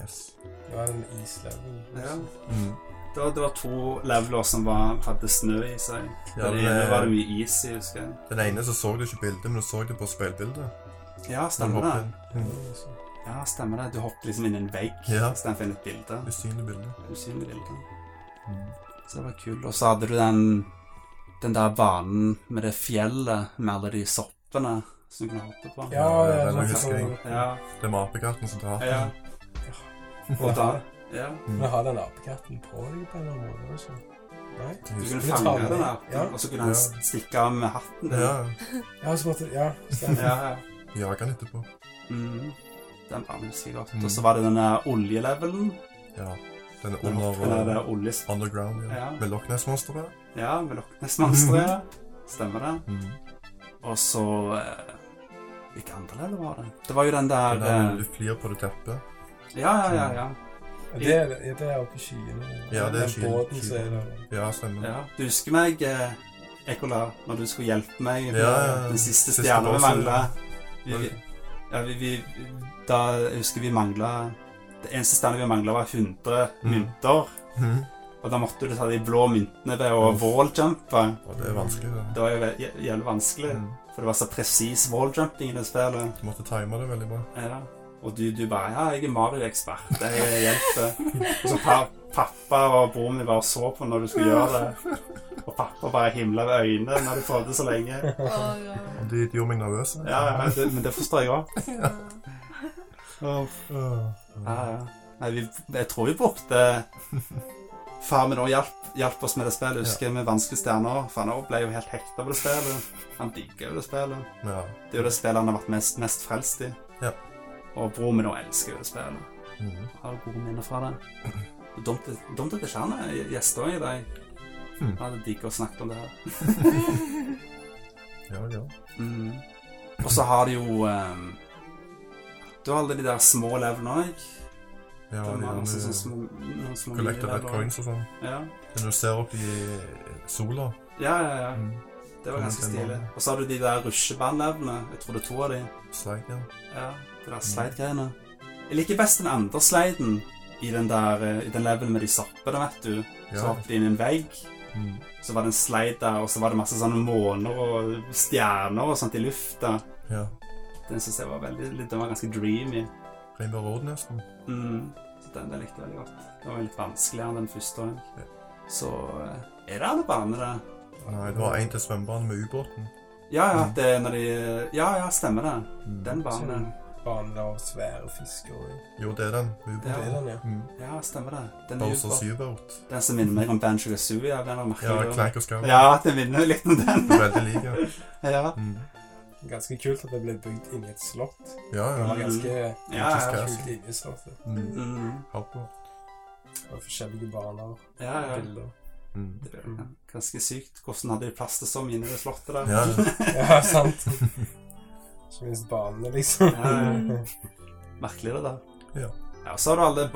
[SPEAKER 2] Yes.
[SPEAKER 3] Det var en islevel.
[SPEAKER 1] Ja.
[SPEAKER 2] Mm.
[SPEAKER 1] Det var, det var to leveler som var, hadde snø i seg.
[SPEAKER 2] Ja,
[SPEAKER 1] Den
[SPEAKER 2] det-
[SPEAKER 1] ene var det mye is i, husker jeg.
[SPEAKER 2] Den ene så så du ikke bildet, men du så det på speilbildet.
[SPEAKER 1] Ja, stemmer det.
[SPEAKER 2] Mm.
[SPEAKER 1] Ja, stemmer det. Du hoppet liksom inn i en vegg
[SPEAKER 2] Ja.
[SPEAKER 1] istedenfor inn i et bilde.
[SPEAKER 2] Usynlig bilde.
[SPEAKER 1] Usynlig bilde.
[SPEAKER 2] Mm.
[SPEAKER 1] Så det var kult. Og så hadde du den, den der banen med det fjellet med alle de soppene som du kunne hoppe på.
[SPEAKER 3] Ja, ja,
[SPEAKER 2] den
[SPEAKER 3] sånn
[SPEAKER 2] husker jeg.
[SPEAKER 3] som-
[SPEAKER 1] Ja.
[SPEAKER 2] Det er med apekatten som tar
[SPEAKER 1] ja. Og da Ja.
[SPEAKER 3] Men har den apekatten på deg på en eller annen måte? Også. Nei?
[SPEAKER 1] Du
[SPEAKER 2] Husker
[SPEAKER 1] kunne
[SPEAKER 3] du ta
[SPEAKER 1] fange
[SPEAKER 3] den?
[SPEAKER 1] den der,
[SPEAKER 3] Ja.
[SPEAKER 1] og så kunne han
[SPEAKER 2] Ja.
[SPEAKER 1] stikke av med hatten din.
[SPEAKER 2] Ja,
[SPEAKER 3] Ja, så måtte Ja, stemmer.
[SPEAKER 1] Ja, ja.
[SPEAKER 2] jager han etterpå.
[SPEAKER 1] Mhm. Den banen husker jeg godt.
[SPEAKER 2] Mhm.
[SPEAKER 1] Og så var det den der oljelevelen.
[SPEAKER 2] Ja. Den er
[SPEAKER 1] Den
[SPEAKER 2] under eh,
[SPEAKER 1] oppe der det er olje...
[SPEAKER 2] Underground, ja.
[SPEAKER 1] Ja.
[SPEAKER 2] Med Loch Ness-monsteret.
[SPEAKER 1] Ja, med Loch Ness-monsteret.
[SPEAKER 2] Mhm.
[SPEAKER 1] ja. Stemmer det.
[SPEAKER 2] Mm.
[SPEAKER 1] Og så eh, Hvilke andre leveler var det? Det var jo den der
[SPEAKER 2] Den der
[SPEAKER 1] eh,
[SPEAKER 2] du flyr på det teppet.
[SPEAKER 1] Ja, ja, ja. ja.
[SPEAKER 3] Og Det, er- ja, det er oppe i skyene.
[SPEAKER 2] Ja, det er
[SPEAKER 3] Den
[SPEAKER 2] skyene.
[SPEAKER 3] Båten som er der.
[SPEAKER 2] Ja, stemmer.
[SPEAKER 1] ja. Du husker meg, eh, Ekola, når du skulle hjelpe meg med
[SPEAKER 2] Ja, ja, ja.
[SPEAKER 1] den siste
[SPEAKER 2] Siste
[SPEAKER 1] stjerna vi
[SPEAKER 2] bossen.
[SPEAKER 1] mangla. Vi, vi, ja, vi, vi, da jeg husker vi mangla Det eneste stedet vi mangla, var 100
[SPEAKER 2] Mhm.
[SPEAKER 1] mynter.
[SPEAKER 2] Mm.
[SPEAKER 1] Og da måtte du ta de blå myntene ved å
[SPEAKER 2] Uff.
[SPEAKER 1] walljumpe.
[SPEAKER 2] Og det er vanskelig, det.
[SPEAKER 1] Det var jo ve- jæ- jævlig vanskelig,
[SPEAKER 2] Mm.
[SPEAKER 1] for det var så presis walljumping i det spillet.
[SPEAKER 2] Du måtte time det veldig bra.
[SPEAKER 1] Ja. Og du, du bare Ja, jeg er Mario-ekspert. Det hjelper. Og så pa pappa og broren min bare så på når du skulle gjøre det. Og pappa bare himla ved øynene når du prøvde så lenge.
[SPEAKER 4] Å, ja.
[SPEAKER 5] eh,
[SPEAKER 2] Og det det gjorde meg nervøs.
[SPEAKER 1] Ja, ja, det, Men det forstår jeg òg.
[SPEAKER 2] Øh.
[SPEAKER 1] Ja, ja. Nei, vi, jeg tror vi brukte Far min òg hjalp, hjalp oss med det spillet. Husker jeg med Vanskelige stjerner. For han også ble jo helt hekta på det spillet. Han digger jo det spillet.
[SPEAKER 2] ja.
[SPEAKER 1] Det er jo det spillet han har vært mest, mest frelst i.
[SPEAKER 2] Ja.
[SPEAKER 1] Og broren min òg elsker jo det spillet.
[SPEAKER 2] Mm.
[SPEAKER 1] har gode minner fra det. Det er *laughs* Dumt at- dumt at det ikke han er gjester i dag.
[SPEAKER 2] Hmm.
[SPEAKER 1] Jeg hadde digget å snakke om det her.
[SPEAKER 2] ja, ja.
[SPEAKER 1] Mm. Og så har de jo ehm, Du har alle de der små levelene òg.
[SPEAKER 2] Ja,
[SPEAKER 1] det er
[SPEAKER 2] de
[SPEAKER 1] masse
[SPEAKER 2] der
[SPEAKER 1] sånne små, noen små
[SPEAKER 2] collector red
[SPEAKER 1] minileveler.
[SPEAKER 2] coins og sånn.
[SPEAKER 1] Ja.
[SPEAKER 2] Når du ser opp i eh, sola.
[SPEAKER 1] ja, ja, ja.
[SPEAKER 2] Mm.
[SPEAKER 1] Det var
[SPEAKER 2] Kommer
[SPEAKER 1] ganske
[SPEAKER 2] til
[SPEAKER 1] stilig.
[SPEAKER 2] morgen.
[SPEAKER 1] Og så har du de der rusjebandlevene. Jeg tror det er to av de.
[SPEAKER 2] Slide, ja.
[SPEAKER 1] Ja, de
[SPEAKER 2] Mm.
[SPEAKER 1] der slide-greiene. Jeg liker best den andre sliden i den der, eh, i den levelen med de soppene, vet du. Så
[SPEAKER 2] Ja.
[SPEAKER 1] hoppet de inn i en vegg.
[SPEAKER 2] Mm.
[SPEAKER 1] Så var det en slide der, og så var det masse sånne måner og stjerner og sånt i lufta.
[SPEAKER 2] ja.
[SPEAKER 1] Den synes jeg var veldig, den var ganske dreamy.
[SPEAKER 2] Rainbow Road nesten.
[SPEAKER 1] Mm. Så den der likte jeg veldig godt. Den var litt vanskeligere enn den første. også.
[SPEAKER 2] Ja.
[SPEAKER 1] Så eh, er det alle baner der?
[SPEAKER 2] Nei, det var en til svømmebanen med ubåten.
[SPEAKER 1] Ja, ja,
[SPEAKER 2] Mm.
[SPEAKER 1] det er når de Ja, ja, stemmer det.
[SPEAKER 2] Mm.
[SPEAKER 1] Den
[SPEAKER 3] Sånn
[SPEAKER 1] banen.
[SPEAKER 3] bane der av svære fisker og
[SPEAKER 2] Jo, det er den.
[SPEAKER 1] Ja.
[SPEAKER 2] med Ubåten.
[SPEAKER 3] Det er den, ja.
[SPEAKER 2] Mm.
[SPEAKER 1] Ja, stemmer det. Den, er
[SPEAKER 2] Bowser
[SPEAKER 1] jo bra. *laughs*
[SPEAKER 2] Seaboat.
[SPEAKER 1] den som minner meg om Banjo Kazooie. Ja, den var
[SPEAKER 2] Ja,
[SPEAKER 1] merkelig.
[SPEAKER 2] Clank og Scout.
[SPEAKER 1] Ja, den minner meg litt om *laughs* den.
[SPEAKER 2] *laughs* Veldig lik, ja.
[SPEAKER 1] Ja.
[SPEAKER 2] Mm.
[SPEAKER 3] Ganske kult at det ble bygd inni et slott.
[SPEAKER 2] Ja,
[SPEAKER 3] Det
[SPEAKER 2] ja.
[SPEAKER 3] var ganske
[SPEAKER 1] Ja, ja.
[SPEAKER 3] kult inni slottet.
[SPEAKER 2] Mm.
[SPEAKER 1] Mm.
[SPEAKER 2] Harpo.
[SPEAKER 3] Og forskjellige baner.
[SPEAKER 1] Ja, ja.
[SPEAKER 3] Bilder.
[SPEAKER 1] *laughs*
[SPEAKER 2] Mm.
[SPEAKER 1] Det er ganske sykt. Hvordan hadde de plass til så mye inne i det slottet der?
[SPEAKER 2] Ja, ja.
[SPEAKER 3] Ja, sant. Ikke minst banene, liksom.
[SPEAKER 1] Ja, ja. Merkelig det der.
[SPEAKER 2] Ja.
[SPEAKER 1] Eh, ja og så har du alle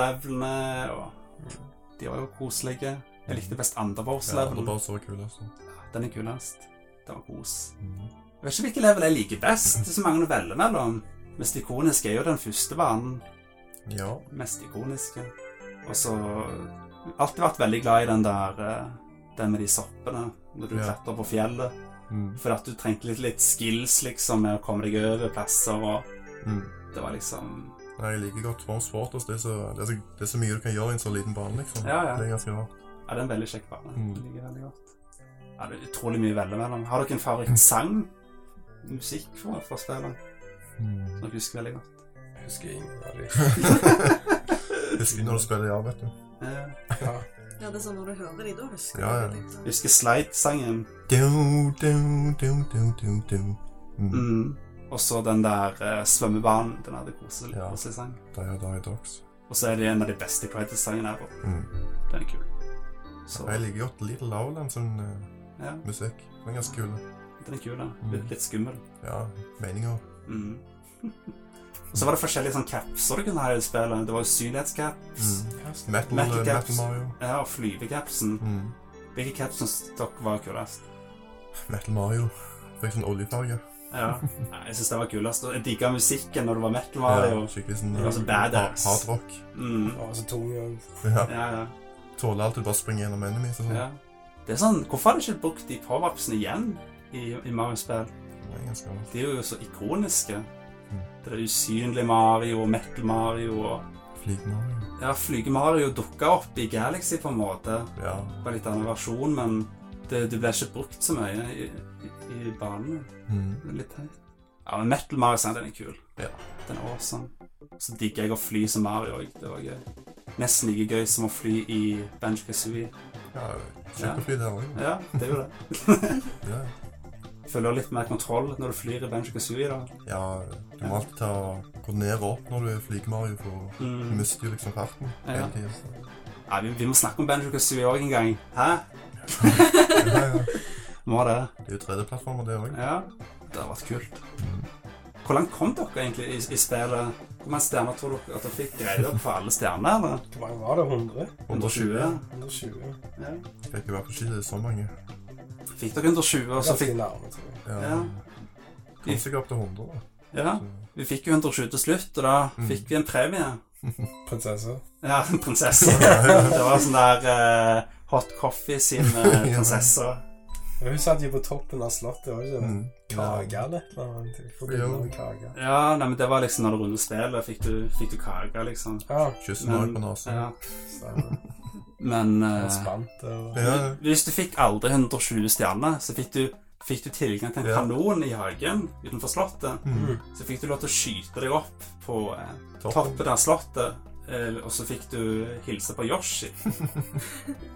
[SPEAKER 1] Bowser-levelene, og de var jo koselige. Jeg likte best andre
[SPEAKER 2] ja andre
[SPEAKER 1] Bowser-levelen.
[SPEAKER 2] Bowser var kulest. da.
[SPEAKER 1] Den er kulest. Den var kos.
[SPEAKER 2] altså. Mm.
[SPEAKER 1] Jeg vet ikke hvilken level jeg liker best. Det er så mange å velge mellom. Mest ikonisk er jo den første banen.
[SPEAKER 2] Ja.
[SPEAKER 1] Mest ikoniske. Og så har jeg alltid vært veldig glad i den der eh, Den med de soppene, når du
[SPEAKER 2] Ja.
[SPEAKER 1] klatrer på fjellet.
[SPEAKER 2] Mm.
[SPEAKER 1] For at du trengte litt, litt skills liksom med å komme deg over plasser, og
[SPEAKER 2] Mm.
[SPEAKER 1] det var liksom
[SPEAKER 2] Nei, jeg liker godt Force Fortress. Det er, så, det, er så, det er så mye du kan gjøre i en så liten bane, liksom.
[SPEAKER 1] Ja, ja.
[SPEAKER 2] Det er ganske rart.
[SPEAKER 1] Ja, det er en veldig kjekk bane.
[SPEAKER 2] Mm.
[SPEAKER 1] Det ligger veldig godt. Ja, det er utrolig mye å velge mellom. Har dere en favorittsang? Musikk fra, fra spillet?
[SPEAKER 2] Mm.
[SPEAKER 1] Som dere husker veldig godt?
[SPEAKER 3] Jeg husker ingen av de.
[SPEAKER 2] Husker når du spiller ja, vet du.
[SPEAKER 1] Eh,
[SPEAKER 3] Ja.
[SPEAKER 5] Ja, det er sånn når du hører de, da husker
[SPEAKER 2] Ja, ja.
[SPEAKER 5] du litt. sånn.
[SPEAKER 1] husker Slide-sangen.
[SPEAKER 2] Du, du, du, du, du, du. Mm.
[SPEAKER 1] Mm. Og så den der eh, svømmebanen. Den hadde koselig,
[SPEAKER 2] Ja.
[SPEAKER 1] koselig sang.
[SPEAKER 2] Der er der i dags.
[SPEAKER 1] Og så er det en av de beste Pride-sangene ever.
[SPEAKER 2] Mm.
[SPEAKER 1] Den er kul. Så
[SPEAKER 2] Jeg liker godt Little Lowland sånn eh,
[SPEAKER 1] ja,
[SPEAKER 2] musikk. Den er ganske kul.
[SPEAKER 1] den er kul, den.
[SPEAKER 2] Mm.
[SPEAKER 1] Litt, litt skummel.
[SPEAKER 2] Ja, meninger.
[SPEAKER 1] Mm. *laughs* Og så var det forskjellige sånne capser du kunne ha i det spillet. Det var jo synlighetscaps.
[SPEAKER 2] Mm. Metal,
[SPEAKER 1] Metal
[SPEAKER 2] eh,
[SPEAKER 1] Caps.
[SPEAKER 2] Metal Mario.
[SPEAKER 1] Ja, og flyvecapsen.
[SPEAKER 2] Mm.
[SPEAKER 1] Hvilke caps syns dere var kulest?
[SPEAKER 2] Metal Mario. Fikk sånn oljefarge.
[SPEAKER 1] Ja. Nei, Jeg syns det var kulest. og Jeg digga musikken når det var metal Mario.
[SPEAKER 2] Ja, skikkelig sånn
[SPEAKER 1] Det var så
[SPEAKER 2] eh,
[SPEAKER 1] badass.
[SPEAKER 2] hard- hardrock.
[SPEAKER 1] Mm.
[SPEAKER 3] Han var så tung og
[SPEAKER 2] *laughs* Ja.
[SPEAKER 1] Ja, ja,
[SPEAKER 2] Tåler alt du bare springer gjennom enemies og sånn.
[SPEAKER 1] ja. Det er sånn, Hvorfor har de ikke brukt de powerupsene igjen i, i Mario-spill?
[SPEAKER 2] Det er ganske rart.
[SPEAKER 1] De er jo så ikoniske. Det er usynlig Mario og metal Mario og
[SPEAKER 2] Flyg Mario.
[SPEAKER 1] Ja, Flyge-Mario dukka opp i Galaxy på en måte.
[SPEAKER 2] Ja.
[SPEAKER 1] På en litt annen versjon, men det, det ble ikke brukt så mye i, i, i banene.
[SPEAKER 2] Mm.
[SPEAKER 1] Det er Litt teit. Ja, men Metal Mario sant, den er kul.
[SPEAKER 2] Ja.
[SPEAKER 1] Den er awesome. Så digger jeg å fly som Mario òg. Det var gøy. Nesten like gøy som å fly i Banjo Kazooie.
[SPEAKER 2] ja Kjekt å fly der òg.
[SPEAKER 1] Ja, det er jo det.
[SPEAKER 2] Ja.
[SPEAKER 1] Føler litt mer kontroll når du flyr i Banjo Kazooie, da.
[SPEAKER 2] ja, du må alltid ta koordinere opp når du er Flyg Mario, for du
[SPEAKER 1] Mm.
[SPEAKER 2] mister jo liksom farten.
[SPEAKER 1] Ja.
[SPEAKER 2] hele tiden.
[SPEAKER 1] Nei, vi, vi må snakke om Banjo Kazooie òg en gang. Hæ?
[SPEAKER 2] Ja, ja.
[SPEAKER 1] Må det?
[SPEAKER 2] Det er jo 3D-plattformer, det òg.
[SPEAKER 1] Ja. Det har vært kult. Hvor langt kom dere egentlig i, i spillet? Hvor mange stjerner tror dere at dere fikk? Greide dere for alle stjerner, eller?
[SPEAKER 3] Hvor mange var det? 100?
[SPEAKER 1] 120?
[SPEAKER 3] 120?
[SPEAKER 1] Ja.
[SPEAKER 2] Fikk jo være på ski, det er så mange.
[SPEAKER 1] Fikk dere 120, og så
[SPEAKER 3] Ganske
[SPEAKER 1] fikk
[SPEAKER 3] nærme, tror jeg.
[SPEAKER 2] Ja.
[SPEAKER 1] Ja.
[SPEAKER 2] Kom sikkert opp til 100, da.
[SPEAKER 1] Ja, vi fikk jo 120 til slutt, og da
[SPEAKER 2] Mm.
[SPEAKER 1] fikk vi en premie.
[SPEAKER 3] Prinsesser.
[SPEAKER 1] Ja, en
[SPEAKER 2] *laughs*
[SPEAKER 1] prinsesse. Det var sånn der eh, Hot Coffee sin
[SPEAKER 2] *laughs*
[SPEAKER 1] eh, prinsesse.
[SPEAKER 3] Men Hun satt jo på toppen av slottet, var det ikke?
[SPEAKER 2] Mm.
[SPEAKER 3] Kage eller et eller annet? Jeg forbinder med kage.
[SPEAKER 1] Ja, nei, men det var liksom når du rundet spillet, fikk du, fikk du kake, liksom.
[SPEAKER 3] Ja,
[SPEAKER 2] Kyss
[SPEAKER 1] Men-
[SPEAKER 2] Mario på nesen.
[SPEAKER 1] Ja.
[SPEAKER 3] stemmer.
[SPEAKER 1] Men eh,
[SPEAKER 3] Han spant og
[SPEAKER 2] Ja.
[SPEAKER 1] hvis du fikk aldri 120 stjerner, så fikk du, fikk du tilgang til en
[SPEAKER 2] Ja.
[SPEAKER 1] kanon i hagen utenfor slottet.
[SPEAKER 2] Mm.
[SPEAKER 1] Så fikk du lov til å skyte deg opp på eh,
[SPEAKER 2] Toppen.
[SPEAKER 1] toppen av slottet, eh, og så fikk du hilse på Yoshi.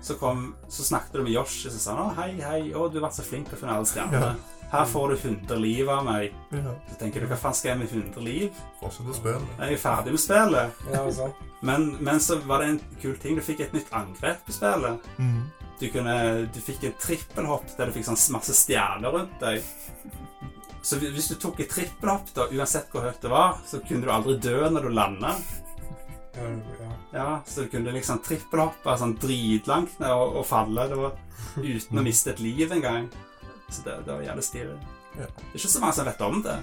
[SPEAKER 1] Så, kom, så snakket du med Yoshi, så sa han «Å, 'Hei, hei, å, du har vært så flink til å finne alle stjernene'. 'Her får du 100 liv av meg'.
[SPEAKER 2] Ja.
[SPEAKER 1] Så tenker du 'Hva faen skal jeg med 100 liv?
[SPEAKER 2] Fortsett å spille.
[SPEAKER 1] Jeg er ferdig med spillet'.
[SPEAKER 3] Ja, sant.
[SPEAKER 1] Men, men så var det en kul ting. Du fikk et nytt angrep i spillet.
[SPEAKER 2] Mm.
[SPEAKER 1] Du, kunne, du fikk et trippelhopp der du fikk sånn masse stjerner rundt deg. Så hvis- hvis du tok et trippelhopp, da, uansett hvor høyt det var, så kunne du aldri dø når du landa.
[SPEAKER 3] Ja, ja.
[SPEAKER 1] Ja, så du kunne liksom trippelhoppe sånn dritlangt ned og, og falle. Det var uten å miste et liv engang. Så det, det var jævlig stilig.
[SPEAKER 2] Ja.
[SPEAKER 1] Det er ikke så mange som vet om det.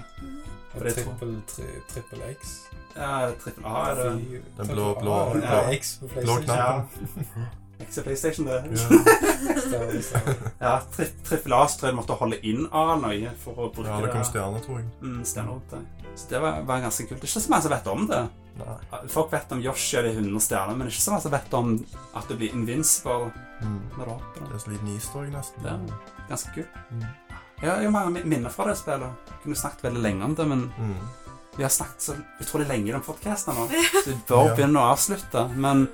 [SPEAKER 3] Og
[SPEAKER 1] det tror-
[SPEAKER 3] Trippel, tri, trippel X.
[SPEAKER 1] Ja, Trippel A er det.
[SPEAKER 3] Fy-
[SPEAKER 2] Den
[SPEAKER 3] trippel
[SPEAKER 2] blå-
[SPEAKER 3] A,
[SPEAKER 2] blå-
[SPEAKER 3] den
[SPEAKER 1] blå-
[SPEAKER 3] er X på
[SPEAKER 2] Blå
[SPEAKER 3] PlayStation.
[SPEAKER 1] Ja.
[SPEAKER 2] knappen.
[SPEAKER 1] Ikke PlayStation, det.
[SPEAKER 2] Ja.
[SPEAKER 3] Stemmer, stemmer.
[SPEAKER 1] Ja, tri Trippel A så tror jeg du måtte holde inn A nøye for å bruke
[SPEAKER 2] ja, det kom
[SPEAKER 1] det.
[SPEAKER 2] stjerner, tror jeg.
[SPEAKER 1] Mm, stjerner rundt deg. Så det var, var ganske kult. Det er ikke så mange som vet om det.
[SPEAKER 2] Nei.
[SPEAKER 1] Folk vet om Yoshi og de 100 stjernene, men det er ikke så mange som vet om at du blir invincible
[SPEAKER 2] Mm.
[SPEAKER 1] når du hopper.
[SPEAKER 2] Det er så liten easter egg, nesten.
[SPEAKER 1] Det er ganske kult.
[SPEAKER 2] Mm.
[SPEAKER 1] Jeg har jo mange min- minner fra det spillet. Kunne snakket veldig lenge om det, men
[SPEAKER 2] Mm.
[SPEAKER 1] vi har snakket så utrolig lenge i den podcasten nå, så vi bør
[SPEAKER 2] Ja.
[SPEAKER 1] begynne å avslutte. Men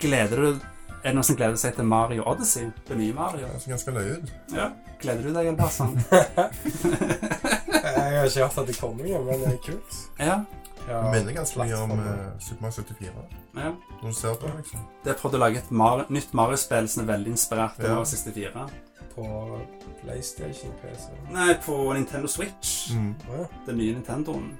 [SPEAKER 1] gleder du Er det noen som gleder seg til Mario Odyssey? Det nye Mario?
[SPEAKER 2] Det ser ganske løye ut.
[SPEAKER 1] Ja. Gleder du deg,
[SPEAKER 2] *laughs*
[SPEAKER 1] Elbasan?
[SPEAKER 3] Jeg har ikke hørt at det kommer igjen, men det er kult.
[SPEAKER 1] ja.
[SPEAKER 3] Ja,
[SPEAKER 2] Det minner ganske mye om
[SPEAKER 3] plattformer.
[SPEAKER 2] eh, Super Mario 74.
[SPEAKER 1] ja.
[SPEAKER 2] Når du ser på det, liksom.
[SPEAKER 1] Det prøvde å lage et Mar nytt Mario-spill som er veldig inspirert av
[SPEAKER 2] Ja.
[SPEAKER 1] Mario 64.
[SPEAKER 3] På PlayStation, PC.
[SPEAKER 1] Nei, på Nintendo Switch.
[SPEAKER 2] Mm.
[SPEAKER 3] Å ja.
[SPEAKER 1] Den nye Nintendoen.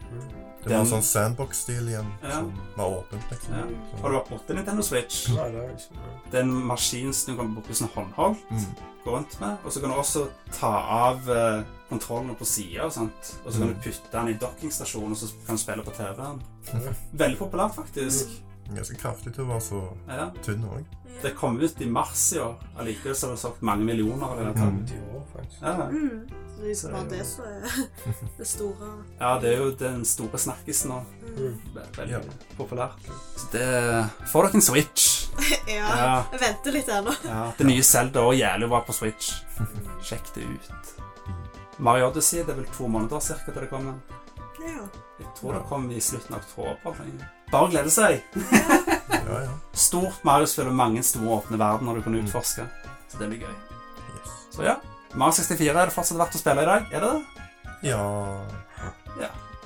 [SPEAKER 2] Det var
[SPEAKER 1] Den-
[SPEAKER 2] sånn sandbox-stil igjen,
[SPEAKER 1] Ja.
[SPEAKER 2] som var åpent, liksom.
[SPEAKER 1] Ja.
[SPEAKER 2] Så-
[SPEAKER 1] Har du vært borti Nintendo Switch?
[SPEAKER 3] Nei, det er liksom- ikke noe.
[SPEAKER 1] Det er en maskin som du kan bruke sånn som håndhold.
[SPEAKER 2] Mm.
[SPEAKER 1] gå rundt med. Og så kan du også ta av eh, kontrollene på sida, og sånt. Og
[SPEAKER 2] Mm. Mm.
[SPEAKER 1] så kan du putte den i dockingstasjonen, og så kan du spille på TV-en. Veldig populært, faktisk.
[SPEAKER 2] Ganske kraftig til å være så
[SPEAKER 1] Ja.
[SPEAKER 2] tynn òg.
[SPEAKER 1] Det kom ut i mars i år. Allikevel så har det solgt mange millioner av denne
[SPEAKER 2] Mm.
[SPEAKER 1] tanken.
[SPEAKER 3] I år, faktisk.
[SPEAKER 1] Ja, ja.
[SPEAKER 5] Mm. Så hvis
[SPEAKER 1] Så
[SPEAKER 5] det var
[SPEAKER 1] det er jo-
[SPEAKER 5] det, så er det store
[SPEAKER 1] ja, det er jo den store snakkisen nå.
[SPEAKER 5] mm.
[SPEAKER 1] Det er Veldig
[SPEAKER 2] Ja.
[SPEAKER 1] populært. Så det Får dere en Switch?
[SPEAKER 5] Ja.
[SPEAKER 1] Ja.
[SPEAKER 5] Jeg venter litt ennå.
[SPEAKER 1] ja. Det nye Zelda og jævlig var på Switch.
[SPEAKER 5] Mm.
[SPEAKER 1] Sjekk det ut.
[SPEAKER 2] Mm.
[SPEAKER 1] Mario Odyssey, det er vel to måneder cirka til det kommer.
[SPEAKER 5] Ja.
[SPEAKER 1] Jeg tror det kommer i slutten av oktober. tror jeg. Bare glede seg.
[SPEAKER 2] Ja, ja.
[SPEAKER 1] Stort Mario-spill og mange store åpne verdener du kan utforske. Så det blir gøy.
[SPEAKER 2] Yes.
[SPEAKER 1] Så ja. Mario 64 er det fortsatt verdt å spille i dag. Er det det?
[SPEAKER 2] Ja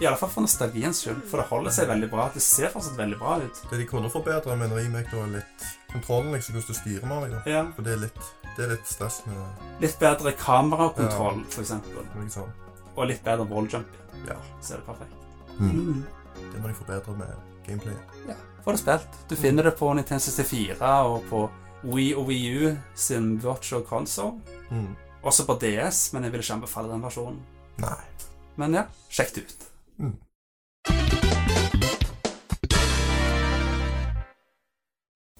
[SPEAKER 1] I alle fall for nostalgiens skyld, for det holder seg veldig bra. Det ser fortsatt veldig bra ut.
[SPEAKER 2] Det de kunne forbedre med en remake, da, er litt kontrollen, liksom hvordan du styrer Mario.
[SPEAKER 1] Ja.
[SPEAKER 2] For det er litt, det er litt stress med
[SPEAKER 1] Litt bedre kamerakontroll, for eksempel.
[SPEAKER 2] med liksom.
[SPEAKER 1] Og litt bedre walljumping.
[SPEAKER 2] Ja.
[SPEAKER 1] Så er det perfekt.
[SPEAKER 2] Mm.
[SPEAKER 1] Mm.
[SPEAKER 2] Det må de forbedre med gameplayet.
[SPEAKER 1] Får det spilt. Du finner det på Nintendo 64 og på Wii og Wii U sin virtual console.
[SPEAKER 2] Mm.
[SPEAKER 1] Også på DS, men jeg vil ikke anbefale den versjonen.
[SPEAKER 2] Nei.
[SPEAKER 1] Men ja, sjekk det ut.
[SPEAKER 2] Mm.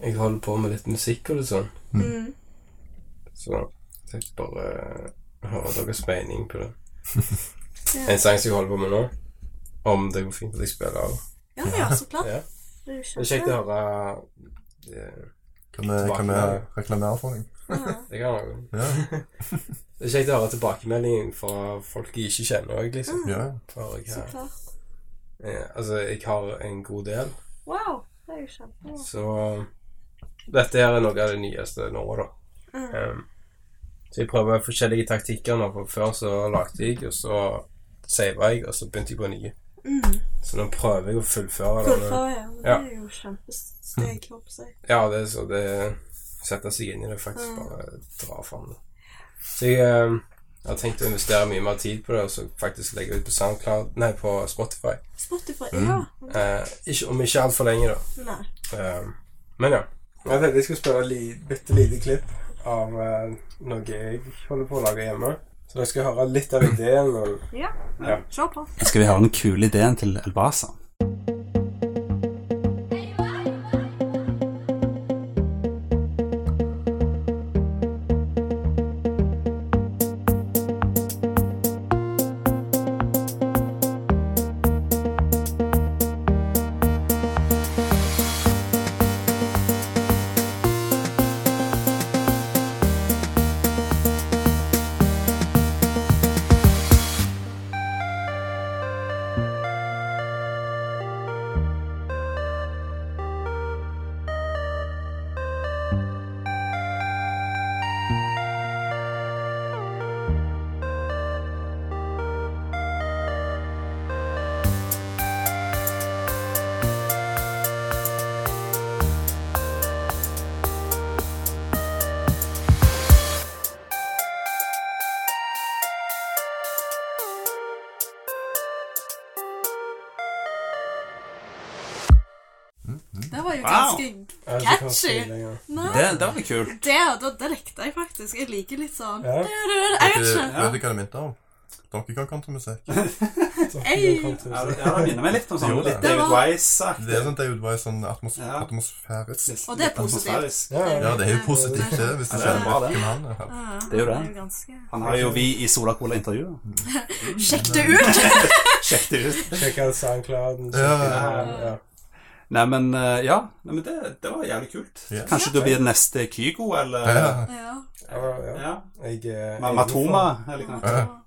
[SPEAKER 3] Jeg holder på med litt musikk og litt sånn,
[SPEAKER 5] Mm.
[SPEAKER 3] så jeg tenkte bare eh, høre deres mening på det.
[SPEAKER 5] Ja.
[SPEAKER 3] En sang som jeg holder på med nå, om det går fint at jeg spiller av.
[SPEAKER 5] ja, altså ja, så klart.
[SPEAKER 3] Ja.
[SPEAKER 5] Det er jo
[SPEAKER 3] Det er kjekt å høre eh,
[SPEAKER 2] Kan vi, kan vi reklamere for deg?
[SPEAKER 5] Ja.
[SPEAKER 3] Det kan jeg jo.
[SPEAKER 2] Ja.
[SPEAKER 3] Det er kjekt å høre tilbakemeldingen fra folk jeg ikke kjenner òg, liksom.
[SPEAKER 5] Mm.
[SPEAKER 2] ja.
[SPEAKER 3] For jeg,
[SPEAKER 5] Så
[SPEAKER 3] har-
[SPEAKER 5] klart.
[SPEAKER 3] eh, altså, jeg har en god del,
[SPEAKER 5] Wow. Det er jo kjempebra.
[SPEAKER 3] så dette her er noe av det nyeste nå, da.
[SPEAKER 5] Mm.
[SPEAKER 3] Ehm, så jeg prøver forskjellige taktikker nå, for før så lagde jeg, og så sava jeg, og så begynte jeg på nye.
[SPEAKER 5] Mm.
[SPEAKER 3] Så nå prøver jeg å fullføre det.
[SPEAKER 5] Fullføre, ja. Men Det
[SPEAKER 3] Ja.
[SPEAKER 5] er jo kjempesteg, håper jeg.
[SPEAKER 3] Ja, det er så det setter seg inn i det, faktisk
[SPEAKER 5] Mm.
[SPEAKER 3] bare dra fram det. Så jeg eh, har tenkt å investere mye mer tid på det, og så faktisk legge ut på SoundCloud, nei, på Spotify.
[SPEAKER 5] Spotify, ja.
[SPEAKER 3] Eh, ikke, om ikke altfor lenge, da.
[SPEAKER 5] Nei.
[SPEAKER 3] Eh, men ja. Jeg tenkte jeg skulle spille et li, bitte lite klipp av eh, noe jeg holder på å lage hjemme. Så dere skal høre litt av ideen. Og,
[SPEAKER 5] Kjør på.
[SPEAKER 1] Skal vi høre den kule ideen til Elbasa?
[SPEAKER 4] Det var jo
[SPEAKER 1] Wow.
[SPEAKER 4] ganske
[SPEAKER 3] Jeg vet ikke hva jeg
[SPEAKER 5] Catchy.
[SPEAKER 3] skal lenger.
[SPEAKER 5] Nei,
[SPEAKER 1] Det, det var litt kult.
[SPEAKER 5] det, det, det likte jeg faktisk. Jeg liker litt sånn
[SPEAKER 3] Ja.
[SPEAKER 5] Jeg
[SPEAKER 2] Vet
[SPEAKER 5] vet
[SPEAKER 2] du
[SPEAKER 5] ikke.
[SPEAKER 2] vet du hva det minte om? Donkey Kong Country-musikk.
[SPEAKER 5] *laughs*
[SPEAKER 3] Så,
[SPEAKER 5] Ei.
[SPEAKER 3] kom til å
[SPEAKER 1] Ja,
[SPEAKER 3] si.
[SPEAKER 1] det ja, det minner meg litt om sånn
[SPEAKER 2] Jo, det-
[SPEAKER 1] litt
[SPEAKER 5] Det
[SPEAKER 1] David
[SPEAKER 5] var-
[SPEAKER 2] Det er
[SPEAKER 1] Wise-aktig.
[SPEAKER 2] sånn David Wise, sånn atmos
[SPEAKER 1] Ja.
[SPEAKER 2] atmosfærisk.
[SPEAKER 1] Litt-
[SPEAKER 5] Og det er
[SPEAKER 1] litt
[SPEAKER 5] positivt.
[SPEAKER 1] atmosfærisk.
[SPEAKER 3] Ja, ja.
[SPEAKER 2] Ja, det er jo positivt, det, hvis du
[SPEAKER 1] Ja, det er
[SPEAKER 2] ser
[SPEAKER 1] bra, det.
[SPEAKER 2] hvem han er.
[SPEAKER 5] Ja,
[SPEAKER 1] Det er jo det.
[SPEAKER 5] ganske...
[SPEAKER 1] Han har jo vi i Sola Cola-intervjuet.
[SPEAKER 5] Sjekk det ut!
[SPEAKER 1] *laughs* Sjekk det ut.
[SPEAKER 3] *laughs* Sjekk ut SoundClouden. sjekk
[SPEAKER 2] Ja,
[SPEAKER 3] ut
[SPEAKER 1] ja,
[SPEAKER 3] her, ja.
[SPEAKER 1] Nei, men eh, ja. Nei, men det, det var jævlig kult.
[SPEAKER 2] Ja.
[SPEAKER 1] Kanskje du blir neste Kygo, eller
[SPEAKER 2] Ja.
[SPEAKER 5] Ja.
[SPEAKER 3] Ja, ja.
[SPEAKER 1] Ja.
[SPEAKER 3] Jeg, eh,
[SPEAKER 1] Ma-
[SPEAKER 3] er
[SPEAKER 1] Matoma,
[SPEAKER 3] hjemme
[SPEAKER 1] eller noe.
[SPEAKER 2] Ja.
[SPEAKER 3] for-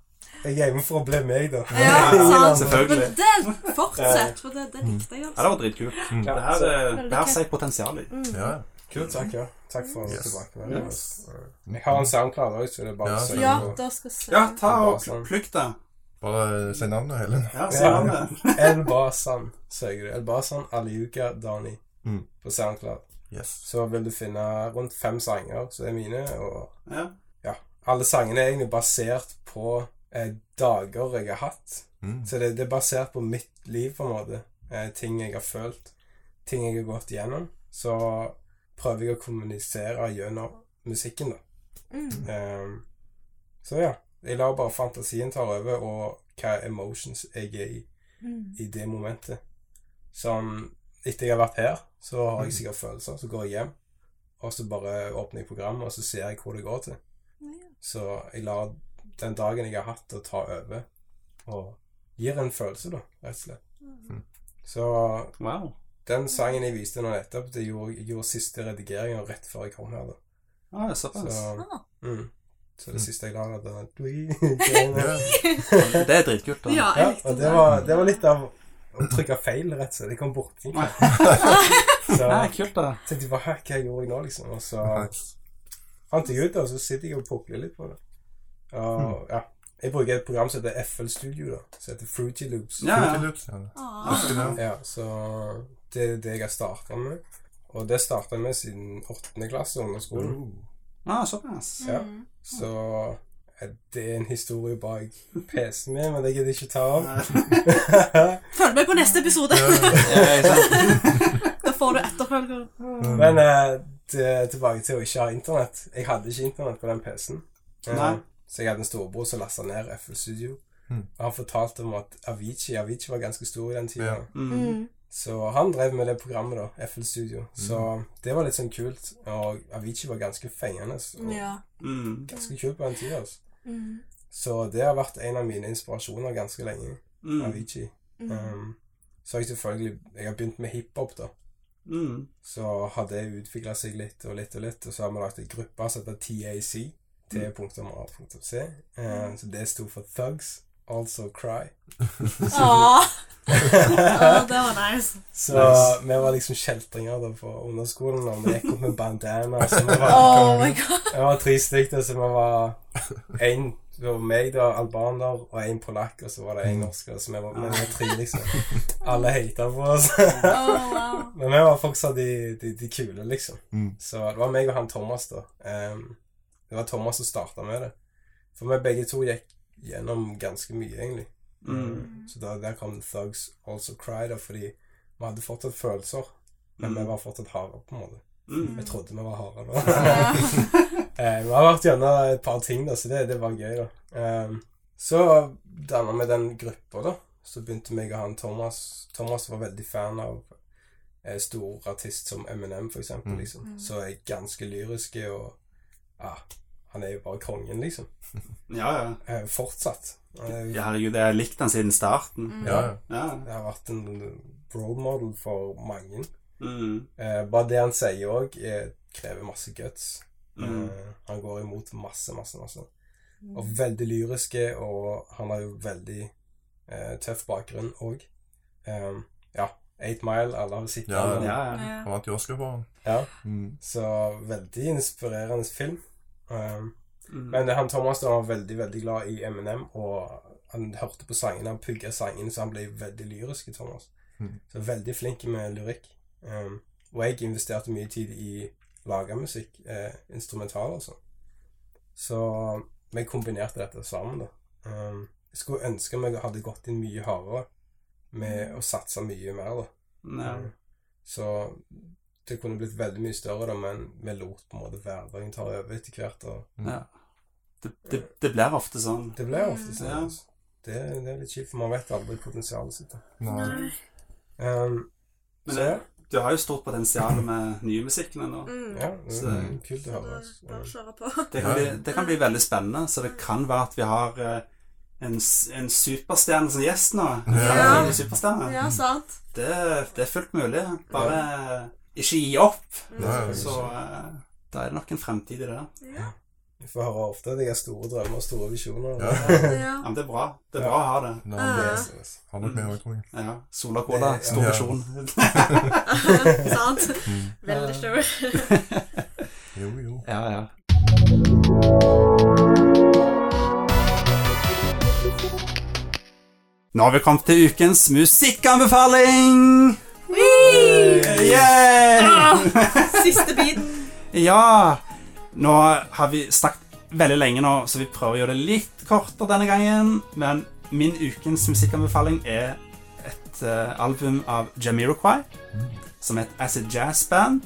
[SPEAKER 3] Jeg er hjemme for å bli meg, da.
[SPEAKER 5] Ja,
[SPEAKER 1] Ja,
[SPEAKER 5] sant.
[SPEAKER 1] selvfølgelig.
[SPEAKER 5] Men det fortsett, for det, det likte jeg.
[SPEAKER 1] Ja, det var dritkult.
[SPEAKER 2] Mm.
[SPEAKER 1] Det her, eh,
[SPEAKER 5] Veldig
[SPEAKER 1] det her
[SPEAKER 5] kult.
[SPEAKER 1] ser jeg potensial i.
[SPEAKER 2] Ja,
[SPEAKER 3] Kult, takk, ja. Takk for
[SPEAKER 2] Yes.
[SPEAKER 3] tilbakemeldingen.
[SPEAKER 1] Yes.
[SPEAKER 3] Jeg har en SoundCloud òg, så det er bare
[SPEAKER 2] Ja,
[SPEAKER 3] å søke
[SPEAKER 5] Ja,
[SPEAKER 3] på.
[SPEAKER 5] da skal jeg se.
[SPEAKER 1] Ja, ta og pl- plukk det.
[SPEAKER 2] Bare si navnet, Helen.
[SPEAKER 1] Ja, si navnet.
[SPEAKER 3] Elbasan søker du. Elbasan Aliuka Dani
[SPEAKER 2] Mm.
[SPEAKER 3] på SoundCloud.
[SPEAKER 2] Yes.
[SPEAKER 3] Så vil du finne rundt fem sanger som er mine, og
[SPEAKER 1] Ja.
[SPEAKER 3] alle sangene er egentlig basert på eh, dager jeg har hatt.
[SPEAKER 2] Mm.
[SPEAKER 3] Så det, det er basert på mitt liv, på en måte. Eh, ting jeg har følt, ting jeg har gått gjennom. Så prøver jeg å kommunisere gjennom musikken, da.
[SPEAKER 5] Mm.
[SPEAKER 3] Ehm, så ja. Jeg lar bare fantasien ta over, og hva emotions jeg er i
[SPEAKER 5] Mm.
[SPEAKER 3] i det momentet. Som etter jeg har vært her, så har jeg sikkert følelser. Så går jeg hjem, og så bare åpner jeg programmet, og så ser jeg hvor det går til. Så jeg lar den dagen jeg har hatt, å ta over, og gir en følelse, da, rett og
[SPEAKER 2] Mm.
[SPEAKER 3] slett. Så
[SPEAKER 1] Wow.
[SPEAKER 3] den sangen jeg viste nå nettopp, det gjorde, jeg gjorde siste redigeringen rett før jeg kom her, da.
[SPEAKER 1] Ah, såpass.
[SPEAKER 3] Så,
[SPEAKER 4] Ah.
[SPEAKER 3] mm. så
[SPEAKER 2] Mm.
[SPEAKER 3] det siste jeg la, var den
[SPEAKER 2] Ja.
[SPEAKER 1] Det er dritkult. da.
[SPEAKER 4] Ja,
[SPEAKER 3] Ja,
[SPEAKER 4] jeg likte
[SPEAKER 3] og det
[SPEAKER 4] det.
[SPEAKER 3] var, det var litt av å trykke feil, rett og slett. Jeg kom borti. Så
[SPEAKER 1] Nei, kult, da.
[SPEAKER 3] tenkte jeg bare «Hæ, Hva gjorde jeg nå, liksom? Og så fant jeg ut det, og så sitter jeg og pukler litt på det. Og ja. Jeg bruker et program som heter FL Studio, da. Som heter Fruity Loops.
[SPEAKER 1] Ja, ja.
[SPEAKER 2] Loops, ja.
[SPEAKER 4] Ah.
[SPEAKER 2] Husker det.
[SPEAKER 3] Ja, så det er det jeg har starta med. Og det starta jeg med siden åttende klasse under skolen.
[SPEAKER 2] Oh.
[SPEAKER 1] Ah, såpass.
[SPEAKER 3] Ja.
[SPEAKER 5] Mm.
[SPEAKER 3] Så eh, det er en historie bak PC-en min, men det gidder jeg ikke ta
[SPEAKER 1] Mm.
[SPEAKER 3] av.
[SPEAKER 4] Følg med på neste episode!
[SPEAKER 1] *laughs* Ja, ikke sant?
[SPEAKER 4] *laughs* Da får du etterfølger.
[SPEAKER 2] Mm.
[SPEAKER 3] Men eh, det, tilbake til å ikke ha internett. Jeg hadde ikke internett på den PC-en. Eh,
[SPEAKER 1] Nei.
[SPEAKER 3] så jeg hadde en storebror som lasta ned FL Studio.
[SPEAKER 2] Mm.
[SPEAKER 3] Og han fortalte om at Avicii Avicii var ganske stor i den tida.
[SPEAKER 2] Ja.
[SPEAKER 1] Mm.
[SPEAKER 3] Så han drev med det programmet, da. FL Studio. Så det var litt sånn kult. Og Avicii var ganske fengende. Og
[SPEAKER 4] Ja.
[SPEAKER 1] Mm.
[SPEAKER 3] ganske kult på den tida. Altså.
[SPEAKER 4] Mm.
[SPEAKER 3] Så det har vært en av mine inspirasjoner ganske lenge.
[SPEAKER 1] Mm.
[SPEAKER 3] Avicii.
[SPEAKER 4] Mm.
[SPEAKER 3] Um, så har jeg selvfølgelig Jeg har begynt med hiphop, da.
[SPEAKER 1] Mm.
[SPEAKER 3] Så har det utvikla seg litt og litt og litt, og så har vi lagt en gruppe som heter TAC. T.A.C. Eh, så det sto for Thugs Also Cry.
[SPEAKER 4] Ah, ah, det var nice.
[SPEAKER 3] Så
[SPEAKER 1] Nice.
[SPEAKER 3] vi var liksom kjeltringer da på underskolen, og vi gikk opp med bandana. Så vi var,
[SPEAKER 4] Oh my god.
[SPEAKER 3] vi var tre stykker, så vi var en det var meg, da, albaner, og en polakk, og så var det en norsker. Så vi var, vi var tre, liksom. Alle hata på oss.
[SPEAKER 4] Oh, wow.
[SPEAKER 3] *laughs* Men vi var fortsatt de, de, de kule, liksom.
[SPEAKER 2] Mm.
[SPEAKER 3] Så det var meg og han Thomas, da. Ehm, det var Thomas som starta med det. For vi begge to gikk gjennom ganske mye, egentlig.
[SPEAKER 1] Mm.
[SPEAKER 3] Så da, der kom Thugs Also Cry, da, fordi vi hadde fortsatt følelser. Men vi
[SPEAKER 1] Mm.
[SPEAKER 3] var fortsatt harde, på en måte.
[SPEAKER 1] Mm.
[SPEAKER 3] Jeg trodde vi var harde
[SPEAKER 1] *laughs*
[SPEAKER 3] da. Eh, vi har vært gjennom et par ting, da, så det, det var gøy, da. Ehm, så danna vi den gruppa, da. Så begynte meg og han Thomas Thomas var veldig fan av eh, stor artist som Eminem, for eksempel,
[SPEAKER 2] Mm.
[SPEAKER 3] liksom. Så er ganske lyriske og Ja, han er jo bare kongen, liksom.
[SPEAKER 1] Ja, ja.
[SPEAKER 3] Eh, fortsatt. Han er,
[SPEAKER 1] Ja, Herregud, jeg har likt den siden starten.
[SPEAKER 2] Ja, ja.
[SPEAKER 1] Ja.
[SPEAKER 3] Det har vært en role model for mange.
[SPEAKER 1] Mm.
[SPEAKER 3] Eh, bare det han sier òg, krever masse guts.
[SPEAKER 1] Mm.
[SPEAKER 3] Eh, han går imot masse, masse, masse. Og veldig lyriske, og han har jo veldig eh, tøff bakgrunn òg. Eh, ja. Eight Mile, alle har sett
[SPEAKER 2] Ja,
[SPEAKER 1] Ja,
[SPEAKER 3] den.
[SPEAKER 1] ja.
[SPEAKER 4] Ja.
[SPEAKER 2] Han vant jo Oscar for den.
[SPEAKER 3] Ja.
[SPEAKER 2] Mm.
[SPEAKER 3] Så veldig inspirerende film. Eh,
[SPEAKER 1] Mm.
[SPEAKER 3] men han Thomas da, han var veldig, veldig glad i Eminem, og han hørte på sangene, han pugga sangene, så han ble veldig lyrisk, Thomas.
[SPEAKER 2] Mm.
[SPEAKER 3] Så veldig flink med lyrikk. Um, og jeg investerte mye tid i laga musikk, eh, instrumental og sånn. Så vi kombinerte dette sammen, da. Um, jeg skulle ønske vi hadde gått inn mye hardere med å satse mye mer, da. Um,
[SPEAKER 1] Ja.
[SPEAKER 3] Mm. Så det kunne blitt veldig mye større, da, men vi lot på en måte hverdagen ta over etter hvert. og
[SPEAKER 1] Ja. Det, det, det blir ofte sånn.
[SPEAKER 3] Det blir ofte sånn.
[SPEAKER 1] Ja.
[SPEAKER 3] altså. Det, det er litt kjipt, for man vet aldri potensialet sitt. da.
[SPEAKER 2] Nei.
[SPEAKER 5] Mm.
[SPEAKER 3] Ehm,
[SPEAKER 1] Men
[SPEAKER 3] så ja,
[SPEAKER 1] det- du har jo stort potensial med nye musikkene nå.
[SPEAKER 5] Mm.
[SPEAKER 3] ja det
[SPEAKER 1] Så-
[SPEAKER 3] er kult å
[SPEAKER 5] Så
[SPEAKER 3] høre.
[SPEAKER 5] da bare
[SPEAKER 3] Altså.
[SPEAKER 5] kjøre på.
[SPEAKER 1] Det kan, bli, det kan bli veldig spennende, så det kan være at vi har eh, en, s- en superstjerne som gjest nå.
[SPEAKER 2] Ja.
[SPEAKER 1] En superstjerne.
[SPEAKER 5] Ja, sant.
[SPEAKER 1] Det, det er fullt mulig. Bare ikke gi opp.
[SPEAKER 2] Nei.
[SPEAKER 1] Så eh, da er det nok en fremtid i det. der.
[SPEAKER 5] Ja.
[SPEAKER 3] Jeg får høre ofte at jeg har store drømmer og store visjoner.
[SPEAKER 2] Ja.
[SPEAKER 5] ja.
[SPEAKER 1] Ja, men det er bra. Det er bra å ha det.
[SPEAKER 2] Nei,
[SPEAKER 5] Ja.
[SPEAKER 2] det
[SPEAKER 3] Altså, altså.
[SPEAKER 2] har nok vi òg, tror jeg.
[SPEAKER 1] Ja. Sola Cola,
[SPEAKER 3] Det-
[SPEAKER 1] stor
[SPEAKER 2] ja.
[SPEAKER 1] visjon.
[SPEAKER 5] *laughs* sant.
[SPEAKER 2] Mm.
[SPEAKER 5] Veldig stor.
[SPEAKER 2] Jo, jo.
[SPEAKER 1] *laughs* Ja, ja. Nå har vi kommet til ukens musikkanbefaling! Yeah!
[SPEAKER 5] Siste biten.
[SPEAKER 1] Ja! Nå har vi snakket veldig lenge nå, så vi prøver å gjøre det litt kortere denne gangen. Men min ukens musikkanbefaling er et eh, album av Jamiroquai, som er et acid jazz band.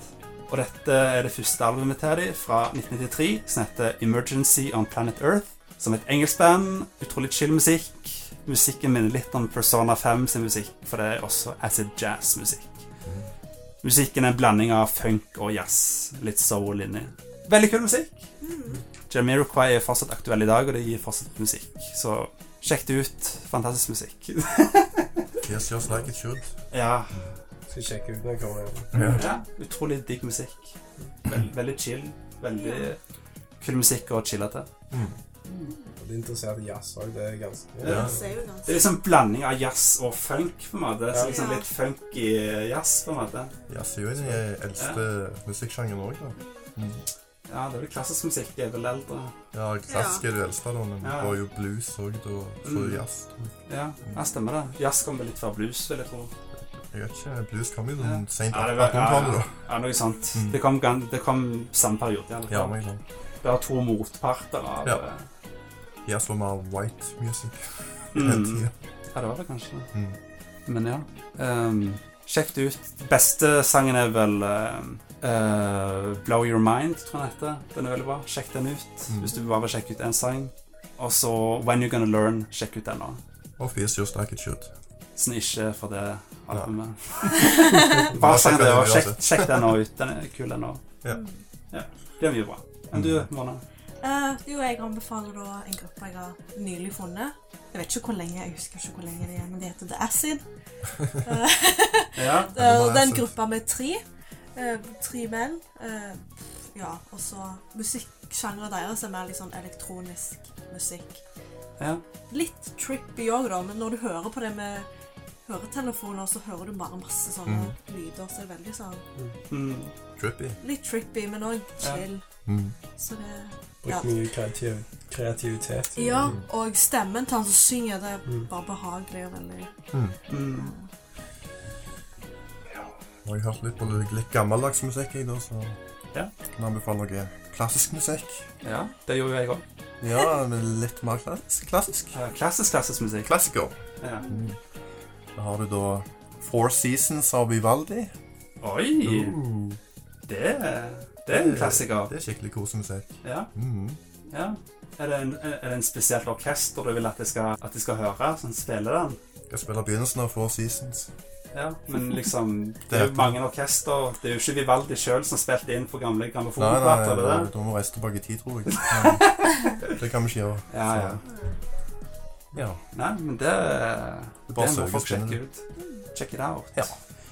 [SPEAKER 1] Og dette er det første albumet til dem fra 1993, som heter Emergency on Planet Earth. Som er et engelsk band. Utrolig chill musikk. Musikken minner litt om Persona 5 sin musikk, for det er også acid jazz-musikk. Musikken er en blanding av funk og jazz. Litt soul inni. Veldig kul musikk.
[SPEAKER 5] Mm.
[SPEAKER 1] Jamiroquai er fortsatt aktuell i dag, og de gir fortsatt musikk. Så sjekk det ut. Fantastisk musikk. *laughs*
[SPEAKER 2] Yes, yes, like it should.
[SPEAKER 1] ja.
[SPEAKER 3] Skal sjekke ut når jeg kommer hjem.
[SPEAKER 1] ja. Utrolig digg musikk. Vel- veldig chill. Veldig kul musikk å chille til.
[SPEAKER 3] Og du er interessert i jazz òg, det er ganske
[SPEAKER 2] Ja.
[SPEAKER 5] Det er
[SPEAKER 1] Det
[SPEAKER 5] jo
[SPEAKER 1] er
[SPEAKER 5] ganske
[SPEAKER 1] liksom blanding av jazz og funk, på en måte. Så liksom
[SPEAKER 5] Ja.
[SPEAKER 1] litt funky jazz, på en måte.
[SPEAKER 2] Jazz er jo den eldste musikksjangeren òg, da. Mm.
[SPEAKER 1] Ja, det er vel klassisk musikk. Jeg er vel eldre.
[SPEAKER 2] Ja, klassisk er det eldste, da, men
[SPEAKER 1] Ja.
[SPEAKER 2] det var jo blues òg, da. Så
[SPEAKER 1] Mm.
[SPEAKER 2] jazz
[SPEAKER 1] Ja, ja stemmer det. Jazz kom vel litt før blues, vil jeg tro.
[SPEAKER 2] Jeg vet ikke, blues kom jo
[SPEAKER 1] Ja.
[SPEAKER 2] sånn sent
[SPEAKER 1] Ja, det var-
[SPEAKER 2] 1800-tallet, da.
[SPEAKER 1] Ja, noe sånt.
[SPEAKER 2] Mm.
[SPEAKER 1] Det, kom, gan- det kom samme periode. i alle
[SPEAKER 2] Ja,
[SPEAKER 1] fall.
[SPEAKER 2] men sånn.
[SPEAKER 1] Det var to motparter av
[SPEAKER 2] Ja.
[SPEAKER 1] eh,
[SPEAKER 2] Jazz var mer white music hele
[SPEAKER 1] mm.
[SPEAKER 2] tida.
[SPEAKER 1] Ja, det var det kanskje.
[SPEAKER 2] Mm.
[SPEAKER 1] Men ja. ehm, sjekk det ut. Beste sangen er vel ehm, eh, 'Blow Your Mind', tror jeg den heter. Den er veldig bra. Sjekk den ut
[SPEAKER 2] Mm.
[SPEAKER 1] hvis du bare vil sjekke ut én sang. Og så 'When You're Gonna Learn'. Sjekk ut den òg.
[SPEAKER 2] Og Yes, just like it should.
[SPEAKER 1] Sånn ikke for det albumet. *laughs*
[SPEAKER 2] Bare
[SPEAKER 1] Bare sang
[SPEAKER 2] sjekk
[SPEAKER 1] det
[SPEAKER 2] den
[SPEAKER 1] òg.
[SPEAKER 2] ut,
[SPEAKER 1] Sjekk,
[SPEAKER 2] altså.
[SPEAKER 1] sjekk den òg ut. Den er kul, den òg.
[SPEAKER 2] Ja.
[SPEAKER 1] Ja. Det er mye bra. Men du,
[SPEAKER 2] Mm.
[SPEAKER 1] Mona?
[SPEAKER 4] Eh, jo, jeg anbefaler da en gruppe jeg har nylig funnet. Jeg vet ikke hvor lenge, jeg husker ikke hvor lenge det er, men det heter The Acid.
[SPEAKER 1] Ja.
[SPEAKER 4] Eh,
[SPEAKER 2] The
[SPEAKER 4] og den
[SPEAKER 2] Acid.
[SPEAKER 4] gruppa med tre. eh, tre menn. eh, ja, og så musikksjangeren deres er mer litt sånn elektronisk musikk.
[SPEAKER 1] ja.
[SPEAKER 4] Litt trippy òg, da, men når du hører på det med høretelefoner, så hører du bare masse
[SPEAKER 2] Mm.
[SPEAKER 4] sånne lyder, så er det veldig sånn
[SPEAKER 1] Mm.
[SPEAKER 2] Trippy.
[SPEAKER 4] Litt trippy, men òg
[SPEAKER 1] Ja.
[SPEAKER 4] chill.
[SPEAKER 2] Mm.
[SPEAKER 4] Så det
[SPEAKER 3] Brukt
[SPEAKER 4] Ja.
[SPEAKER 3] mye kreativ, kreativitet.
[SPEAKER 1] Mm.
[SPEAKER 4] Ja, og stemmen til han som synger, det er
[SPEAKER 3] Mm.
[SPEAKER 4] bare behagelig og veldig
[SPEAKER 1] Mm.
[SPEAKER 2] Og jeg har hørt litt på litt gammeldags musikk, jeg, da, så
[SPEAKER 1] Ja.
[SPEAKER 2] kan anbefale noe klassisk musikk.
[SPEAKER 1] ja. Det gjorde jeg òg.
[SPEAKER 2] Ja, men litt mer klassisk. Klassisk.
[SPEAKER 1] Klassisk, klassisk musikk.
[SPEAKER 2] Klassiker.
[SPEAKER 1] Ja.
[SPEAKER 2] Da har du da Four Seasons av Vivaldi.
[SPEAKER 1] Oi!
[SPEAKER 2] Uh,
[SPEAKER 1] Det er, det er en klassiker.
[SPEAKER 2] Det er skikkelig kosemusikk.
[SPEAKER 1] Ja,
[SPEAKER 2] Mm.
[SPEAKER 1] ja. Er det, en, er det en spesielt orkester du vil at de skal, at de skal høre, som spiller den?
[SPEAKER 2] Skal spille begynnelsen av Four Seasons.
[SPEAKER 1] Ja, men *laughs* liksom Det er jo mange orkester. Det er jo ikke Vivaldi sjøl som spilte inn på gamle
[SPEAKER 2] Nei, nei,
[SPEAKER 1] grammofonplater.
[SPEAKER 2] da,
[SPEAKER 1] eller det?
[SPEAKER 2] da må vi reise tilbake i tid, tror
[SPEAKER 1] *laughs*
[SPEAKER 2] jeg. Ja. Det kan vi ikke gjøre.
[SPEAKER 1] Ja, ja.
[SPEAKER 2] Ja. *laughs*
[SPEAKER 1] Nei, men det, det,
[SPEAKER 2] er bare
[SPEAKER 1] må
[SPEAKER 2] å søke
[SPEAKER 1] folk
[SPEAKER 2] spennende.
[SPEAKER 1] sjekke ut. Check it out.
[SPEAKER 2] Ja.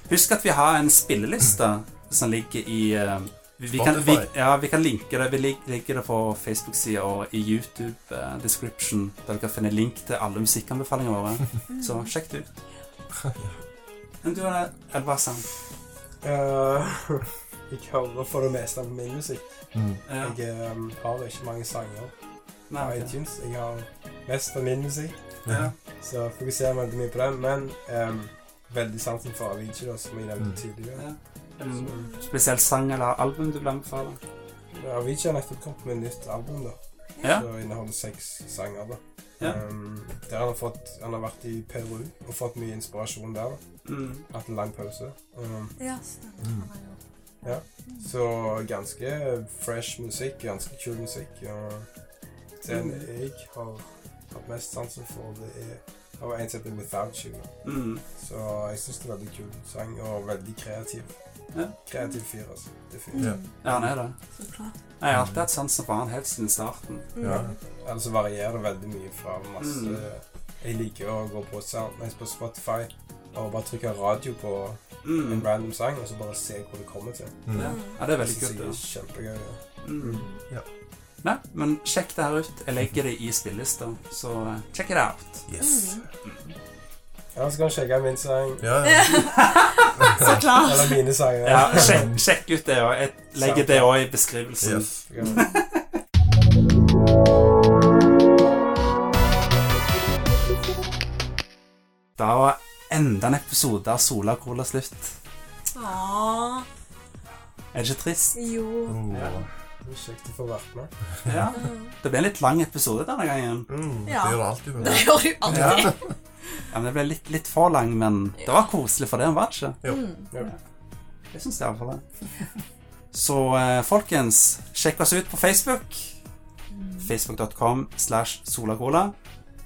[SPEAKER 1] Husk at vi har en spilleliste som ligger i eh, vi, vi, kan, vi,
[SPEAKER 2] Spotify.
[SPEAKER 1] ja, vi kan linke det. Vi lig- ligger det på Facebook-sida og i YouTube-description, der du kan finne link til alle musikkanbefalingene våre. Så sjekk det ut. Men du, Elvasan
[SPEAKER 3] Eh, *laughs* jeg hører for det meste på min musikk.
[SPEAKER 2] Mm.
[SPEAKER 1] ja,
[SPEAKER 3] Jeg eh, har ikke mange sanger på
[SPEAKER 1] nei, ok.
[SPEAKER 3] iTunes. Jeg har mest av min musikk,
[SPEAKER 1] ja.
[SPEAKER 3] så jeg fokuserer veldig mye på den. Men eh, veldig sansen for Avicii, da, som jeg nevnte
[SPEAKER 2] Mm.
[SPEAKER 3] tidligere.
[SPEAKER 1] ja. Er det en spesiell sang eller album du vil anbefale?
[SPEAKER 3] Men Avicii har nettopp kommet med et nytt album, da.
[SPEAKER 1] Ja.
[SPEAKER 3] som inneholder seks sanger. da.
[SPEAKER 1] Ja.
[SPEAKER 3] Um, der han har, fått, han har vært i Peru og fått mye inspirasjon der. da.
[SPEAKER 1] Mm.
[SPEAKER 3] Hatt en lang pause. Um,
[SPEAKER 4] Ja, stemmer.
[SPEAKER 2] Mm.
[SPEAKER 4] Han er jo-
[SPEAKER 3] så ganske fresh musikk, ganske kul musikk. Og den
[SPEAKER 1] Mm.
[SPEAKER 3] jeg har hatt mest sansen for, det er det var en som heter Without You. da.
[SPEAKER 1] Mm.
[SPEAKER 3] Så jeg syns det er veldig kul sang, og veldig kreativ.
[SPEAKER 1] Ja.
[SPEAKER 3] Kreativ fyr, altså. Definitivt.
[SPEAKER 2] Ja.
[SPEAKER 4] Mm,
[SPEAKER 1] Ja, han er det.
[SPEAKER 4] Så klart.
[SPEAKER 1] Jeg har alltid hatt sansen for han helt siden starten.
[SPEAKER 4] Mm.
[SPEAKER 2] Ja.
[SPEAKER 3] Ellers så varierer det veldig mye fra masse
[SPEAKER 1] Mm.
[SPEAKER 3] Jeg liker å gå på, sound- nei, på Spotify og bare trykke radio på en
[SPEAKER 1] Mm.
[SPEAKER 3] random sang, og så bare se hvor det kommer til.
[SPEAKER 2] Mm.
[SPEAKER 1] Ja. ja, det er veldig
[SPEAKER 3] Jeg
[SPEAKER 1] kult.
[SPEAKER 3] synes det
[SPEAKER 1] Ja.
[SPEAKER 3] er kjempegøy. ja.
[SPEAKER 1] Mm.
[SPEAKER 2] Ja.
[SPEAKER 1] Nei, men sjekk det her ut. Jeg legger det i spillelista, så eh, check it out.
[SPEAKER 2] Yes.
[SPEAKER 1] Mm.
[SPEAKER 3] Ja, så kan du sjekke min sang,
[SPEAKER 2] Ja,
[SPEAKER 1] *laughs*
[SPEAKER 2] ja.
[SPEAKER 4] Så klart.
[SPEAKER 3] eller mine sanger.
[SPEAKER 1] Ah. Ja, sjekk, sjekk ut det òg. Jeg legger det òg i beskrivelsen.
[SPEAKER 2] Yes.
[SPEAKER 3] Ja. Nei,
[SPEAKER 1] Da var enda en episode av Sola Cola slutt.
[SPEAKER 4] Åh,
[SPEAKER 1] Er det ikke trist?
[SPEAKER 4] jo.
[SPEAKER 2] Oh.
[SPEAKER 3] det er Kjekt å få vært med.
[SPEAKER 1] Ja.
[SPEAKER 4] Mm.
[SPEAKER 1] Det ble en litt lang episode denne gangen.
[SPEAKER 2] Mm.
[SPEAKER 4] Ja.
[SPEAKER 2] Det gjør det alltid.
[SPEAKER 4] Det
[SPEAKER 2] vel.
[SPEAKER 4] gjør jo
[SPEAKER 1] Ja,
[SPEAKER 4] alltid.
[SPEAKER 1] Ja, men Det ble litt, litt for lang, men det var koselig for det, var det ikke?
[SPEAKER 2] Jo.
[SPEAKER 4] Mm.
[SPEAKER 1] Det syns jeg iallfall. Så eh, folkens, sjekk oss ut på Facebook. Facebook.com slash solacola.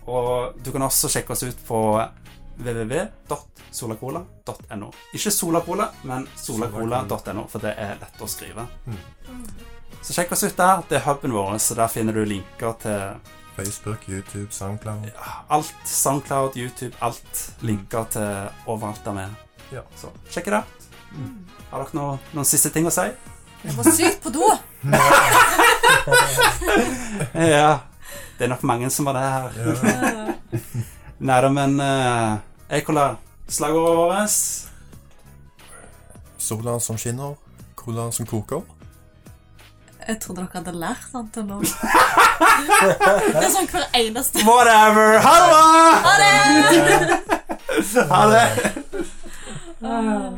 [SPEAKER 1] Og du kan også sjekke oss ut på www.solacola.no. Ikke Solacola, men solacola.no, for det er lett å skrive. Så sjekk oss ut der. Det er huben vår, så der finner du linker til
[SPEAKER 2] Facebook, YouTube, SoundCloud.
[SPEAKER 1] alt. Soundcloud, YouTube, alt. Linker til overalt der vi er.
[SPEAKER 2] Ja.
[SPEAKER 1] Så sjekk det ut. Har dere noe, noen siste ting å si?
[SPEAKER 6] Jeg må sykt på do!
[SPEAKER 1] Ja. Det er nok mange som var der.
[SPEAKER 2] Ja.
[SPEAKER 1] Neida, men uh, Ekola, slagordet vårt
[SPEAKER 2] Sola som skinner, cola som koker.
[SPEAKER 6] Jeg trodde dere hadde lært den til
[SPEAKER 4] *laughs*
[SPEAKER 6] nå. Det er sånn hver eneste
[SPEAKER 1] Whatever! Ha det! Ha det! Ha det!
[SPEAKER 6] Ah.